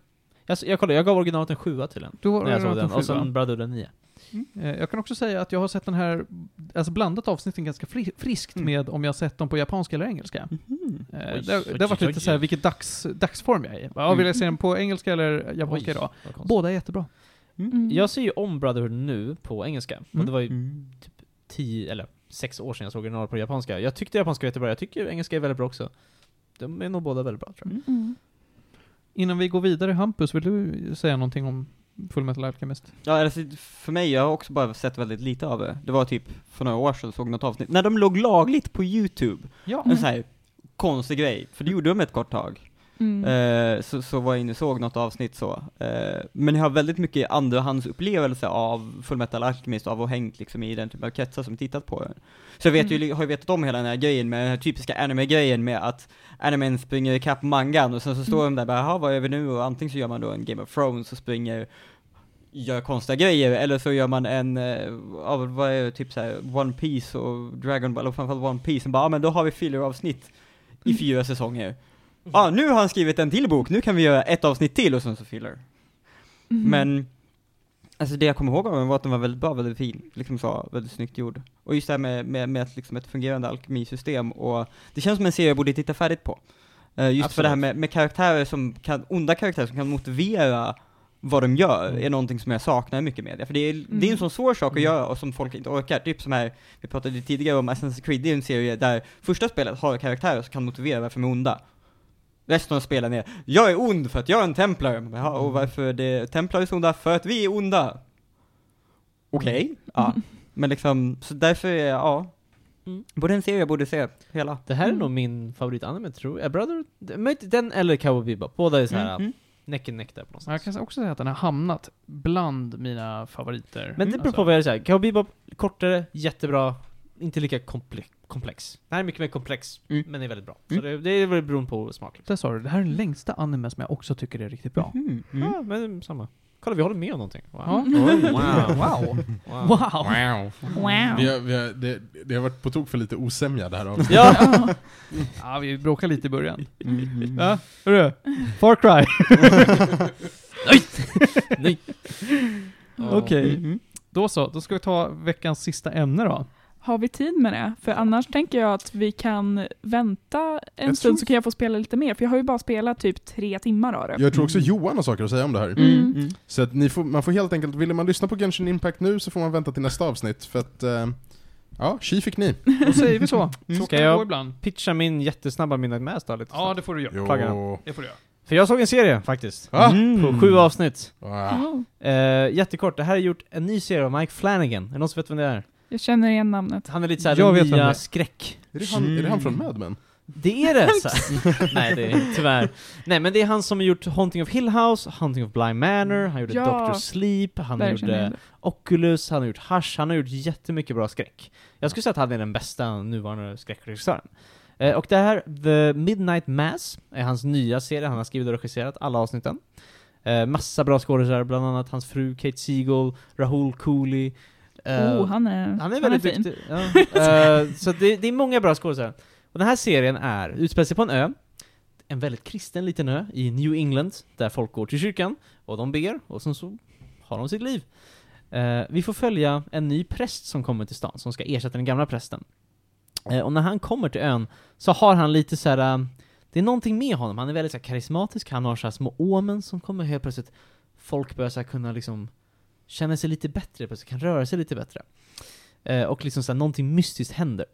Jag, jag kollade, jag gav originalet en sjua till den.
då har
När jag såg
jag,
den, och sen
jag,
Brotherhood en nia.
eh, jag kan också säga att jag har sett den här, alltså blandat avsnitten ganska fri, friskt
Mm.
med om jag har sett dem på japanska eller engelska. Eh,
Mm. Oj,
det, har- det har varit
oj,
lite
oj. Mm.
såhär, vilket dags, dagsform jag är i. Ja, vill jag se den på engelska eller japanska idag?
vad konstigt.
Båda är jättebra.
Mm.
Jag ser ju om Brotherhood nu på engelska, och
Mm.
det var ju tio, eller sex år sedan jag såg original på japanska. Jag tyckte japanska var jättebra, jag tycker engelska är väldigt bra också. De är nog båda väldigt bra tror jag.
Mm.
Innan vi går vidare, Hampus, vill du säga någonting om Fullmetal Alchemist?
Ja, alltså, för mig, jag har också bara sett väldigt lite av det. Det var typ för några år sedan såg något avsnitt, när de låg lagligt på YouTube.
Ja.
En sån här konstig grej, för det gjorde de ett kort tag.
Mm.
Eh, så, så var jag inne och såg något avsnitt så. Eh, men jag har väldigt mycket andrahandsupplevelse av Fullmetal Alchemist, av och hängt liksom i den typen av kretsar som tittat på den. Så jag vet ju,
Mm.
har ju vetat om hela den här grejen med den här typiska anime-grejen med att animen springer ikapp mangan och sen så står
Mm.
de där bara, "Jaha, vad gör vi nu? Och antingen så gör man då en Game of Thrones och springer gör konstiga grejer, eller så gör man en, eh, av, vad är det, typ såhär, One Piece och Dragon Ball, och framförallt One Piece, och bara, ah, men då har vi filleravsnitt i fyra säsonger. Ja, ah, nu har han skrivit en till bok, nu kan vi göra ett avsnitt till och sen så filler.
Mhm.
Mm.
Men, alltså det jag kommer ihåg av den var att den var väldigt bra, väldigt fin, liksom så, väldigt snyggt gjord. Och just det här med, med, med ett, liksom ett fungerande alkemisystem och det känns som en serie jag borde titta färdigt på. Eh, just för
Absolut.
det här med, med karaktärer som kan, onda karaktärer som kan motivera vad de gör
Mm.
är någonting som jag saknar i mycket media. För det är, det är en sån svår sak att göra och som folk inte orkar. Typ som här, vi pratade ju tidigare om Assassin's Creed, det är en serie där första spelet har karaktärer som kan motivera varför de är onda. Resten av spelen är, jag är ond för att jag är en templare. Men, Jaha, och varför är det templare är onda? För att vi är onda. Okej. Ja. Men liksom, så därför är jag, ja.
Mm.
Både en serie jag borde se, hela.
Det här är
Mm.
nog min favoritanime tror jag. Brotherhood, det- möjligt- den eller Cowboy Bebop. Båda är såhär
Mm, mm.
näck och näck där på något
Jag
sätt.
kan också säga att den har hamnat bland mina favoriter. Alltså-
Men det beror på vad jag säger. Cowboy Bebop, kortare, jättebra, inte lika komple komplex. Det här är mycket mer komplex,
Mm.
men är väldigt bra.
Mm.
Så det, det är väl beroende på smak. Liksom.
Där sa du, det här är den längsta anime som jag också tycker är riktigt bra.
Mm. Mm.
Ja, men samma. Kolla, vi håller med om någonting. Wow.
Ja.
Wow.
Wow.
(laughs) wow.
Wow.
Wow.
Wow.
Vi har, vi har, det, det har varit på tok för lite osämja
(laughs)
det här avsnittet.
Ja!
(laughs) Ja, vi bråkade lite i början. (laughs) Ja, hörru. Far Cry.
Nej.
Okej.
Mm,
Då så, då ska vi ta veckans sista ämne då.
Har vi tid med det? För annars tänker jag att vi kan vänta en
Jag
stund
tror-
så kan jag få spela lite mer, för jag har ju bara spelat typ tre timmar av det.
Jag tror också Johan har saker att säga om det här.
Mm. Mm.
Så att ni får, man får helt enkelt, vill man lyssna på Genshin Impact nu så får man vänta till nästa avsnitt för att, eh, ja, tji fick ni.
Då säger vi
Mm.
så. Så
Ska
kan det
jag-
gå ibland.
Pitcha min jättesnabba Midnight Mass då lite
Ja,
snabbt.
det får du göra.
Klagar.
Det får du göra.
För jag såg en serie faktiskt. Mm.
Ah,
På sju avsnitt.
ah.
Oh,
Eh, jättekort, det här är gjort en ny serie av Mike Flanagan. Är det någon som vet vem det är?
jag känner igen namnet.
Han är lite såhär
Jag
den
vet vem det är.
nya skräck.
Är, det han, är det han från Mad Men?
Det är det! Så. här. (laughs) Nej, det är tyvärr. Nej, men det är han som har gjort Haunting of Hill House, Haunting of Blind Manor, han gjorde
Ja.
Doctor Sleep, han
Där känner jag
gjorde
igen det.
Oculus, han har gjort Hush, han har gjort jättemycket bra skräck. Jag skulle säga att han är den bästa nuvarande skräckregissören. Eh, och det här, The Midnight Mass, är hans nya serie, han har skrivit och regisserat alla avsnitten. Eh, massa bra skådespelare, bland annat hans fru Kate Siegel, Rahul Cooley. eh,
oh, han är,
han är väldigt
fin.
duktig. Ja. (laughs) Eh, så det, det är många bra skådespelare. Och den här serien är, utspelar sig på en ö, en väldigt kristen liten ö i New England, där folk går till kyrkan, och de ber, och sen så har de sitt liv. Eh, vi får följa en ny präst som kommer till stan, som ska ersätta den gamla prästen. Eh, och när han kommer till ön så har han lite så här. eh, det är någonting med honom, han är väldigt så här, karismatisk, han har så här små omen som kommer helt plötsligt. Folk börjar så här, kunna liksom känna sig lite bättre, plötsligt kan röra sig lite bättre. Eh, och liksom såhär, någonting mystiskt händer.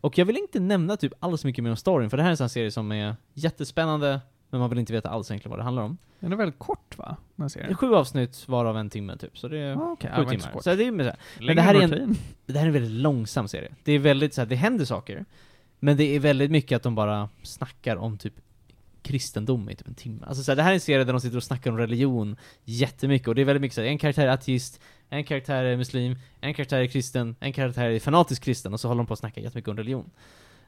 Och jag vill inte nämna typ alls mycket mer om storyn, för det här är en sån här serie som är jättespännande, men man vill inte veta alls egentligen vad det handlar om.
Den är väldigt kort va? Den
Det
här
är
serien.
sju avsnitt, varav en timme typ, så det är
Ah, Okej,
sju
ja, det var inte så
timmar.
kort.
Så det är, med så här-
Längre
det här är
än
en-
rutin.
det här är en väldigt långsam serie. Det är väldigt så här, det händer saker, men det är väldigt mycket att de bara snackar om typ kristendom i typ en timme. Alltså så här, det här är en serie där de sitter och snackar om religion jättemycket, och det är väldigt mycket så här, en karaktär är ateist, en karaktär är muslim, en karaktär är kristen, en karaktär är fanatisk kristen, och så håller de på att snacka jättemycket om religion.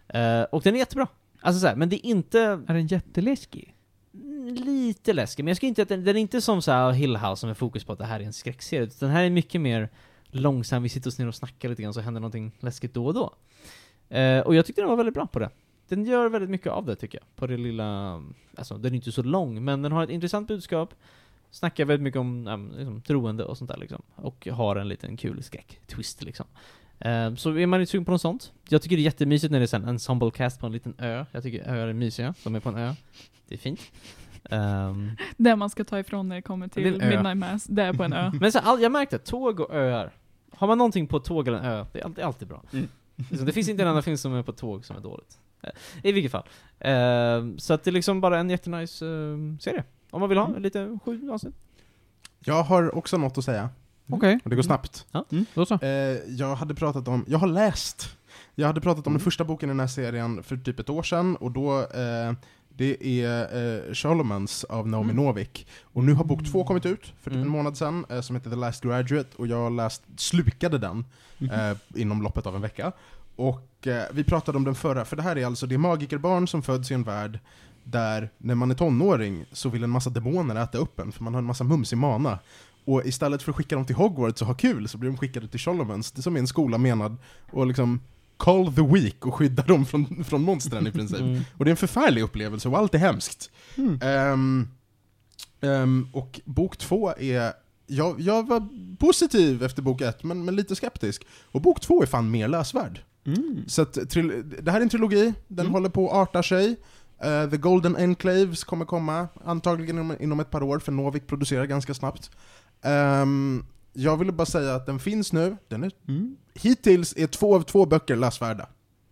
Eh, och den är jättebra. Alltså så här, men det är inte
Är den jätteläskig?
Mm, lite läskig, men jag skulle inte att den, den är inte som så här Hill House som är fokus på att det här är en skräckserie, utan den här är mycket mer långsam, vi sitter oss ner och snackar lite grann så händer någonting läskigt då och då. Eh, och jag tyckte den var väldigt bra på det. Den gör väldigt mycket av det tycker jag, på det lilla, alltså den är inte så lång, men den har ett intressant budskap, snackar väldigt mycket om äm, liksom, troende och sånt där liksom, och har en liten kul skräck-twist liksom. Eh, Så är man sugen på något sånt. Jag tycker det är jättemysigt när det är en ensemblecast på en liten ö. Jag tycker öar är mysiga, de är på en ö. Det är fint. Ehm,
Det man ska ta ifrån när det kommer till
Det är en ö.
Midnight Mass, det är på
(laughs)
en ö.
Men så, all, jag märkte, tåg och öar. Har man någonting på ett tåg eller en ö, det är alltid, alltid bra. Liksom, det finns inte en enda film som är på tåg som är dåligt. Eh, I vilket fall. Ehm, så att det är liksom bara en jättenice eh, serie. Om man vill ha lite sju avsnitt.
Jag har också något att säga,
Okej,
och det går snabbt.
då så.
Eh, jag hade pratat om, jag har läst, jag hade pratat om den första boken i den här serien för typ ett år sedan, och då eh, det är eh, Charlemans av Naomi Novik. Och nu har bok två kommit ut, för typ
Mm.
en månad sedan, eh, som heter The Last Graduate, och jag läst, slukade den eh, inom loppet av en vecka. Och eh, vi pratade om den förra, för det här är alltså, det är magikerbarn som föds i en värld där när man är tonåring så vill en massa demoner äta upp en, för man har en massa mums i mana. Och istället för att skicka dem till Hogwarts och ha kul så blir de skickade till Cholomans, som är en skola menad och liksom call the weak och skydda dem från, från monstren i
Mm.
princip. Och det är en förfärlig upplevelse och allt är hemskt. Ehm, ehm, och bok två är... Jag, jag var positiv efter bok ett, men, men lite skeptisk. Och bok två är fan mer läsvärd.
Mm.
Så att, tril- det här är en trilogi, den håller på att arta sig. Eh, The Golden Enclaves kommer komma, antagligen inom, inom ett par år, för Novik producerar ganska snabbt. Ehm, jag ville bara säga att den finns nu, den är, hittills är två av två böcker läsvärda.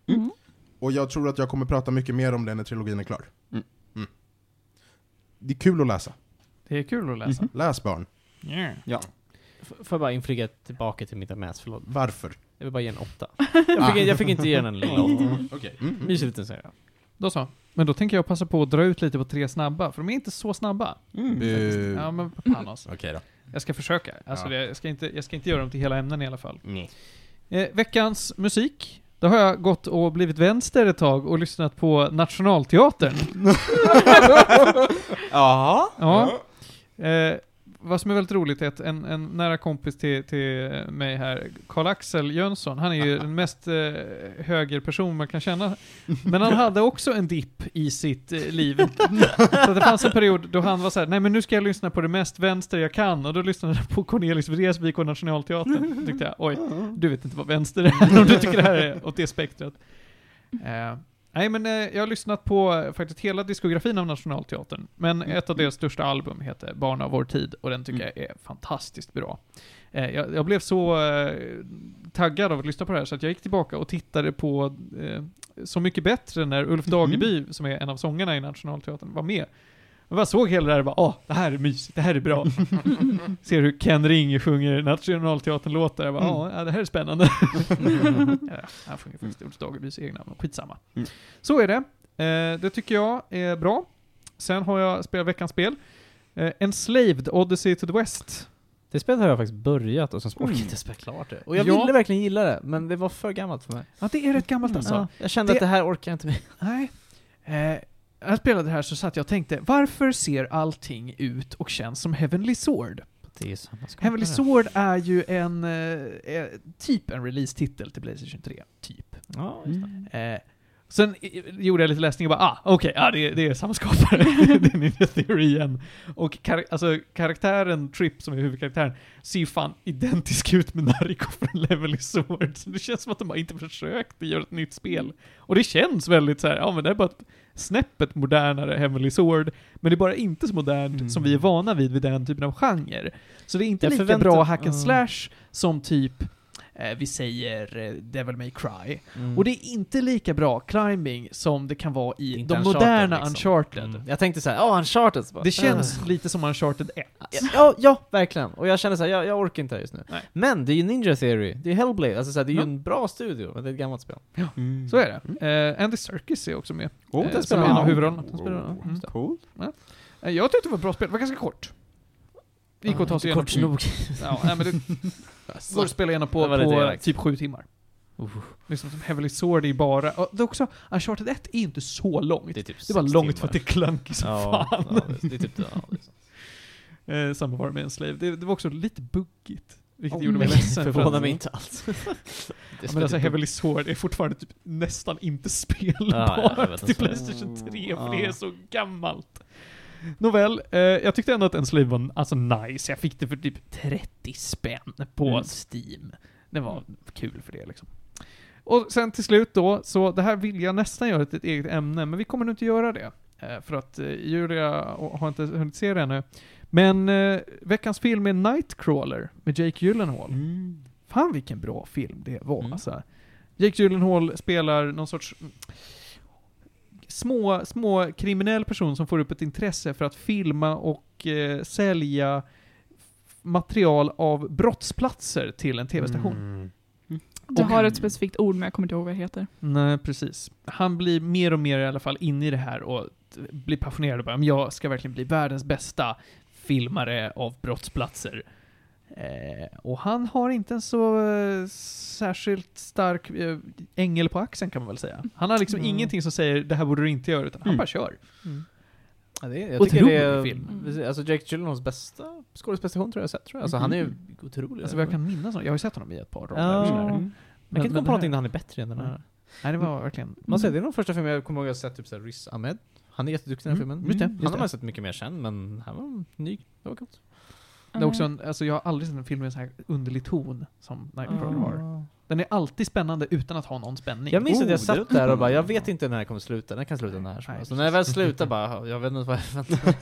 Mm.
Och jag tror att jag kommer prata mycket mer om det när trilogin är klar.
Mm.
Mm. Det är kul att läsa.
Det är kul att läsa.
Läs barn.
Mm-hmm. Ja.
F- får jag bara inflyga tillbaka till mitt mäs, förlåt.
Varför?
Jag vill bara ge en (laughs) åtta. Jag fick, jag fick inte ge den en lilla (laughs) åtta.
Mm, mm.
Mysig liten serie.
Då så. Men då tänker jag passa på att dra ut lite på tre snabba, för de är inte så snabba.
Mm.
faktiskt.
Eh,
Mm. Ja men fan alltså.
Okej då.
Jag ska försöka. Alltså,
Ja.
det, jag, ska inte, jag ska inte göra dem till hela ämnen i alla fall.
Nej.
Eh, veckans musik. Då har jag gått och blivit vänster ett tag och lyssnat på Nationalteatern.
Jaha.
Ja. Eh, vad som är väldigt roligt är att en, en nära kompis till, till mig här, Karl-Axel Jönsson, han är ju den mest eh, högerperson man kan känna. Men han hade också en dipp i sitt eh, liv. Så att det fanns en period då han var så här: nej men nu ska jag lyssna på det mest vänster jag kan. Och då lyssnade han på Cornelis Vreeswijk och Nationalteatern. Tyckte jag, oj, du vet inte vad vänster är, (laughs) om du tycker det här är åt det spektrat. Eh, Nej, men eh, jag har lyssnat på eh, faktiskt hela diskografin av Nationalteatern. Men ett av deras största album heter Barn av vår tid och den tycker jag är fantastiskt bra. Eh, jag, jag blev så eh, taggad av att lyssna på det här så att jag gick tillbaka och tittade på eh, Så mycket bättre när Ulf Dageby, som är en av sångarna i Nationalteatern, var med. Jag bara såg hela det här och bara åh, det här är mysigt, det här är bra. Ser hur Ken Ring sjunger Nationalteatern-låtar. Jag bara "Ja, ja, det här är spännande. ja, han sjunger faktiskt Ulf Dagebys egna, men skitsamma. Så är det. Eh, det tycker jag är bra. Sen har jag spelat veckans spel. Eh, Enslaved Odyssey to the West.
Det spelet har jag faktiskt börjat och sen så orkade jag
Mm.
inte spela klart det. Och jag
Ja.
ville verkligen gilla det, men det var för gammalt för mig.
Ja, det är rätt gammalt alltså.
Mm. Ja, jag kände
Det-
att det här orkar jag inte med.
Nej. Eh, när jag spelade det här så satt jag och tänkte, varför ser allting ut och känns som Heavenly Sword?
Det är samma skapare.
Heavenly Sword är ju en, eh, eh, typ en release-titel till Playstation 3. Typ.
Ja, just det.
Eh, sen i- gjorde jag lite läsning och bara ah, okej, ah, det, det är
(laughs)
samma skapare. (laughs) det är Ninja Theory igen. Och kar- alltså, karaktären Trip, som är huvudkaraktären, ser ju fan identisk ut med Nariko från Level i Sword. Så det känns som att de bara inte försökt göra ett nytt spel. Och det känns väldigt så här, ja men det är bara ett snäppet modernare Heavenly Sword, men det är bara inte så modernt
Mm.
som vi är vana vid vid den typen av genre. Så det är inte
Jag
lika
förväntar-
bra hack
Ja.
and slash som typ, eh, vi säger eh, Devil May Cry,
Mm.
och det är inte lika bra climbing som det kan vara
Det är
i
inte
de
Uncharted,
moderna
liksom.
Uncharted.
Mm. Jag tänkte såhär, ja, Uncharted. så bara,
Det känns lite som Uncharted 1.
Ja, ja, ja, verkligen. Och jag känner såhär, jag, jag orkar inte det här just nu.
Nej.
Men det är ju Ninja Theory, det är ju Hellblade, alltså såhär, det är ju
Ja.
en bra studio, men det är ett gammalt spel.
Så är det.
Mm.
Eh, Andy Serkis är också med.
Oh,
Eh,
den
som
spelar
är en av
han.
huvudrollerna.
Oh,
Han spelar- ja, mm.
Cool.
Eh, Jag tyckte det var ett bra spel, det var ganska kort. Det gick att ta sig igenom. Alltså,
Kort nog.
Ja, nej, men
(laughs)
det går att spela igenom på,
Det var lite
på eh,
elakt.
typ sju timmar.
Oh.
Liksom som Heavenly Sword är ju bara... och Det är också, Uncharted 1 är ju inte så långt.
Det
Det,
är typ
är bara
sex
långt
timmar.
för att det är klunkigt som
ja,
fan.
(laughs) ja, det är typ det. Ja, det är sant.
Eh, samma var det med en slave. Det, det var också lite buggigt. Vilket
Oh,
gjorde mig
men-
ledsen. för
Förvånar
att-
mig inte (laughs) alls.
Ja, Men
typ-
alltså Heavenly Sword är fortfarande typ nästan inte
Ja, ja, jag
spelbart
vet
till
inte.
Playstation 3, för det
Ja.
är så gammalt. Nåväl, eh, jag tyckte ändå att Enslaved var alltså nice. Jag fick det för typ 30 spänn på
Mm.
Steam. Det var
Mm.
kul för det liksom. Och sen till slut då, så det här vill jag nästan göra till ett eget ämne, men vi kommer nog inte göra det. Eh, för att eh, Julia har inte hunnit se det ännu. Men eh, veckans film är Nightcrawler med Jake Gyllenhaal.
Mm.
Fan vilken bra film det var
Mm.
alltså. Jake Gyllenhaal spelar någon sorts mm, små, små kriminell person som får upp ett intresse för att filma och eh, sälja material av brottsplatser till en tv-station.
Du
Och-
har ett specifikt ord men jag kommer inte ihåg vad det heter.
Nej, precis. Han blir mer och mer i alla fall inne i det här och t- blir passionerad och bara, "Men jag ska verkligen bli världens bästa filmare av brottsplatser. Eh, och han har inte en så eh, särskilt stark eh, ängel på axeln kan man väl säga. Han har liksom
Mm. Alltså,
ingenting som säger det här borde du inte göra, utan han
Mm.
bara kör.
Ja, det är, jag
Otrolig
tycker det är,
film.
precis, Alltså Jake Gyllenhaals bästa skådesprestation tror jag jag sett tror jag. Alltså han är ju otrolig.
Alltså vad jag kan minnas honom, jag har ju sett honom i ett par roller.
Ja.
och sådär.
Mm. jag kan inte komma på någonting
det här-
där han är bättre än den här.
Nej. Nej, det var verkligen...
Man säger, det är nog första filmen jag kommer ihåg jag sett, typ såhär Riz Ahmed. Han är jätteduktig i den här
Mm,
filmen.
just det,
han
just
har
det.
man sett mycket mer sen, men han var ny. Det var coolt.
Det är också en, alltså jag har aldrig sett en film med en sån här underlig ton som
Ah.
Nightcrawler har. Den är alltid spännande utan att ha någon spänning.
Mm. Jag minns att jag
Oh, det
satt
låter
där och bara,
spännande.
jag vet inte när det kommer sluta, när kan sluta den här? Så
Nej,
bara, Så när jag väl slutar bara, jag vet inte vad jag väntar.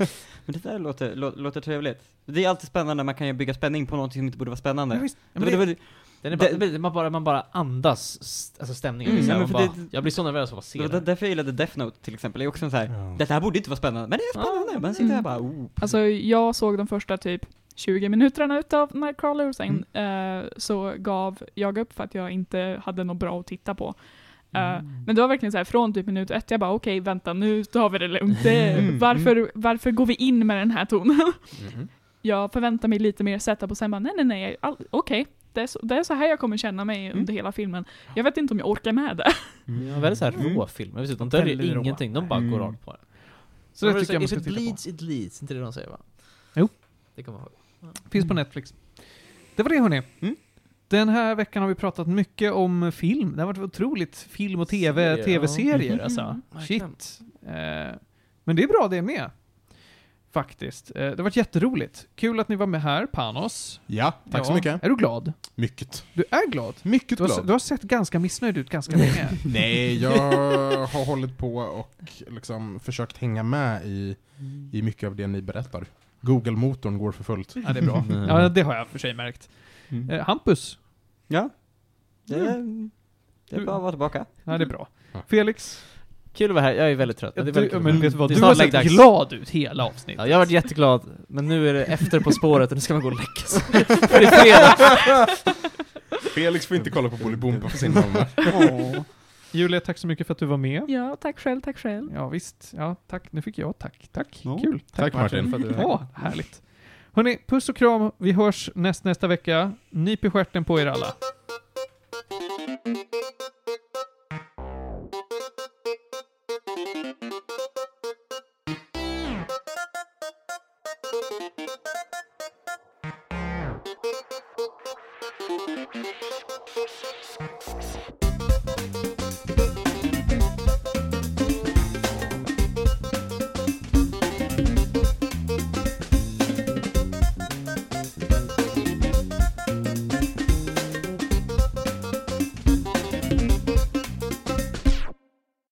Men det där låter, lå, låter trevligt. Det är alltid spännande när man kan ju bygga spänning på något som inte borde vara spännande.
Ja, visst.
Det var-
det-
det var-
Den är bara,
Det-
det, blir- man, bara, man bara andas st- alltså stämningen.
Mm,
så här,
ja, men
man
för
bara,
det-
jag blir så nervös av att
det
se
var
det.
därför jag gillade Death Note till exempel. Det är också en så här,
Ja.
det här borde inte vara spännande, men det är spännande. Man sitter här och bara, oh.
Alltså jag såg de första typ 20 minuterna utav Nightcrawler och sen
Mm.
eh, så gav jag upp för att jag inte hade något bra att titta på. Eh,
Mm.
Men det var verkligen så här från typ minut ett, jag bara okej vänta nu tar vi det
(laughs)
lugnt. Det-
Mm.
Varför, varför går vi in med den här tonen?
Mm-hmm.
Mhm.
Jag förväntar mig lite mer setup och sen bara nej nej nej, all- okej. Det, är så- det är så här jag kommer känna mig under hela filmen. Jag vet inte om jag orkar med det.
Det var väldigt såhär
Mm.
rå film, precis, de döljer
Väldigt rå.
ingenting, de bara går
Mm.
rakt på det.
Så det tycker jag man ska
If it
titta på.
bleeds, it leads. Inte det de säger va?
Jo.
Det kommer jag ihåg.
Finns på Netflix. Det var det hörni.
Mm.
Den här veckan har vi pratat mycket om film. Det har varit otroligt film och tv,
Serier,
tv-serier
ja.
alltså.
Mhm.
Mm.
Verkligen.
Shit. Eh, men det är bra det med. Faktiskt. Eh, det har varit jätteroligt. Kul att ni var med här, Panos.
Ja, tack så
Ja.
mycket.
Är du glad?
Mycket.
Du är glad?
Mycket
Du har,
glad.
du har sett ganska missnöjd ut ganska länge. (laughs)
Nej, jag har hållit på och liksom försökt hänga med i, i mycket av det ni berättar. Google-motorn går för fullt.
ja, det är bra. Ja, det har jag för sig märkt. Eh, Hampus. Mm.
Ja. Det, är- det är bra att vara tillbaka.
Ja, det är bra.
Ja.
Felix.
Kul att vara här, jag är väldigt trött. men det är väldigt
du,
kul.
men vet du vad?
Det är
Du
snart
har sett
läggdags.
glad ut hela avsnittet.
Ja, jag har varit jätteglad, men nu är det efter På spåret och nu ska man gå och lägga (laughs) sig. För det är fredag.
Felix får inte kolla på Bolibompa på sin (laughs) mamma.
Åh. (laughs) Julia, tack så mycket för att du var med.
Ja, tack själv, tack själv.
Ja, visst. Ja, tack. Nu fick jag tack. Tack.
Ja.
Kul.
Tack Martin.
för att du är här.
Ja, härligt. Hörni, puss och kram. Vi hörs näst, nästa vecka. Nyp i stjärten på er alla.